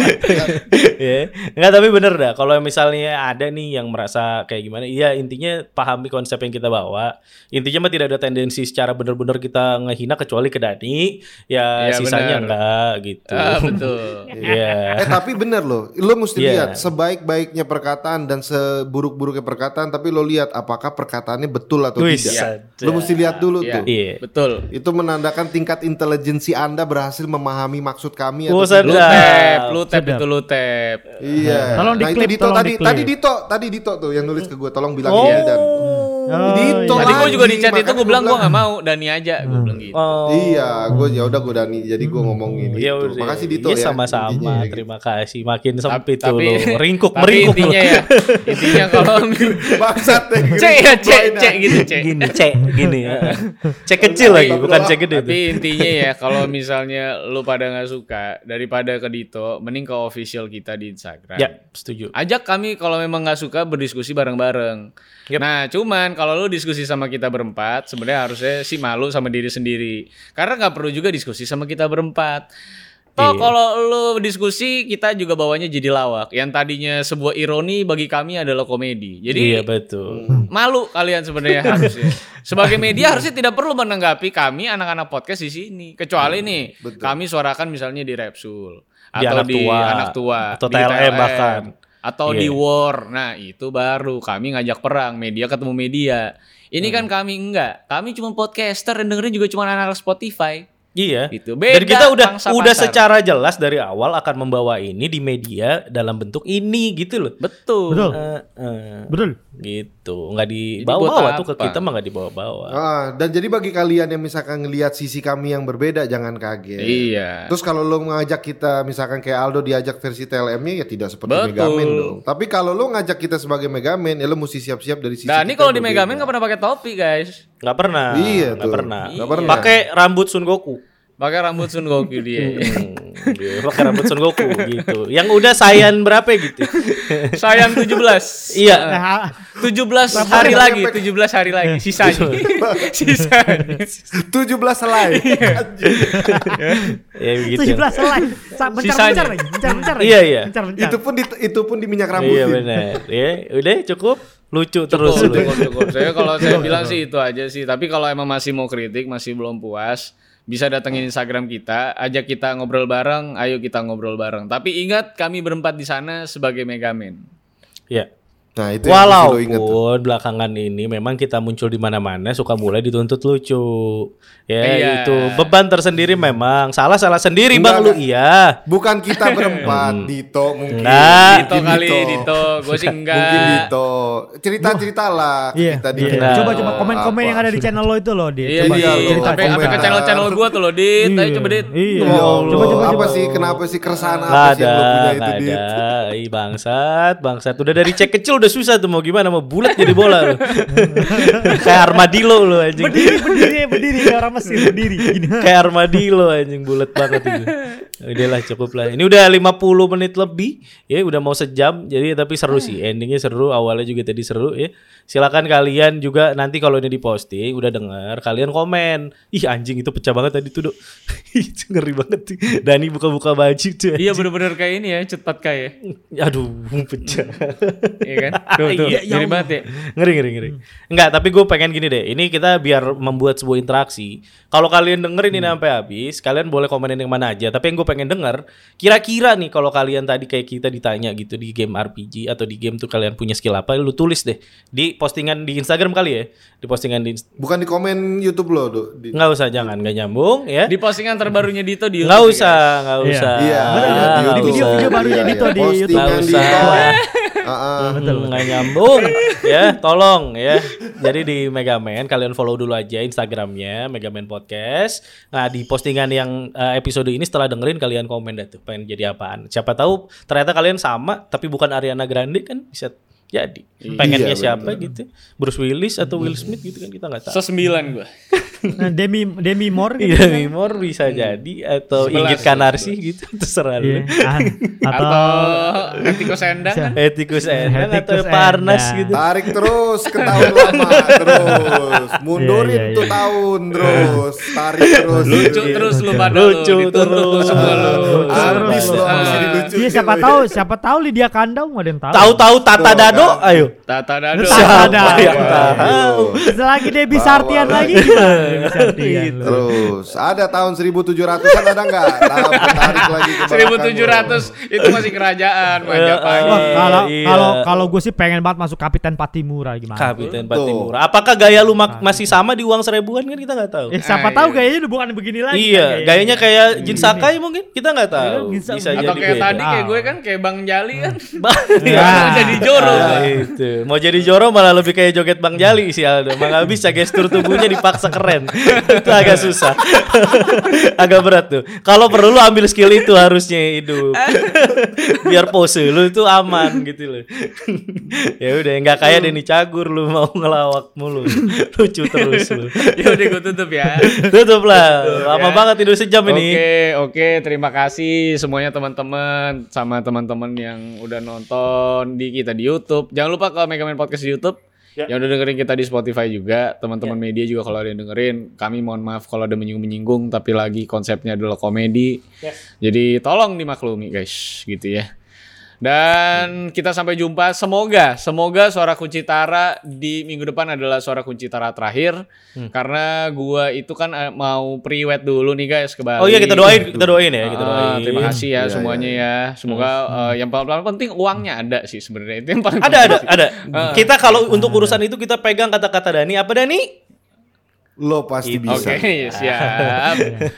Speaker 2: ya. Enggak tapi bener dah kalau misalnya ada nih yang merasa kayak gimana, iya intinya pahami konsep yang kita bawa. Intinya mah tidak ada tendensi secara bener-bener kita ngehina kecuali ke Dani, ya,
Speaker 1: Iya,
Speaker 2: sisanya
Speaker 1: bener.
Speaker 2: enggak gitu.
Speaker 1: Ah, betul.
Speaker 2: Iya.
Speaker 4: Eh tapi bener loh, lo mesti
Speaker 2: Iya.
Speaker 4: lihat sebaik-baiknya perkataan dan seburuk-buruknya perkataan, tapi lo lihat apakah perkataannya betul atau
Speaker 2: Wis,
Speaker 4: tidak.
Speaker 2: ada.
Speaker 4: Lo mesti lihat dulu
Speaker 1: Iya.
Speaker 4: tuh.
Speaker 2: Iya.
Speaker 1: Betul.
Speaker 4: Itu menandakan tingkat intelijensi Anda berhasil memahami maksud kami
Speaker 2: Oh,
Speaker 4: atau
Speaker 1: Lu
Speaker 2: Sedap.
Speaker 1: tap, lu tap
Speaker 3: Sedap.
Speaker 1: itu lu tap.
Speaker 4: Iya.
Speaker 3: Tolong
Speaker 4: nah itu
Speaker 3: diklip,
Speaker 4: Dito
Speaker 3: tolong
Speaker 4: tadi
Speaker 3: diklip.
Speaker 4: tadi Dito tadi Dito tuh yang nulis ke gue tolong bilang
Speaker 2: Oh.
Speaker 4: iya dan
Speaker 5: iya.
Speaker 3: Oh,
Speaker 4: Dito
Speaker 1: Tadi
Speaker 4: lagi,
Speaker 1: gue juga di chat itu
Speaker 4: makanya
Speaker 1: gue bilang gue
Speaker 4: gua
Speaker 1: gak mau Dani aja gue bilang gitu.
Speaker 2: Hmm. Oh.
Speaker 4: Iya, gue ya udah gue Dani jadi gue ngomongin
Speaker 2: Ya
Speaker 4: itu.
Speaker 2: udah.
Speaker 4: Makasih Dito
Speaker 2: Iya,
Speaker 4: ya. intinya
Speaker 2: sama-sama.
Speaker 4: ya.
Speaker 2: Terima kasih. Makin sempit
Speaker 1: gitu.
Speaker 2: tuh
Speaker 1: Tapi
Speaker 2: lu. Ringkuk,
Speaker 1: tapi
Speaker 2: meringkuk lu.
Speaker 1: intinya ya. Intinya kalau
Speaker 4: Bangsat deh.
Speaker 1: C ya C C gitu C.
Speaker 2: Gini, cek gini. ya. Cek kecil lagi, bukan cek gede
Speaker 1: Tapi
Speaker 2: tuh.
Speaker 1: intinya ya kalau misalnya lu pada nggak suka daripada ke Dito mending ke official kita di Instagram.
Speaker 2: Ya, setuju.
Speaker 1: Ajak kami kalau memang nggak suka berdiskusi bareng-bareng.
Speaker 2: Yep.
Speaker 1: Nah, cuman kalau lu diskusi sama kita berempat, sebenarnya harusnya sih malu sama diri sendiri. Karena nggak perlu juga diskusi sama kita berempat. Oh,
Speaker 2: Iya.
Speaker 1: kalau lu diskusi kita juga bawanya jadi lawak. Yang tadinya sebuah ironi bagi kami adalah komedi. Jadi hmm,
Speaker 2: Iya betul.
Speaker 1: malu kalian sebenarnya harusnya. Sebagai media harusnya tidak perlu menanggapi kami anak-anak podcast di sini. Kecuali nih kami suarakan misalnya di Repsul
Speaker 2: Di
Speaker 1: atau
Speaker 2: anak
Speaker 1: di
Speaker 2: tua.
Speaker 1: anak tua,
Speaker 2: Atau
Speaker 1: di
Speaker 2: TLM bahkan.
Speaker 1: atau
Speaker 2: Iya.
Speaker 1: di war. Nah, itu baru kami ngajak perang, media ketemu media. Ini kan
Speaker 2: Hmm.
Speaker 1: kami enggak. Kami cuma podcaster dan dengerin juga cuma anak-anak Spotify.
Speaker 2: Iya.
Speaker 1: Gitu.
Speaker 2: Dan
Speaker 1: Beda
Speaker 2: kita udah
Speaker 1: pangsa
Speaker 2: udah
Speaker 1: pasar.
Speaker 2: secara jelas dari awal akan membawa ini di media dalam bentuk ini gitu loh.
Speaker 1: Betul.
Speaker 3: Betul.
Speaker 2: Eh, eh,
Speaker 3: Betul.
Speaker 2: gitu. Nggak
Speaker 1: Jadi
Speaker 2: dibawa-bawa
Speaker 1: buat
Speaker 2: tuh ke
Speaker 1: apa?
Speaker 2: kita mah nggak dibawa-bawa.
Speaker 5: Ah, dan jadi bagi kalian yang misalkan ngelihat sisi kami yang berbeda jangan kaget.
Speaker 1: Iya.
Speaker 5: Terus kalau lo ngajak kita misalkan kayak Aldo diajak versi TLM-nya ya tidak seperti
Speaker 1: Betul.
Speaker 5: Megaman dong. Tapi kalau lo ngajak kita sebagai Megaman ya lo mesti siap-siap dari sisi
Speaker 1: Dan Nah, ini kalau di Megamen
Speaker 5: Megaman
Speaker 1: nggak pernah pakai topi, guys.
Speaker 2: Nggak pernah.
Speaker 5: Iya
Speaker 2: nggak
Speaker 5: tuh.
Speaker 2: pernah.
Speaker 5: Nggak pernah.
Speaker 2: Pakai rambut Sun Goku.
Speaker 1: Pakai rambut Sun Goku dia.
Speaker 2: Hmm, iya, pakai rambut Son Goku gitu. Yang udah sayan berapa gitu.
Speaker 1: Sayang 17.
Speaker 2: iya.
Speaker 3: Nah,
Speaker 1: 17 hari lagi, 17 hari lagi sisanya. sisanya.
Speaker 5: 17 selai.
Speaker 1: Iya.
Speaker 2: Ya gitu.
Speaker 3: tujuh belas selai. Sa- Mencar,
Speaker 1: Sisanya.
Speaker 3: mencar, lagi, mencar, mencar. lagi.
Speaker 2: Iya, iya.
Speaker 3: Mencar, mencar.
Speaker 5: itu pun di, itu pun di minyak
Speaker 2: Iya
Speaker 5: rambutin.
Speaker 2: benar. Ya, udah cukup lucu terus
Speaker 1: Cukup,
Speaker 2: lu.
Speaker 1: cukup, cukup. Saya kalau saya bilang sih itu aja sih. Tapi kalau emang masih mau kritik, masih belum puas, bisa datengin Instagram kita, ajak kita ngobrol bareng, ayo kita ngobrol bareng. Tapi ingat kami berempat di sana sebagai Megamen.
Speaker 2: Iya.
Speaker 5: Nah, itu yang mesti lo ingat.
Speaker 2: Walaupun belakangan ini memang kita muncul di mana-mana suka mulai dituntut lucu. Ya
Speaker 1: Iya.
Speaker 2: itu beban tersendiri memang. Salah-salah sendiri
Speaker 5: Enggak,
Speaker 2: Bang lu.
Speaker 5: enggak.
Speaker 2: Iya.
Speaker 5: Bukan kita berempat, Dito mungkin.
Speaker 2: Enggak.
Speaker 1: Nah, Dito
Speaker 5: Mungkin
Speaker 1: kali, Dito. Gue sih
Speaker 5: Mungkin
Speaker 1: enggak.
Speaker 5: Dito. Cerita-cerita lah
Speaker 3: Iya.
Speaker 5: kita di.
Speaker 2: Iya.
Speaker 3: Coba coba komen-komen yang ada di channel lo itu lo, Dit.
Speaker 1: Iya,
Speaker 3: Coba
Speaker 1: Dit.
Speaker 5: iya, loh.
Speaker 1: Sampai sampai ke
Speaker 5: Komentar.
Speaker 1: channel-channel gue tuh loh, Dit. Ayo
Speaker 3: Iya.
Speaker 1: coba, Dit.
Speaker 3: Iya.
Speaker 5: Ya Allah,
Speaker 3: Coba coba
Speaker 5: apa
Speaker 3: coba.
Speaker 5: sih kenapa sih keresahan apa
Speaker 2: Nggak
Speaker 5: sih yang lo punya
Speaker 2: ada,
Speaker 5: itu
Speaker 2: nggak
Speaker 5: Dit?
Speaker 2: ada. Ih, bangsat, bangsat. Udah dari cek kecil udah susah tuh mau gimana, mau bulat jadi bola lu. Kayak armadillo lu anjing.
Speaker 3: Berdiri, Iya, berdiri, berdiri kayak orang Mesir berdiri. Gini.
Speaker 2: Kayak armadillo anjing bulat banget itu. Udah lah cukup lah. Ini udah 50 menit lebih. Ya udah mau sejam. Jadi tapi seru sih. Endingnya seru, awalnya juga tadi seru ya. Silakan kalian juga nanti kalau ini diposting udah denger, kalian komen. Ih anjing itu pecah banget tadi tuh, Dok. itu ngeri banget. tuh. Dani buka-buka baju tuh.
Speaker 1: Iya bener-bener kayak ini ya, cepat kayak.
Speaker 2: Aduh, pecah.
Speaker 1: Iya kan? Tuh, tuh.
Speaker 2: Iya, ya
Speaker 1: Jadi
Speaker 2: Allah.
Speaker 1: banget ya.
Speaker 2: ngeri ngeri ngeri.
Speaker 3: Hmm.
Speaker 2: Enggak, tapi gue pengen gini deh. Ini kita biar membuat sebuah interaksi. Kalau kalian dengerin
Speaker 3: Hmm.
Speaker 2: ini sampai habis, kalian boleh komenin yang mana aja. Tapi yang gue pengen denger, kira-kira nih kalau kalian tadi kayak kita ditanya gitu di game RPG atau di game tuh kalian punya skill apa, lu tulis deh di postingan di Instagram kali ya. Di postingan di Inst-
Speaker 5: Bukan di komen YouTube lo, Dut. Di-
Speaker 2: nggak usah jangan nggak nyambung ya.
Speaker 1: Di postingan terbarunya Dito di
Speaker 2: Nggak
Speaker 1: YouTube, ya.
Speaker 2: usah, nggak
Speaker 3: Iya.
Speaker 2: usah.
Speaker 5: Iya,
Speaker 3: benar.
Speaker 2: nggak
Speaker 3: Di
Speaker 2: usah.
Speaker 3: video-video barunya Dito di YouTube.
Speaker 5: Postingan
Speaker 2: Nggak
Speaker 5: Dito.
Speaker 2: usah.
Speaker 5: Heeh.
Speaker 2: Hmm, nggak nyambung ya tolong ya jadi di Megaman kalian follow dulu aja Instagramnya Megaman Podcast nah di postingan yang eh, episode ini setelah dengerin kalian komen dah tuh pengen jadi apaan siapa tahu ternyata kalian sama tapi bukan Ariana Grande kan bisa jadi
Speaker 3: Hmm.
Speaker 2: pengennya
Speaker 5: Iya,
Speaker 2: siapa gitu Bruce Willis atau Will Smith gitu kan kita nggak tahu
Speaker 1: Sesembilan gue.
Speaker 3: Nah, Demi Demi Moore gitu.
Speaker 2: Iya, Mimor bisa jadi atau
Speaker 1: Sebelas,
Speaker 2: Inggit Kanarsi gitu terserah lu.
Speaker 3: Iya. Ah, Atau
Speaker 1: Atau Etiko Sendang kan?
Speaker 2: Etikus Endang atau
Speaker 3: Etikus
Speaker 2: Parnas
Speaker 3: Endang.
Speaker 2: gitu.
Speaker 5: Tarik terus ke tahun lama terus. Mundurin
Speaker 3: Iya, iya,
Speaker 5: tuh
Speaker 3: iya.
Speaker 5: tahun terus. Tarik terus.
Speaker 1: Lucu
Speaker 4: Iya,
Speaker 5: Gitu.
Speaker 1: terus lu pada lu.
Speaker 2: Lucu
Speaker 1: dituntut lu
Speaker 2: terus.
Speaker 1: semua lu.
Speaker 2: Lucu
Speaker 5: Habis
Speaker 2: terus.
Speaker 5: lo
Speaker 1: Ah.
Speaker 5: masih dilucutin
Speaker 3: Iya siapa
Speaker 5: lo ya.
Speaker 3: tahu siapa tahu Lydia Kandau nggak ada yang tahu.
Speaker 2: Tahu-tahu
Speaker 5: Tuh,
Speaker 2: Tata Dado,
Speaker 5: kan.
Speaker 2: ayo.
Speaker 1: Tata Dado.
Speaker 3: Siapa? Ada.
Speaker 2: Siapa yang
Speaker 5: Wah,
Speaker 2: tahu?
Speaker 5: ayo.
Speaker 3: Selagi Debbie Sartian
Speaker 5: Bawa
Speaker 3: lagi gimana Debbie Sartian lu?
Speaker 5: Terus ada tahun 1700-an ada enggak? Tarik lagi ke belakang lo.
Speaker 1: 1700 itu masih kerajaan Majapahit.
Speaker 3: Wah, kalau
Speaker 2: Iya.
Speaker 3: kalau kalau gue sih pengen banget masuk Kapten Patimura gimana?
Speaker 2: Kapten Patimura. Ah, Apakah gaya lu mak- masih sama di uang seribuan kan kita nggak tahu.
Speaker 3: Eh,
Speaker 1: Ah,
Speaker 3: siapa tahu
Speaker 1: iya.
Speaker 3: gayanya udah bukan begini lagi. kan,
Speaker 2: Iya, gayanya kayak Jin Sakai mungkin kita nggak tahu.
Speaker 3: Iya, bisa-
Speaker 2: Bisa
Speaker 3: Atau
Speaker 2: jadi
Speaker 1: Atau kayak
Speaker 2: beda.
Speaker 1: tadi kayak gue kan kayak Bang Jali kan.
Speaker 2: Nah,
Speaker 1: Gua jadi joro
Speaker 2: nah,
Speaker 1: gua.
Speaker 2: itu. Mau jadi Joro malah lebih kayak joget Bang Jali si Aldo. Emang nggak bisa gestur tubuhnya dipaksa keren. itu agak susah. agak berat tuh. Kalau perlu lu ambil skill itu harusnya hidup. Biar pose lu itu aman gitu loh. ya udah nggak
Speaker 1: Hmm.
Speaker 2: kayak Denny Cagur lu mau ngelawak mulu. Lucu terus lu.
Speaker 1: Ya udah gue tutup ya.
Speaker 2: Tutup lah. Lama banget tidur sejam
Speaker 1: Oke,
Speaker 2: ini.
Speaker 1: oke, terima kasih semuanya teman-teman sama teman-teman yang udah nonton di kita di YouTube. Jangan lupa kalau Megaman Podcast di YouTube
Speaker 2: Ya.
Speaker 1: Yang udah dengerin kita di Spotify juga, teman-teman media juga kalau ada yang dengerin, kami mohon maaf kalau ada menyinggung-menyinggung tapi lagi konsepnya adalah komedi. Jadi tolong dimaklumi guys, gitu ya. Dan kita sampai jumpa. Semoga, semoga suara kunci Tara di minggu depan adalah suara kunci Tara terakhir.
Speaker 2: Hmm.
Speaker 1: Karena gua itu kan eh, mau priwet dulu nih guys ke Bali.
Speaker 2: Oh iya kita doain, kita doain ya, kita
Speaker 1: Ah,
Speaker 2: doain.
Speaker 1: terima kasih ya
Speaker 5: Iya,
Speaker 1: semuanya ya. Semoga eh, yang paling, paling penting uangnya ada sih sebenarnya. Itu yang paling
Speaker 2: Ada ada
Speaker 1: penting.
Speaker 2: ada.
Speaker 1: Ah.
Speaker 2: Kita kalau untuk urusan itu kita pegang kata-kata Dani. Apa Dani?
Speaker 5: Lo pasti bisa.
Speaker 1: Oke, siap.
Speaker 2: Iya.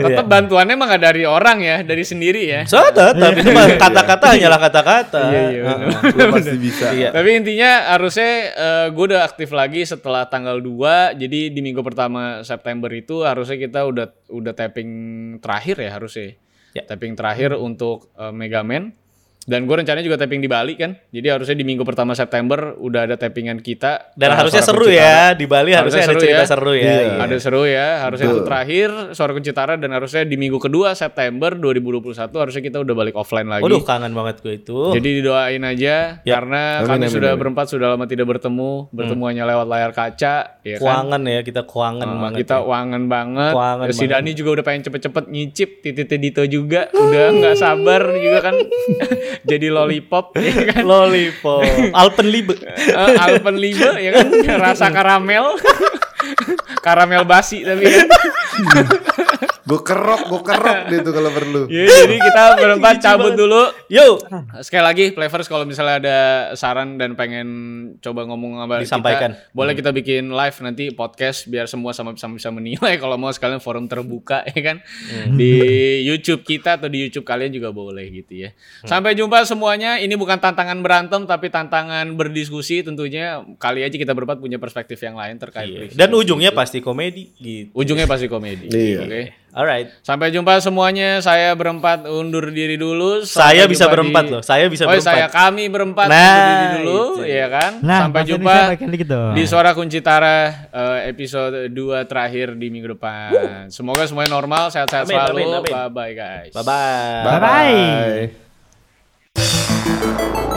Speaker 1: Tetap bantuannya emang nggak dari orang ya, dari sendiri ya.
Speaker 2: So, eh, tetap itu mah kata-kata hanyalah kata-kata.
Speaker 1: Iya, iya, benar.
Speaker 5: Heeh, Lo pasti bisa.
Speaker 2: Iya.
Speaker 1: Tapi intinya harusnya gue udah aktif lagi setelah tanggal 2. Jadi di minggu pertama September itu harusnya kita udah udah tapping terakhir ya harusnya.
Speaker 2: Ya.
Speaker 1: Tapping terakhir untuk eh, Mega Man. Dan gue rencananya juga tapping di Bali kan. Jadi harusnya di minggu pertama September udah ada tappingan kita.
Speaker 2: Dan
Speaker 1: eh,
Speaker 2: harusnya
Speaker 1: Suara
Speaker 2: seru
Speaker 1: Kunci
Speaker 2: ya di Bali
Speaker 1: Harusnya
Speaker 2: harusnya, ada
Speaker 1: seru
Speaker 2: cerita
Speaker 1: ya.
Speaker 2: seru ya.
Speaker 5: Iya.
Speaker 1: Tara. Ada seru ya, harusnya itu
Speaker 5: Betul.
Speaker 1: terakhir Suara Kunci Tara dan harusnya di minggu kedua September 2021 harusnya kita udah balik offline lagi.
Speaker 2: Waduh kangen banget gue itu.
Speaker 1: Jadi didoain aja
Speaker 2: Ya.
Speaker 1: karena
Speaker 5: Amin,
Speaker 1: kami
Speaker 5: amin,
Speaker 1: sudah
Speaker 5: amin.
Speaker 1: berempat sudah lama tidak bertemu,
Speaker 2: Hmm.
Speaker 1: bertemu hanya lewat layar kaca, ya kan?
Speaker 2: keuangan ya kita keuangan
Speaker 1: Uh,
Speaker 2: banget.
Speaker 1: kita
Speaker 2: ya.
Speaker 1: wangen banget. Ya,
Speaker 2: Wangen
Speaker 1: si
Speaker 2: banget.
Speaker 1: Dani juga udah pengen cepet-cepet nyicip, titit Dito juga udah nggak sabar juga kan. Jadi lollipop ya kan.
Speaker 2: Lollipop, Alpenlibe.
Speaker 1: Eh, Alpenlibe ya kan rasa karamel. karamel basi tapi kan.
Speaker 5: Gue kerok, gue kerok dia tuh kalau perlu.
Speaker 3: Iya.
Speaker 1: Ya, jadi kita berempat cabut dulu.
Speaker 2: Yo,
Speaker 1: Eh, Sekali lagi, Playverse kalau misalnya ada saran dan pengen coba ngomong sama
Speaker 2: Disampaikan. Hmm.
Speaker 1: kita, boleh kita bikin live nanti podcast biar semua sama bisa bisa menilai. Kalau mau sekalian forum terbuka ya kan
Speaker 2: Hmm.
Speaker 1: di YouTube kita atau di YouTube kalian juga boleh gitu ya.
Speaker 2: Hmm.
Speaker 1: Sampai jumpa semuanya. Ini bukan tantangan berantem tapi tantangan berdiskusi. Tentunya kali aja kita berempat punya perspektif yang lain terkait.
Speaker 2: Iya.
Speaker 1: peristiwa
Speaker 2: dan ujungnya
Speaker 1: gitu.
Speaker 2: pasti komedi gitu.
Speaker 1: ujungnya pasti komedi.
Speaker 5: Iya.
Speaker 1: Oke.
Speaker 2: Alright.
Speaker 1: Sampai jumpa semuanya. Saya berempat undur diri dulu. Sampai
Speaker 2: Saya bisa
Speaker 1: jumpa
Speaker 2: berempat
Speaker 1: di-
Speaker 2: loh. Saya bisa
Speaker 1: oh,
Speaker 2: berempat.
Speaker 1: saya kami berempat
Speaker 2: Nah,
Speaker 1: undur diri dulu,
Speaker 2: itu.
Speaker 1: ya kan?
Speaker 3: Nah,
Speaker 1: Sampai
Speaker 3: Mas
Speaker 1: jumpa
Speaker 3: Indonesia bagian dikit dong.
Speaker 1: di Suara Kunci Tara eh, episode 2 terakhir di minggu depan. Semoga semuanya normal, sehat-sehat
Speaker 2: Amin,
Speaker 1: selalu.
Speaker 2: amin, amin.
Speaker 1: Bye bye guys.
Speaker 2: Bye bye.
Speaker 3: Bye-bye.
Speaker 5: Bye.